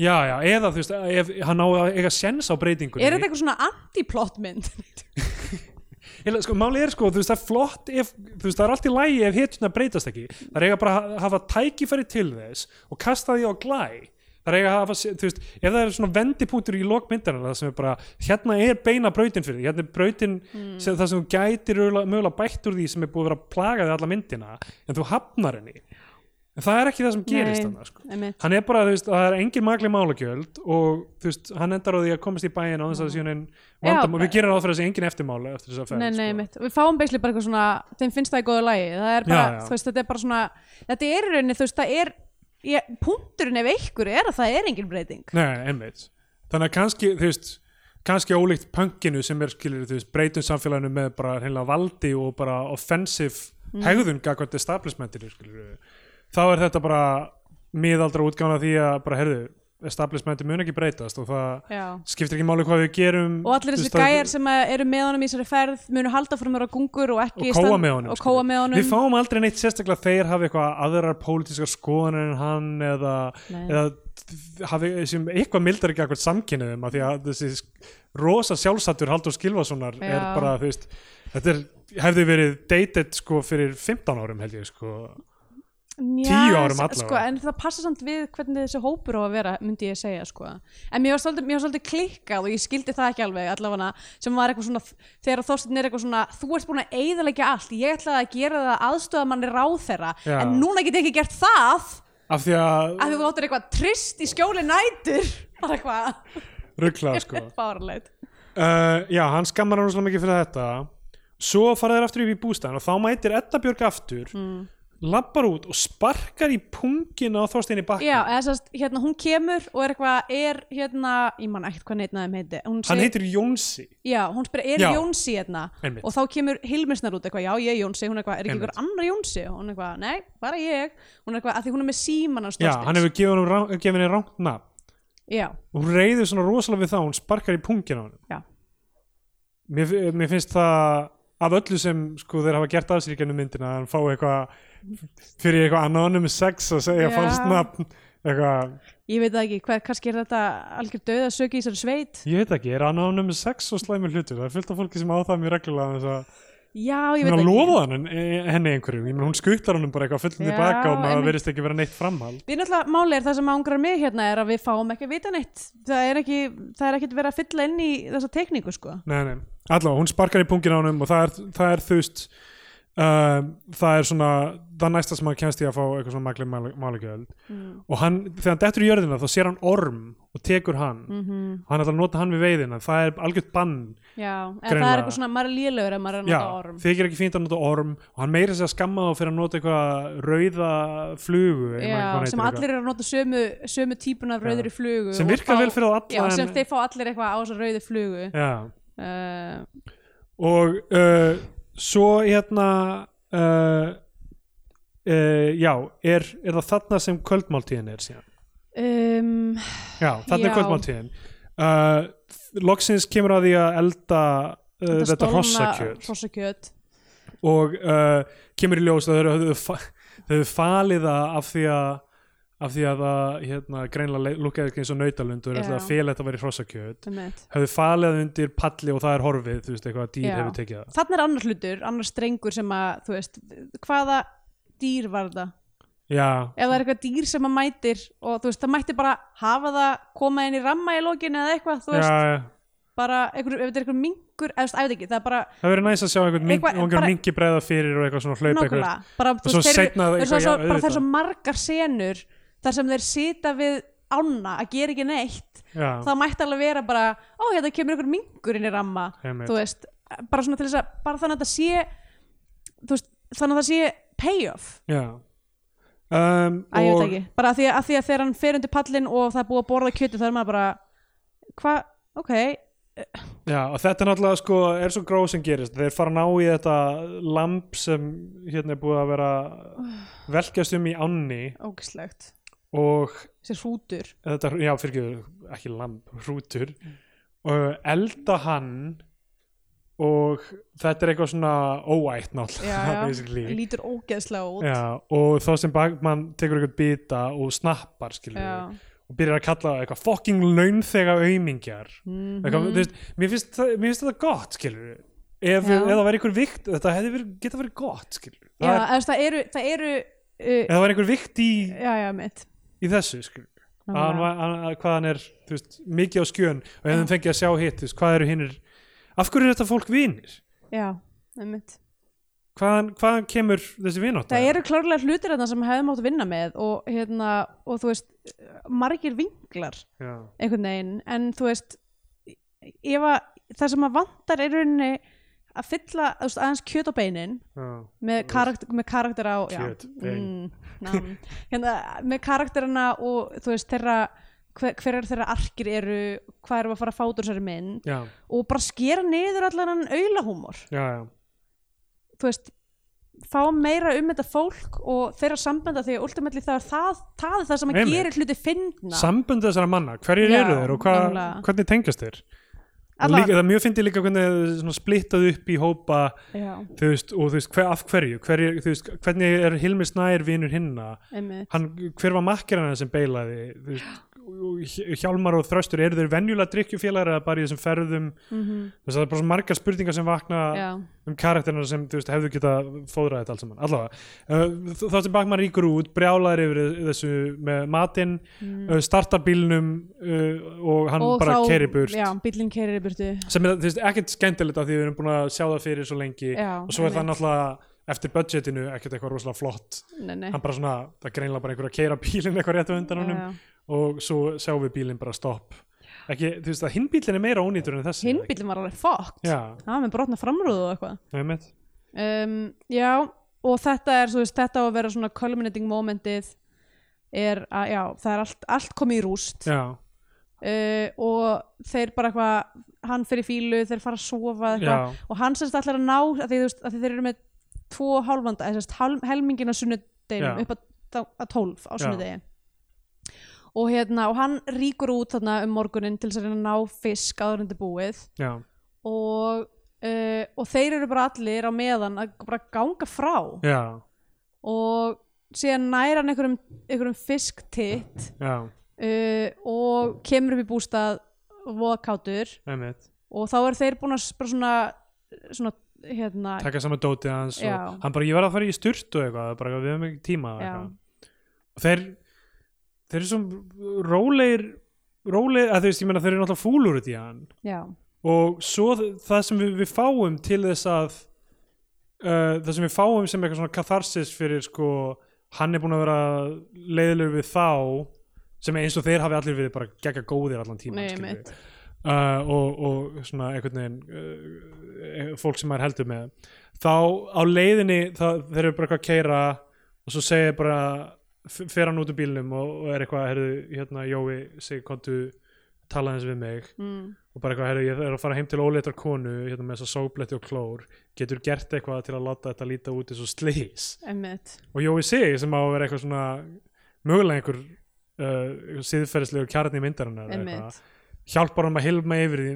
A: já, já, eða þú veist, ef hann á að eiga sens á breytingunni
B: er þetta eitthvað svona anti-plot mynd
A: Eða, sko, máli er sko, þú veist, það er flott ef, þú veist, það er allt í lægi ef hetjuna breytast ekki það er eiga bara að ha- hafa tækifæri til þess og kasta því á glæ það er eiga að hafa, se- þú veist, ef það er svona vendipunktur í lokmyndarinn, það sem er bara hérna er beina brautin fyrir því, hérna er brautin
B: Hmm.
A: sem, það sem þú gætir örugglega- mögulega bætt úr því sem er búið að vera að plaga því alla myndina en þú hafnar henni en það er ekki það sem gerist
B: Nei.
A: þannig, sko
B: Einmitt.
A: hann er bara, þú veist, það er engin magli málagjöld og þú veist, hann endar á því að komast í bæin á þess að síðan vandamál,
B: bara-
A: við gerum ráð fyrir þessi engin eftirmála eftir þess að ferð
B: Mm. Nei, nei,
A: sko.
B: mitt. Við fáum beisli bara eitthvað svona, þeim finnst það í góðu lagi. Það er bara,
A: Já, já.
B: þú veist, þetta er bara svona, þetta er í rauninni, þú veist, það er, ég, punkturinn ef einhver er að það er engin breyting.
A: Nei, einmitt. Þannig að kannski, þú veist, kannski ólíkt punkinu sem er skilur, þú veist, breytum samfélaginu með bara hreinlega valdi og bara offensive
B: Mm.
A: hegðun gagvart establishmentinu, skilur. Þá er þetta bara miðaldra útgána því að bara, herðu, establishmenti mun ekki breytast og það
B: Já.
A: skiptir ekki máli hvað við gerum.
B: Og allir
A: þú
B: þessi
A: veist, það-
B: gæjar sem að eru með honum í þessari ferð munu halda fyrir mér á gungur og ekki
A: og kóa
B: stand-
A: með honum,
B: og kóa
A: skilur.
B: með honum.
A: við fáum aldrei neitt sérstaklega að þeir hafi eitthvað aðrar pólitískar skoðanir en hann eða,
B: Nei.
A: eða hafi sem eitthvað mildar ekki eitthvað samkynniðum af því að þessi sk- rosa sjálfsattur Haldur Skilvasonar er
B: Já.
A: bara þú veist, þetta er, hefði verið dated sko fyrir 15 árum held ég sko
B: Já,
A: tíu árum
B: s-
A: allavega.
B: sko, en það passa samt við hvernig þessi hópur á að vera myndi ég segja sko. en mér var, svolítið, mér var svolítið klikkað og ég skildi það ekki alveg allavega sem var eitthvað svona þegar Þorstein er eitthvað svona þú ert búin að eyðilegja allt ég ætlaði að gera það aðstöða manni ráþera
A: Já.
B: en núna get ég ekki gert það
A: af því að
B: að þú áttir eitthvað trist í skjóli nætur bara eitthvað
A: ruggla sko
B: fárleit
A: uh, já, hann skammar hann svo mikið fyrir þetta svo fara þeir aftur upp í bústæðan og þá mætir Edda Björg aftur mm. lappar út og sparkar í pungin á Þorstein í bakk
B: Já, eða sérst, hérna hún kemur og er eitthvað, er hérna, ég man ekkert hvað neitt næðum heiti Hún
A: hann
B: segir-
A: heitir Jónsi
B: Já, hún spyr, er
A: Já.
B: Jónsi hérna?
A: Einmitt.
B: Og þá kemur Hilmisnar út eitthvað, já, ég er Jónsi, hún er eitthvað, er ekki
A: Einmitt.
B: einhver annar Jónsi? Og Hún er eitthvað, nei, bara ég. Hún er eitthvað, að því hún er með síman hans
A: já,
B: Þorsteins.
A: hann hefur gefið henni rá- gefið henni rangt nafn
B: Já,
A: og hún reyður svona rosalega við það hún sparkar í pungin á hann
B: já,
A: mér, mér finnst það af öllu sem sko, þeir hafa gert af sér í gennum myndina að hann fá eitthvað fyrir eitthvað anonymous sex að segja
B: Já.
A: falskt nafn eitthvað,
B: ég veit það ekki, hvað, kannski er þetta algjör döð að sögja í þessari sveit?
A: ég veit ekki, er anonymous sex og slæmi hlutur, það er fullt af fólki sem á það mjög reglulega þess að
B: Já, ég
A: Ég
B: veit
A: meina,
B: það ekki.
A: lofaði hann en- eh, henni einhverjum, ég meina, hún skuttar hann bara eitthvað fullinni
B: Já,
A: baka og maður
B: einmitt.
A: verðist ekki vera neitt framhald.
B: Við náttúrulega máli er það sem ángrar mig hérna er að við fáum ekki að vita neitt. Það er ekki, það er ekki verið að fylla inn í þessa tekníku, sko.
A: Nei, nei, allavega, hún sparkar í pungin á hann og það er, það er þust, uh, það er svona, það næsta sem hann kennst í að fá eitthvað svona magli málugjöld og hann, þegar hann dettur í jörðina þá sér hann orm og tekur hann
B: Mhm.
A: og hann ætlar að nota hann við veiðina, það er algjört bann
B: Já, en það
A: Greinilega.
B: er eitthvað svona, maður er lélögur ef maður er að
A: Já,
B: nota orm.
A: þykir ekki fínt að nota orm og hann meira sér að skamma þá fyrir að nota eitthvað rauða flugu ég man ekki hvað
B: Já,
A: hann
B: sem
A: heitir, eitthvað.
B: allir eru að nota sömu, sömu típun af
A: Já.
B: rauðri flugu
A: Sem
B: og
A: virkar
B: fá-
A: vel fyrir þá alla,
B: Já, sem
A: en-
B: þeir fá allir eitthvað á þessa rauði flugu
A: Já.
B: uh,
A: og uh, svo hérna uh, uh, já, er, er það þarna sem kvöldmáltíðin er síðan
B: um,
A: já, þarna
B: Já.
A: er kvöldmáltíðin uh, loksins kemur að því að elda uh, þetta
B: stolna
A: hrossakjöt
B: hrossakjöt.
A: og uh, kemur í ljós að þau höfðu fa- þau höfðu falið það af því að af því að það hérna, greinlega lukkaði ekki eins og nautalundur
B: Já.
A: ætlaði að fela þetta væri hrossakjöt
B: einmitt.
A: höfðu falið það undir palli og það er horfið þú veist eitthvað dýr
B: Já.
A: hefur tekið það
B: Þarna er annar hlutur, annar strengur sem að þú veist, hvaða dýr var það?
A: já,
B: Ef það er eitthvað dýr sem að mætir og þú veist, það mætti bara hafa það koma inn í ramma í lokinu eða eitthvað, þú veist,
A: já, já.
B: bara einhver, ef þetta er eitthvað mingur, eða þú veist, ég veit ekki, það er bara
A: Það verður næst að sjá einhvern mink,
B: Eitthvað-
A: einhver
B: bara-
A: mingi breiða fyrir og eitthvað svona hlaupa
B: nákvæmlega,
A: eitthvað.
B: bara
A: Og
B: þú
A: svo
B: veist, þeir,
A: seinna
B: þeir,
A: eitthvað, já,
B: svo, svo, bara
A: auðvitað.
B: það er svo margar senur þar sem þeir sita við ána að gera ekki neitt
A: Já,
B: það mætti alveg vera bara, ó hérna kemur einhver mingur inn í ramma,
A: Einmitt.
B: þú veist bara svona til þess að, bara þannig að það sé þú veist, þannig að það sé payoff
A: já. Um,
B: Æ, ég veit
A: og,
B: ekki, bara að því að, að því að þegar hann fer undir pallin og það er búið að borða kjötu þá er maður bara, hvað, ok eh,
A: Já, og þetta er náttúrulega sko, er svo gróð sem gerist þeir fara að ná í þetta lamp sem hérna er búið að vera velkjast um í ánni
B: ógislegt
A: og
B: þessi hrútur
A: þetta, já, fyrir ekki lamp, hrútur
B: Mm.
A: og elda hann og þetta er eitthvað svona óætt náttúrulega,
B: Já, já.
A: basically
B: lítur ógeðslega út
A: Já, og þá sem bakmann tekur eitthvað bita og snappar skilur
B: Já.
A: og byrjar að kalla það eitthvað fucking launþega aumingjar
B: Mhm.
A: eitthvað, þú veist, mér finnst, það, mér finnst þetta gott skilur ef, ef
B: Já.
A: það væri einhver vikt þetta hefði verið, geta verið gott skilur
B: já,
A: ef
B: eða, það eru, það eru uh,
A: það væri einhver vikt í,
B: já, já, mitt
A: í þessu skilur að hann,
B: Nákvæmlega.
A: var- hann, að hvað hann er þú veist, mikið á skjön og ef þeim fengið að sjá hitt þú veist, hvað eru hinnir af hverju er þetta fólk vinir
B: já, mitt
A: hvaðan, hvaðan kemur þessi vinátt
B: það eru klárlega hlutir þarna sem hefði mátt vinna með og, hérna, og þú veist margir vinglar
A: já,
B: einhvern veginn en þú veist ef að það sem að vantar er í rauninni að fylla þú veist, aðeins kjöt á beinin
A: já,
B: með, karakter, með karakter á já,
A: Kjöt, bein.
B: mm, nam. hérna, með karakterina og þú veist þeirra hver, hverjar þeirra arkir eru hvað eru að fara að fátur sér mynd
A: já,
B: og bara skera niður allan hann auðlahúmor
A: já, já.
B: þú veist fá meira um þetta fólk og þeirra sambanda því að ultimately það er það, það, er það sem að
A: Einmitt.
B: gerir hluti fyndna
A: sambönd þessara manna, hverjir
B: Hérna. Já,
A: eru þeir og hva,
B: nákvæmlega.
A: hvernig tengjast þeir Og
B: Allavega.
A: líka, það mjög fyndi líka hvernig þeir svona splittað upp í hópa
B: já,
A: þú veist, og þú veist, hver, af hverju, hverju þú veist, hvernig er Hilmi Snær vinur hinna
B: einmitt
A: hann, hver var makkerinn hann sem beilaði þú veist, og Hj- Hjálmar og Þröstur eru þeir venjulega drikkjufélagar eða bara í þessum ferðum
B: mm
A: þú veist, það er bara svo margar spurningar sem vakna
B: já,
A: um karakterina sem þú veist, hefðu geta fóðrað þetta allt saman, allavega uh, þá sem Bakman ríkur út, brjálar yfir þessu með matinn uh, startar bílnum uh, og hann bara
B: Mm. þá-
A: keiri burt
B: já, bílinn keirir í burtu
A: sem er þú veist, ekkert skemmtilegt af því við erum búin að sjá það fyrir svo lengi
B: Já,
A: og svo er það
B: einmitt.
A: náttúrulega eftir budgetinu ekkert eitthvað rosalega flott
B: nei, nei.
A: hann bara svona, það er greinlega bara einhver að keira bílinn eitthvað rétt á undan honum
B: Já, já.
A: og svo sjáum við bílinn bara stopp ekki, þú veist að hinn bílinn er meira ónýtur en þessi
B: hinn bílinn var alveg fokkt
A: Já,
B: það var með brotna framrúðu og eitthvað
A: einmitt
B: um, já, og þetta er svo veist, þetta á að vera svona culminating momentið er að, já, það er allt, allt komið í rúst uh,
A: Já,
B: og þeir bara eitthvað hann fyrir fílu, þeir fara að sofa eitthvað,
A: já,
B: og hann semst allar að ná að því, þú veist, að því þeir eru með tvo hálfanda eða semst hálf, helmingin á sunnudeginum
A: Já.
B: upp að, þá- að tólf á
A: Já.
B: sunnudegi og hérna, og hann ríkur út þarna um morgunin til þess að reyna að ná fisk áður en þetta er búið
A: já,
B: og, uh, og þeir eru bara allir á meðan að bara ganga frá
A: já,
B: og síðan næra hann einhverjum, einhverjum fisktitt
A: já,
B: uh, og kemur upp í bústað voðkátur
A: einmitt
B: og þá eru þeir búin að s- bara svona, svona hérna,
A: taka saman dótið hans
B: Já.
A: og hann bara, ég verð að fara í sturt og eitthvað bara, við hefum ekki tíma og
B: Já.
A: eitthvað. og þeir þeir eru svo rólegir rólegir, að þú veist, ég meina þeir eru náttúrulega fúlur út í hann
B: já,
A: og svo þ- það sem við, við fáum til þess að uh, það sem við fáum sem eitthvað svona katharsis fyrir sko, hann er búin að vera leiðilegur við þá sem eins og þeir hafi allir verið bara gegga góðir allan tíma
B: Nei,
A: uh,
B: einmitt.
A: og, og svona einhvern veginn uh, eh, fólk sem maður heldur með þá á leiðinni það, þeir eru bara eitthvað að keira og svo segir bara f- fer hann út úr bílnum og, og er eitthvað heyrðu, hérna Jói, segi kontu talaði eins við mig
B: mm,
A: og bara eitthvað, herru, ég er að fara heim til óleittar konu hérna með þessa sóbletti og klór getur gert eitthvað til að láta þetta líta út eins og slís
B: emmitt
A: og Jói Sig sem á að vera eitthvað svona mögulega einhver uh, síðferðislegur kjarni myndarinnar eða
B: Einmitt.
A: eitthvað, hjálpar hann að hilma yfir því,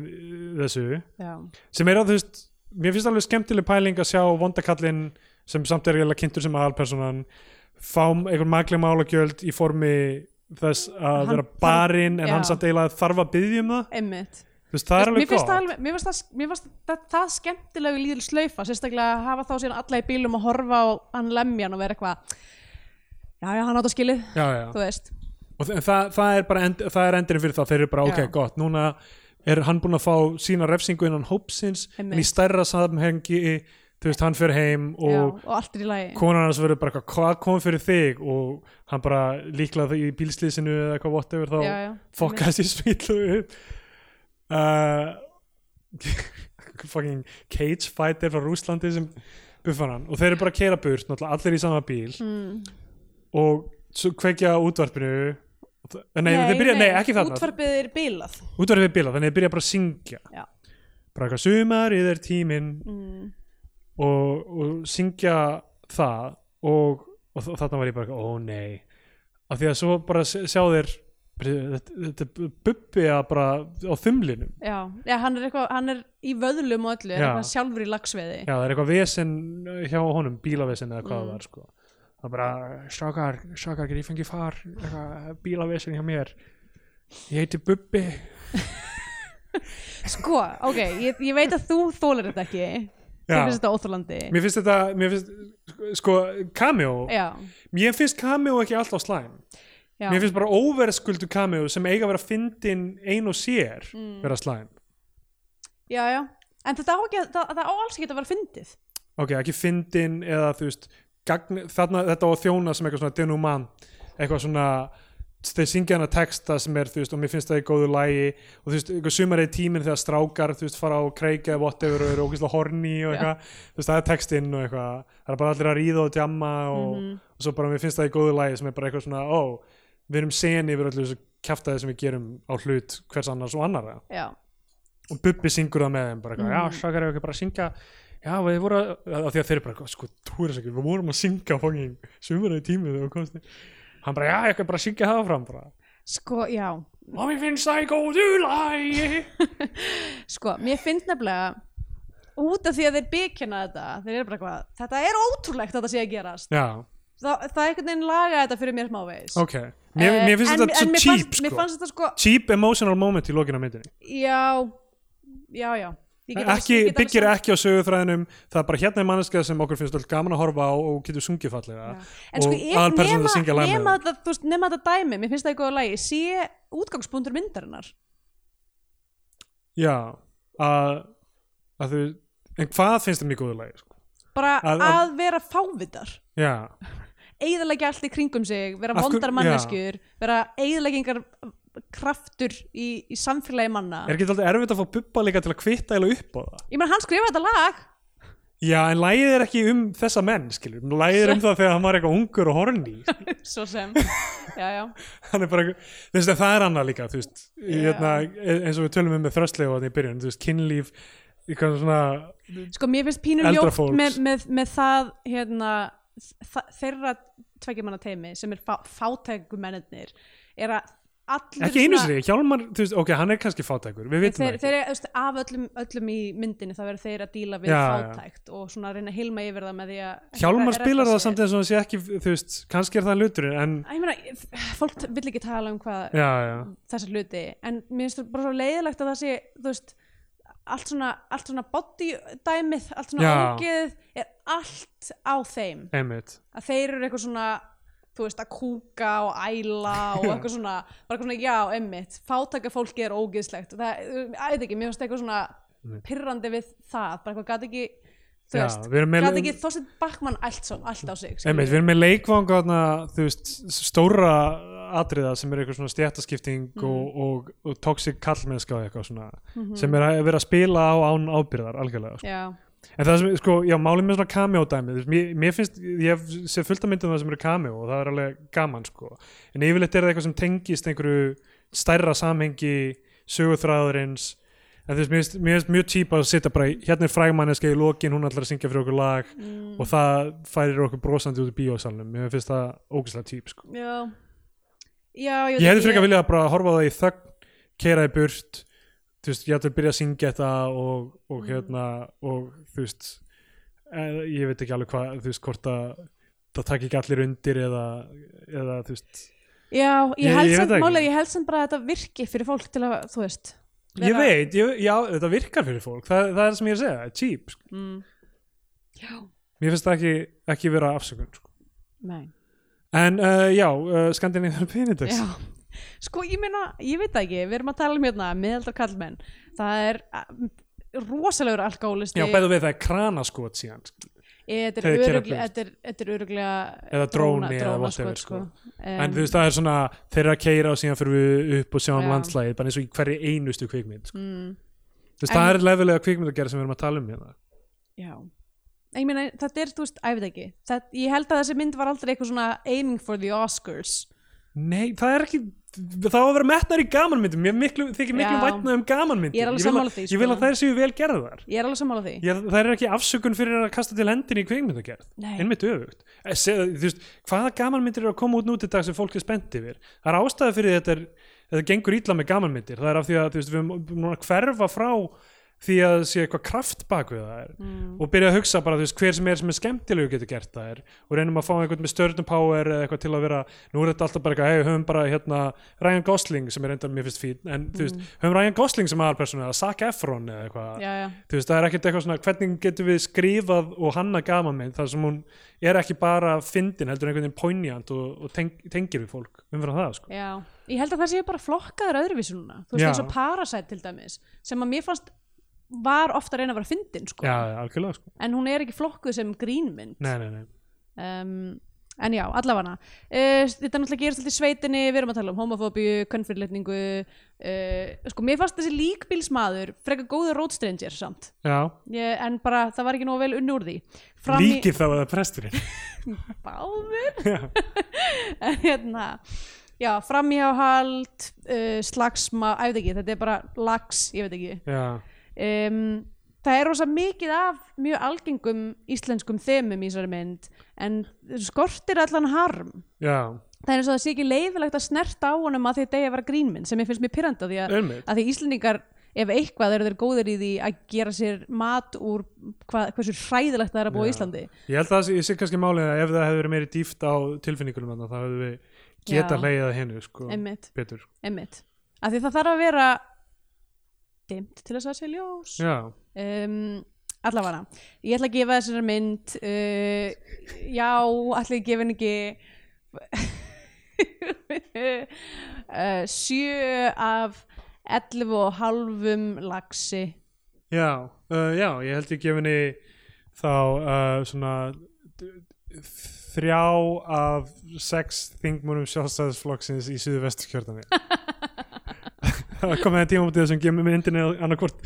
A: þessu
B: já,
A: sem er að þú veist, mér finnst alveg skemmtileg pæling að sjá vondakallinn sem samt er eiginlega kynntur sem aðalpersonan fá einhver magli málagjöld í formi þess að
B: Hann
A: vera
B: þarf-
A: barinn en
B: já.
A: hann samt eiginlega þarf að byggja um það
B: emmitt
A: þú veist, það er
B: mér
A: alveg
B: finnst
A: gott
B: það, alveg, mér finnst það, mér finnst það, það skemmtilegu líðil slaufa sérstaklega að hafa þá síðan alla í bílum og horfa á hann lemjan og vera eitthvað já, já, hann átt að skilið,
A: já, já.
B: þú veist
A: og þa- það, það er bara end, það er endurinn fyrir það þeir eru bara ok,
B: Já.
A: gott, núna er hann búinn að fá sína refsingu innan hópsins en í
B: Einmitt.
A: stærra samhengi þú veist, hann fyrir heim
B: já,
A: og
B: og allt er í lagi
A: konan hans verður bara eitthvað, hvað kom fyrir þig og hann bara líklega það í bílslýsinu eða eitthvað whatever þá
B: Já, já,
A: fokkast í smýtlu upp uh, fucking cage fighter frá Rúslandi sem buffar hann og þeir eru bara að keira burt náttúrulega allir í sama bíl
B: mm.
A: og svo kveikja á útvarpinu og það- nei, nei, byrja, nei, ekki þarna
B: útvarpið er bílað
A: útvarpið er bilað, þannig þeir byrja bara að syngja
B: Já.
A: bara eitthvað sumarið er tíminn
B: mm.
A: og, og syngja það og, og þ- þarna var ég bara eitthvað, ó nei af því að svo bara s- sjá þér þetta, þetta er bubbi að bara á þumlinum
B: já, já hann, er eitthvað, hann er í vöðlum og öllu er
A: Já.
B: eitthvað sjálfur í lagsveði
A: já það er eitthvað vesen hjá honum bílavesen eða hvað
B: Mm.
A: það var sko það er bara, strákar, strákar, get ég fengi far eitthvað, bílavesen hjá mér ég heiti bubbi
B: sko, ok, ég, ég veit að þú þólar þetta ekki þú
A: Já.
B: finnst þetta óþólandi
A: mér finnst þetta, mér finnst sko, cameo,
B: já,
A: mér finnst cameo ekki alltaf slæm
B: já,
A: Mér finnst bara óverskuldu cameo sem eiga að vera fyndin ein og sér vera slæm.
B: já, já en þetta á, ekki, að- það, það á alls ekki að vera fyndið
A: Ok, ekki fyndin eða þú veist, gagn, þarna þetta á að þjóna sem eitthvað svona denúman, eitthvað svona þeir syngja hana texta sem er þú veist, og mér finnst það í góðu lægi og þú veist, eitthvað sumar er tíminn þegar strákar þú veist, fara á kreika eða whatever og eru ógeðslega horny og eitthvað, þú veist, það er textinn og eitthvað, það er bara allir að ríða og djamma og, og svo bara mér finnst það í góðu lægi sem er bara eitthvað svona, ó, við erum sen yfir allir þessu kjaftaði sem við gerum á hlut hvers annars og annara
B: já,
A: og Bubbi syngur það með þeim bara, eitthvað,
B: Mhm.
A: já, svakar ef ekki bara að syngja já, við voru að, af því að þeir eru bara eitthvað, sko, þú er ekki, við vorum að syngja fangin sumur í tími þegar við komst í- hann bara, já, ekki bara að syngja það fram bara,
B: sko, já
A: og mér finnst það í góðu lægi
B: sko, mér finnst nefnilega út af því að þeir byggjana þetta þeir eru bara eitthvað, þetta er ótrúlegt að þetta sé að gerast
A: já,
B: það, það er einhvern veginn laga þetta fyrir mér Eh, smávegis
A: ok mér, mér finnst þetta svo cheap,
B: mér
A: sko
B: fannst þetta sko,
A: cheap emotional moment í lokinu á myndinni
B: já já, já Ég get alveg-
A: ekki,
B: ég get alveg
A: byggir
B: samt-
A: ekki á sögufræðinum það er bara hérna er manneska sem okkur finnst alltaf gaman að horfa á og getur sungið fallega
B: en sko,
A: og
B: ég
A: aðalpersónan að syngja
B: nema,
A: lag með
B: nema,
A: þeim.
B: þetta, þú veist, nema þetta dæmi mér finnst það í góða lagi, sé útgangspunktur myndarinnar
A: já, að, að þú, en hvað finnst það mjög góðu lagi sko?
B: bara
A: Að-
B: að,
A: að-
B: vera fávitar
A: Já,
B: eigðalega allt í kringum sig, vera
A: Af hver-
B: vondar
A: já.
B: manneskjur vera eigðalegingar kraftur í, í samfélagi manna
A: er ekki alltaf erfitt að fá bubba líka til að kvitta eða upp á það?
B: ég meina hann skrifaði þetta lag
A: Já, en lægið er ekki um þessa menn, skilur. Lægið er um það þegar hann var eitthvað ungur og horny.
B: svo sem, já já
A: Hann er bara, eitthvað- þú veist, en það er annað líka, þú veist,
B: Já.
A: hérna, eins og við tölum um með þröstlega og þannig í byrjun, þú veist, kynlíf, eitthvað svona,
B: sko mér finnst pínum
A: Eldra
B: ljótt
A: fólks.
B: með, með, með það hérna, þ- þeirra tveggjumanna teimi sem er fá, fátækumennir er að allir
A: ekki einu sér, Hjálmar, þú veist, ok, hann er kannski fátækur, við vitum það
B: þeir, þeir
A: ekki.
B: eru, þú veist, af öllum, öllum í myndinni þá verður þeir að díla við
A: Já, já.
B: fátækt og svona að reyna að hilma yfir það með því að
A: Hjálmar
B: redda
A: spilar það
B: sér.
A: samt eins og hann sé ekki, þú veist, kannski er það hluturinn, en,
B: Æ, ég meina, fólk t- vill ekki tala um hvað
A: já, já,
B: þessa hluti en mér finnst það bara svo leiðilegt að það sé þú veist, allt svona, allt svona body dæmið, allt svona
A: Já.
B: ógeðið er allt á þeim
A: einmitt.
B: að þeir eru eitthvað svona þú veist, að kúka og æla og eitthvað svona, bara eitthvað svona, já, emmitt fátaka fólki er ógeðslegt og það, æði ekki, mér finnst eitthvað svona pirrandi við það, bara eitthvað gæti ekki þú
A: Já,
B: veist,
A: við erum með-
B: gæti ekki Þorsteinn Backmann allt, svo, allt á sig skilur
A: Einmitt, við erum með leikvang þarna, þú veist, stóra atriða sem er eitthvað svona stjættaskipting og, og, og toxic kallmennska og eitthvað svona, sem er að vera að spila á án ábyrðar algjörlega sko.
B: já,
A: en það sem, sko, já, málið með svona cameo dæmi þú veist, mér, mér finnst, ég hef sé fullt af myndum það sem eru cameo og það er alveg gaman sko. en yfirleitt er það eitthvað sem tengist einhverju stærra samhengi sögurþráðurins en þú veist, mér finnst- mér finnst mjög típa að sitja bara í- hérna er frægmanneska í lokin, hún ætlar að syngja fyrir okkur lag og það færir okkur brosandi út í bíósalnum mér finnst það ógæslega típ sko.
B: já já,
A: ég
B: ég, veit
A: hefði
B: ekki,
A: frekar viljað bara horfa á það í þögn keira í burt þú veist, ég ætla að byrja að syngja þetta og, og hérna og þú veist eh, ég veit ekki alveg hvað, þú veist, hvort að það takk ekki allir undir eða, eða þú veist
B: já,
A: Ég-
B: ég
A: ég
B: held
A: veit
B: samt
A: það ekki.
B: málega, ég held samt bara að þetta virki fyrir fólk til að, þú veist
A: ég
B: vera-
A: veit, ég, já, þetta virkar fyrir fólk það, það er það sem ég er að segja, það er típ sko.
B: mm, já,
A: mér finnst það ekki, ekki vera afsökun sko.
B: nei
A: en uh, já, uh, Skandinavian Penindex
B: Já, sko ég meina, ég veit það ekki, við erum að tala um hérna miðaldra kallmenn, það er mm, rosalegur alkoholisti
A: Já, bæðu við það er kranaskot síðan sko.
B: Eh, þetta
A: þeir
B: er
A: gera
B: öruglega,
A: blint.
B: þetta er, þetta er öruglega
A: Eða dróni eða whatever, sko. En þú veist, það er svona þeir eru að keira og síðan fyrir við upp og sjá um
B: Já.
A: landslægið, bara eins og í hverri einustu kvikmynd sko.
B: mm,
A: Þú veist,
B: En-
A: það er lefilega kvikmynd að gera sem við erum að tala um hérna
B: Já, En ég meina, þetta er, þú veist, æ, ég veit ekki það, Ég held að þessi mynd var aldrei eitthvað svona aiming for the Oscars
A: Nei, það er ekki, það á að vera metnar í gamanmyndum ég miklu, þykir miklu
B: Já.
A: vætna um gamanmyndum
B: Ég er alveg
A: vil
B: sammála
A: að-
B: því,
A: ég vil
B: sko.
A: að þær séu vel gerðar
B: ég er alveg sammála því
A: ég, það er ekki afsökun fyrir að kasta til hendin í kveikmyndagerð
B: Nei.
A: einmitt öfugt Eh, se- þú veist, hvaða gamanmyndir eru að koma út nú til dag sem fólk er spennt yfir það er ástæða fyrir því að þetta er, þetta gengur ítla með gamanmyndir það er af því að þú veist, við erum búin að hverfa frá því að sé eitthvað kraft bak við það er
B: Mm.
A: og byrja að hugsa bara þú veist, hver sem er sem er skemmtilegu getur gert það er og reynum að fá einhvern með stjörnum power eða eitthvað til að vera, nú er þetta alltaf bara eitthvað hey, höfum bara hérna Ryan Gosling sem er reyndar mér finnst fín, en þú
B: Mm.
A: veist, höfum Ryan Gosling sem aðalpersonu eða Zac Efron eða eitthvað
B: já, já,
A: þú veist, það er ekkert eitthvað svona hvernig getum við skrifað og hanna gaman minn þar sem hún er ekki bara fyndin heldur einhvern veginn poignant og, og teng, tengir við fólk umfram það sko.
B: já ég held að það séu bara flokkaður öðruvísi núna þú veist
A: Já.
B: eins og Parasite til dæmis sem að mér fannst var ofta reyna að vera fyndin sko.
A: já, já, algjörlega sko.
B: en hún er ekki flokkuð sem grínmynd
A: nei, nei, nei.
B: um, en já, allavega uh, þetta náttúrulega gerist alltaf í sveitinni við erum að tala um homofóbíu, kvennfyrirletningu uh, sko, mér fannst þessi líkbílsmaður frekar góður road stranger samt
A: já,
B: ég, en bara, það var ekki nóg vel unni úr því
A: líkir þá að það er presturinn
B: í báður en hérna já, framhjáhald uh, slagsma, ég veit ekki, þetta er bara lags, ég veit ekki
A: já,
B: um, það er rosa mikið af mjög algengum íslenskum þemum í þessari mynd en skortir allan harm
A: já,
B: það er eins og það sé ekki leiðilegt að snerta á honum að því þetta eigi að vera grínmynd sem ég finnst mér pyrrandi því að,
A: ömmið
B: að því Íslendingar ef eitthvað eru þeir góðir í því að gera sér mat úr hva, hversu hræðilegt það er að búa í
A: Já.
B: Íslandi
A: ég held að það sé- ég sé kannski málið að ef það hefði verið meiri dýft á tilfinningunum þarna, þá hefði við geta
B: Já.
A: leiðið að hennu sko,
B: einmitt,
A: betur sko.
B: einmitt að því það þarf að vera dimt til þess að það sé ljós
A: já,
B: um, allavega ég ætla að gefa þessari mynd uh, já, ætla ég að gefa henni ekki uh, sjö af 11 og halvum lagsi
A: já, uh, já ég held ég gefinni þá uh, svona d- d- þrjá af sex þingmúrum sjálfstæðisflokksins í suðvesturkjördami það komið að tíma út í þessum gemum myndinni annarkvort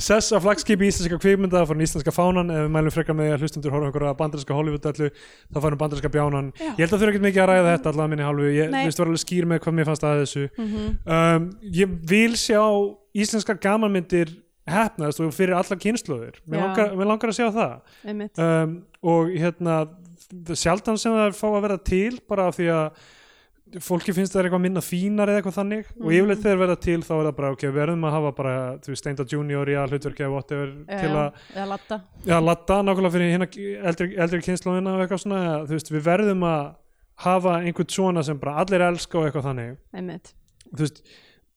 A: sess á flagskipi íslenska kvikmynda frá den íslenska fánan ef við mælum frekar með því að hlustundur horfum okkur að bandarinska Hollywood-dallu þá fannum bandarinska bjánan
B: Já.
A: ég held að þau eru ekkert mikið að ræða þetta allavega minni hálfu ég
B: Nei.
A: þú veist, var alveg skýr með hvað mér fannst að þessu
B: mm
A: um, ég vil sjá íslenskar gamanmyndir hefnaðist og fyrir allar kynnslóðir mér
B: Já.
A: langar, mér langar að sjá það
B: einmitt
A: um, og hérna það er sjaldan sem það fá að vera til bara af því að fólki finnst það er eitthvað minna fínar eða eitthvað þannig og yfirleitt þegar verða til þá er það bara ok, við verðum að hafa bara, þú veist, Steinda Junior í að hlutverki eða whatever til að
B: Um, eða latta
A: Já, latta nákvæmlega fyrir hérna eldri, eldri kynnslóðina og eitthvað svona þú veist, við verðum að hafa einhvern svona sem bara allir elska og eitthvað þannig
B: einmitt
A: þú veist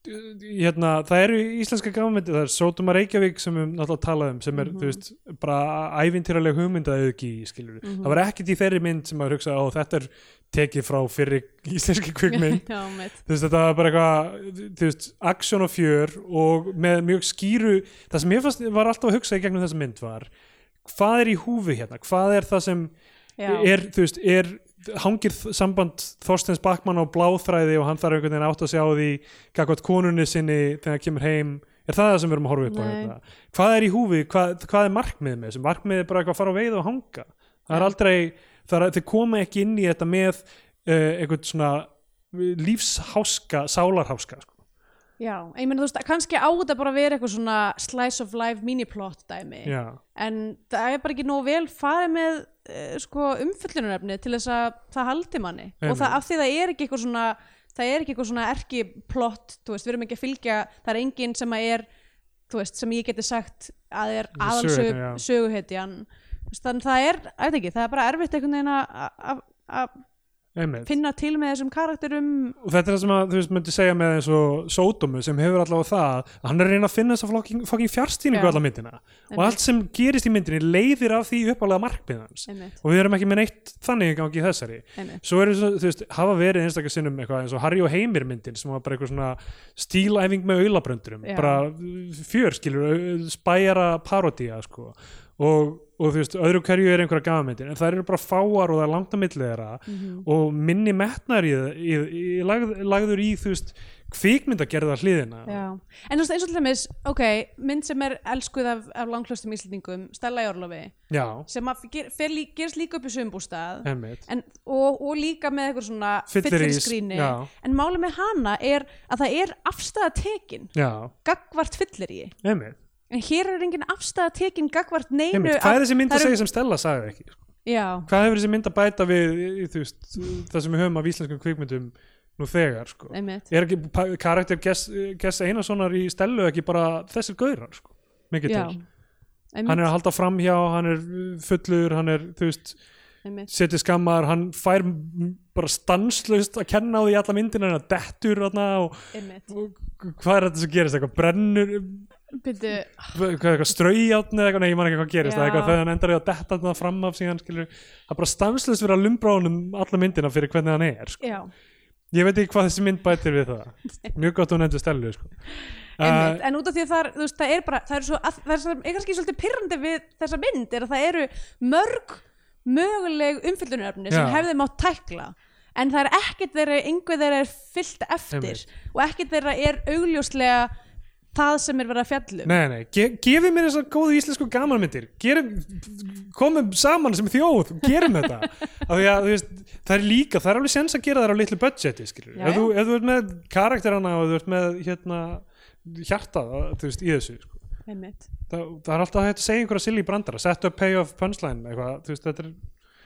A: hérna, það eru íslenska gafmyndir það er Sótuma Reykjavík sem við náttúrulega talaðum sem er, þú veist, bara ævintýraleg hugmynda auðgi, skilur mm það var ekkert í þeirri mynd sem maður hugsaði, ó, þetta er tekið frá fyrir íslenski kvikmynd
B: já, einmitt
A: þú veist, þetta var bara eitthvað þú veist, aksjón og fjör og með mjög skýru, það sem ég fannst var alltaf að hugsa í gegnum þessa mynd var hvað er í húfi hérna, hvað er það sem
B: já,
A: er, þú veist, er hangir þ- samband Þorsteins Bakmann á bláþræði og hann þarf einhvern veginn að átt að sjá því gagvart konunni sinni þegar hann kemur heim er það það sem við erum að horfa upp á
B: Nei.
A: hérna hvað er í húfi, hvað, hvað er markmiðið með þessu markmiðið er bara eitthvað að fara á veið og hanga það er
B: Já.
A: aldrei, það er, þau koma ekki inn í þetta með uh, einhvern svona lífsháska sálarháska sko.
B: já, ég meina þú veist kannski á þetta bara að vera eitthvað svona slice of life miniplot dæmi
A: já,
B: en það er bara ekki nóg vel farið með uh, sko, umfyllunarefni til þess að það haldi manni og
A: Einmitt.
B: það, af því það er ekki eitthvað svona það er ekki eitthvað svona erki plott þú veist, við erum ekki að fylgja, það er enginn sem að er þú veist, sem ég geti sagt að er
A: Söguhetjan, já.
B: aðalsöguhetjan þannig það er, að veit ekki, það er bara erfitt einhvern veginn að- að- að að
A: einmitt
B: finna til með þessum karakterum
A: og þetta er það sem að, þú veist, myndi segja með eins og Sódómu sem hefur allavega það að hann er að reyna að finna þess að flokking, fucking fjárstýningu
B: Já.
A: allar myndina og
B: Einmitt.
A: allt sem gerist í myndinni leiðir af því uppalega markmið hans
B: einmitt,
A: og við erum ekki með neitt þannig í gangi í þessari
B: einmitt,
A: svo eru, svo- þú veist, hafa verið einstakar sinnum eitthvað eins og Harry og Heimir myndin sem var bara eitthvað svona stílæfing með auðlabröndurum
B: Já.
A: bara fjör, skilur, spæjara parodía, sko og, og þú veist, öðru hverju er einhverja gafamyndin en það eru bara fáar og það er langt að milli þeirra
B: Mhm.
A: og minni metnar í, í, í, lagð, lagður í, þú veist kvíkmyndagerða hliðina
B: Já. En þú veist eins og til dæmis, ok, mynd sem er elskuð af, af langklöstum íslendingum, Stella í Orlofi,
A: já,
B: sem að ger, fer lí, gerist líka upp í sömbústað
A: emmitt
B: en, og, og líka með eitthvað svona
A: Fyllir
B: fyllir
A: í-
B: skríni.
A: já.
B: En málið með hana er að það er afstæða tekin,
A: já,
B: gagvart fyllir í.
A: emmitt
B: En hér er engin afstæða tekin gagvart neinu.
A: Einmitt, hvað
B: af-
A: er þessi mynd
B: það
A: að
B: eru-
A: segja sem Stella sagði ekki?
B: Já,
A: Hvað hefur þessi mynd að bæta við í- í, þú veist, það sem við höfum af íslenskum kvikmyndum nú þegar? Sko?
B: einmitt.
A: Er ekki pa- karakter Gess, Gess Einarssonar í Stellu ekki bara þessir gaurar? Sko? Mikið
B: Já,
A: til. Hann
B: einmitt,
A: er að halda framhjá, hann er fullur, hann er, þú veist,
B: einmitt.
A: setja skammar, hann fær m- bara stanslaust að kenna á því í alla myndina, hann er dettur þarna og,
B: einmitt.
A: og hvað er þetta sem gerist? Eitthvað brennur,
B: Byrju,
A: hvað, eitthvað straujátt eða eitthvað, nei, ég man ekki hvað gerist það er
B: Já.
A: eitthvað þegar hann endar í að detta þarna fram af síðan skilur, það er bara stanslust verið að lumbra á honum alla myndina fyrir hvernig hann er sko.
B: já,
A: ég veit ekki hvað þessi mynd bætir við það mjög gott að hún endur stelu sko. uh,
B: einmitt. en út af því að það, er- þú veist, það er bara, það er svo, að, það er, svo- er kannski svolítið pyrrandi við þessa mynd, er að það eru mörg möguleg umfyllunaröfni sem
A: Já.
B: hefði mátt tækla, en það er ekkert þeirra, yngveð þeirra er fyllt eftir
A: Einmitt.
B: og ekkert þeirra er augljóslega það sem er verið að um. fjallum.
A: Uh, nei, nei, ge gefið mér þessar góðu íslensku gamanmyndir gerum, komum saman sem þjóð gerum þetta Af því að, þú veist, það er líka, það er alveg sens að gera það á litlu budgeti skilur.
B: Já,
A: ef þú, ef þú ert með karakterana og þú ert með hérna, hjartað þú veist, í þessu sko.
B: Einmitt.
A: það, það er alltaf hægt að segja einhverja silly brandara set up, pay off, punchline eitthvað, þú veist, þetta, er,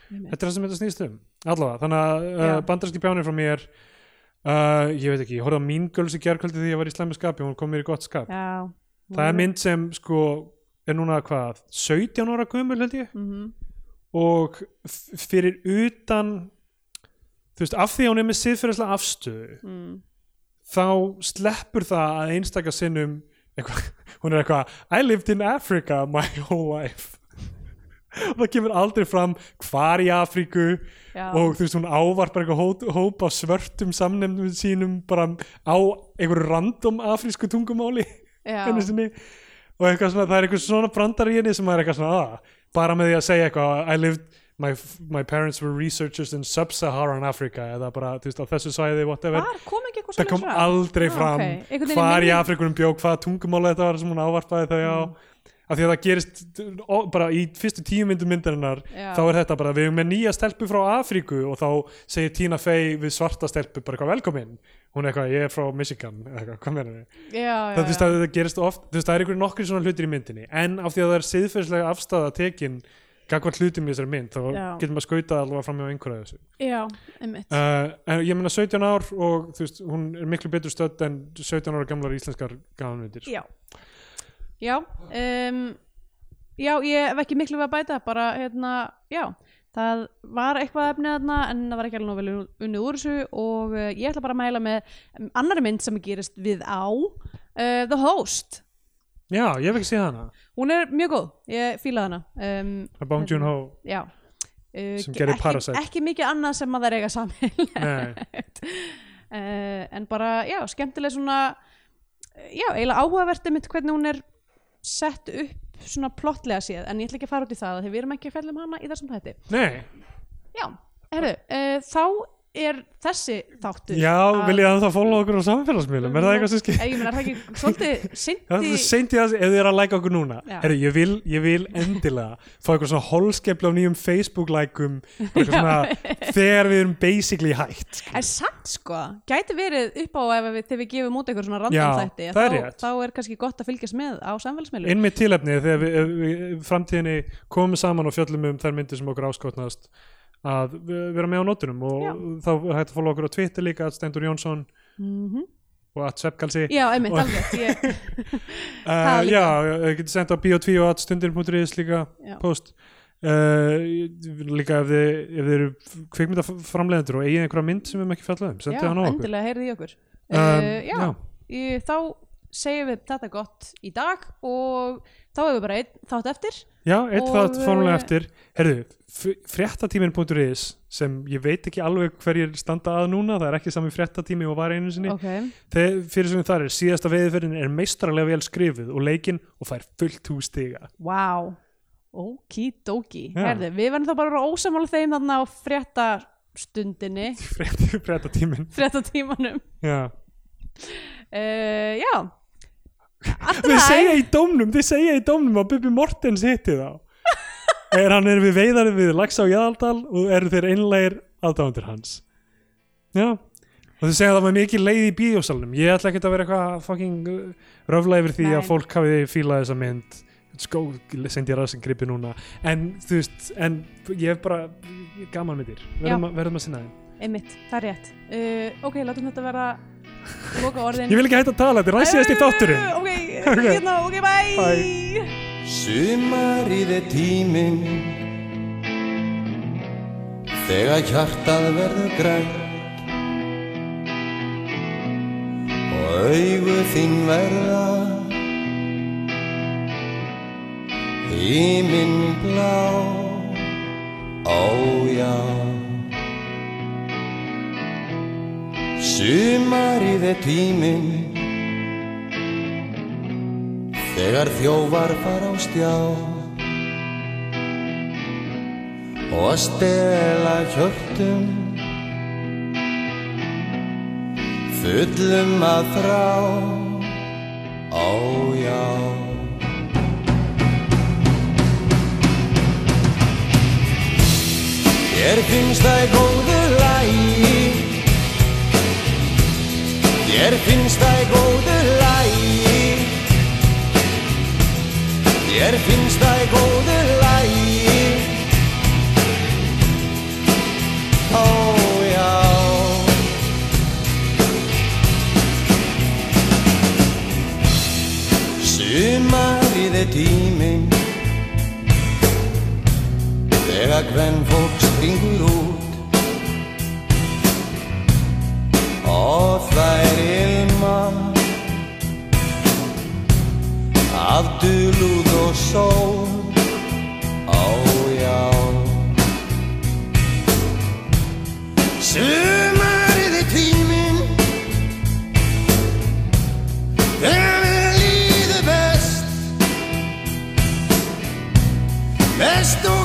B: Einmitt.
A: þetta er það sem þetta snýst um allavega, þannig að uh,
B: Já.
A: bandarski bjánir frá mér uh, ég veit ekki, ég horfði á mín göls í gerkvöldi því ég var í slæmi skapi og hún kom mér í gott skap
B: Já.
A: það er mynd sem sko er núna hvað, 17 ára gömul held ég
B: Mm
A: og f- fyrir utan þú veist, af því að hún er með siðferðislega afstöðu
B: mm.
A: þá sleppur það að einstaka sinnum eitthva, hún er eitthvað I lived in Africa my whole life og það kemur aldrei fram hvar í Afríku
B: Já.
A: og þú veist hún ávarpar eitthvað hó- hóp af svörtum samnefnum sínum bara á einhverju random afrísku tungumáli
B: Já.
A: einu sinni og eitthvað svona, það er eitthvað svona brandar í henni sem maður er eitthvað svona, ah, bara með því að segja eitthvað I lived, my, my parents were researchers in sub-Saharan Africa eða bara, þú veist, á þessu svæði, whatever
B: Var, kom ekki eitthvað
A: það kom
B: svoleiðis fram?
A: aldrei
B: Ah,
A: fram
B: ok. Einhvern veginn
A: hvar í
B: minni- Mm.
A: Afrikunum bjók, hvaða tungumála þetta var sem hún ávarpaði þau á af því að það gerist ó, bara í fyrstu tíu myndum myndarinnar
B: Já.
A: þá er þetta bara, við erum með nýja stelpu frá Afríku og þá segir Tina Fey við svarta stelpu bara eitthvað velkomin hún er eitthvað, ég er frá Michigan eða eitthvað, hvað meina við
B: Já, já,
A: það, þú veist, að þetta gerist oft, þú veist, það er einhverjum nokkur svona hlutir í myndinni, en af því að það er siðferðslega afstæða tekin gagvart hlutum í þessari mynd, þá
B: Já.
A: getur maður skautað allavega fram hjá einhverja þessu
B: já. Já, einmitt.
A: uh, en ég meina 17 ár og þú veist, hún er miklu betur stödd en 17 ára gamlar íslenskar gamanmyndir
B: Já Já um, Já, ég hef ekki miklu við að bæta bara hérna, já það var eitthvað efnið þarna en það var ekki alveg nóg vel unnið úr þessu og uh, ég ætla bara að mæla með um, annari mynd sem gerist við á uh, The Host
A: já, ég hef ekki séð hana,
B: Hún er mjög góð, ég fíla hana um,
A: að Bong Joon-ho
B: Já Uh,
A: Sem gerði
B: ekki,
A: Parasite.
B: ekki mikið annað sem að það er eiga sami
A: nei,
B: uh, en bara, já, skemmtileg svona já, eiginlega áhugavert einmitt hvernig hún er sett upp svona plottlega séð, en ég ætla ekki að fara út í það af því við erum ekki að fjalla um hana í þessum þætti
A: nei
B: já, herru, uh, þá er þessi þáttur
A: já, viljið það þá fóla okkur á samfélagsmiðlum er það eitthvað sem skil
B: Eh, ég meina, er það ekki svolítið
A: Það er
B: sinti
A: seint í það ef þið er að læka okkur núna
B: Já.
A: Heru, ég, vil, ég vil endilega fá eitthvað svona holskepla á nýjum Facebook-lækum bara eitthvað svona þegar við erum basically hætt
B: en samt sko, gæti verið upp á ef við, þegar við gefum út eitthvað svona
A: Já,
B: random þætti
A: það er
B: þá,
A: rétt.
B: þá er kannski gott að fylgjast með á samfélagsmiðlum
A: inn með tilefni þegar við, ef við framtíðinni komum saman og fjöllum um þær myndir sem okkur áskotnast að v- vera með á nótunum og
B: Já.
A: þá er hægt að fóla okkur á Twitter líka að Stendur Jónsson og að Sveppkalsi
B: Mhm. já, einmitt, alveg ég,
A: uh,
B: það líka.
A: já, ég getur sendt á bio2 og að stundir.is líka
B: Já.
A: post uh, líka ef þið, ef þið eru kvikmyndaframleðendur og eigið einhverja mynd sem við erum ekki fjallað um,
B: já,
A: sendið hann á okkur
B: endilega heyrið í okkur
A: Um,
B: Eh, já. Í- þá segjum við þetta gott í dag og þá hefur við bara einn þátt eftir
A: Já, eitt
B: Og,
A: það formulega
B: eh,
A: eftir Herðu, fréttatímin.is sem ég veit ekki alveg hverjir standa að núna, það er ekki sami fréttatími og var einu sinni,
B: ok,
A: þegar fyrir sem þar er síðasta veiðferðin er meistralega vel skrifuð og leikinn og fær fullt hús stiga
B: wow okidoki,
A: Já.
B: herði, við verðum þá bara að vera ósamála þeim þarna á fréttastundinni
A: Frétt- fréttatímin
B: fréttatímanum
A: Já,
B: uh, já
A: Þið
B: allra
A: segja í dómnum, þið segja í dómnum að Bubi Mortens hitti þá er hann er við veiðar við Laxa og Jæðaldal og eru þeir einlegir aðdáðandur hans Já og þið segja að það var mikið leið í bíósalnum ég ætla ekkert að vera eitthvað fucking uh, röfla yfir því
B: Nei.
A: að fólk hafi fílað þessa mynd skó, sendi ég rassin gripi núna en þú veist, en ég hef bara gaman myndir, verðum, að- verðum að sinna þeim
B: einmitt, það er rétt uh, ok, látum þetta vera loka orðin
A: ég vil ekki hætta að tala, þetta er ræsiðast í þátturinn
B: ok,
A: Ok.
B: hérna, ok, bye,
A: Bye.
C: Sumarið er tíminn Þegar hjartað verður grænt Og augu þín verða Híminn blá Ó já Sumarið er tíminn Þegar þjófar fara á stjá Og að stela hjörtum Fullum að þrá Ó já Ég finnst það í góðu lægi Ég finnst það í góðu lægi Þér finnst það í góðu lægi Ó já Sumarið er tíminn Þegar hvern fólk springur út Og þær ilma af dulúð og sól Ó já Sumarið er tíminn Þegar mér líður best Best og Oh, Oh, Oh,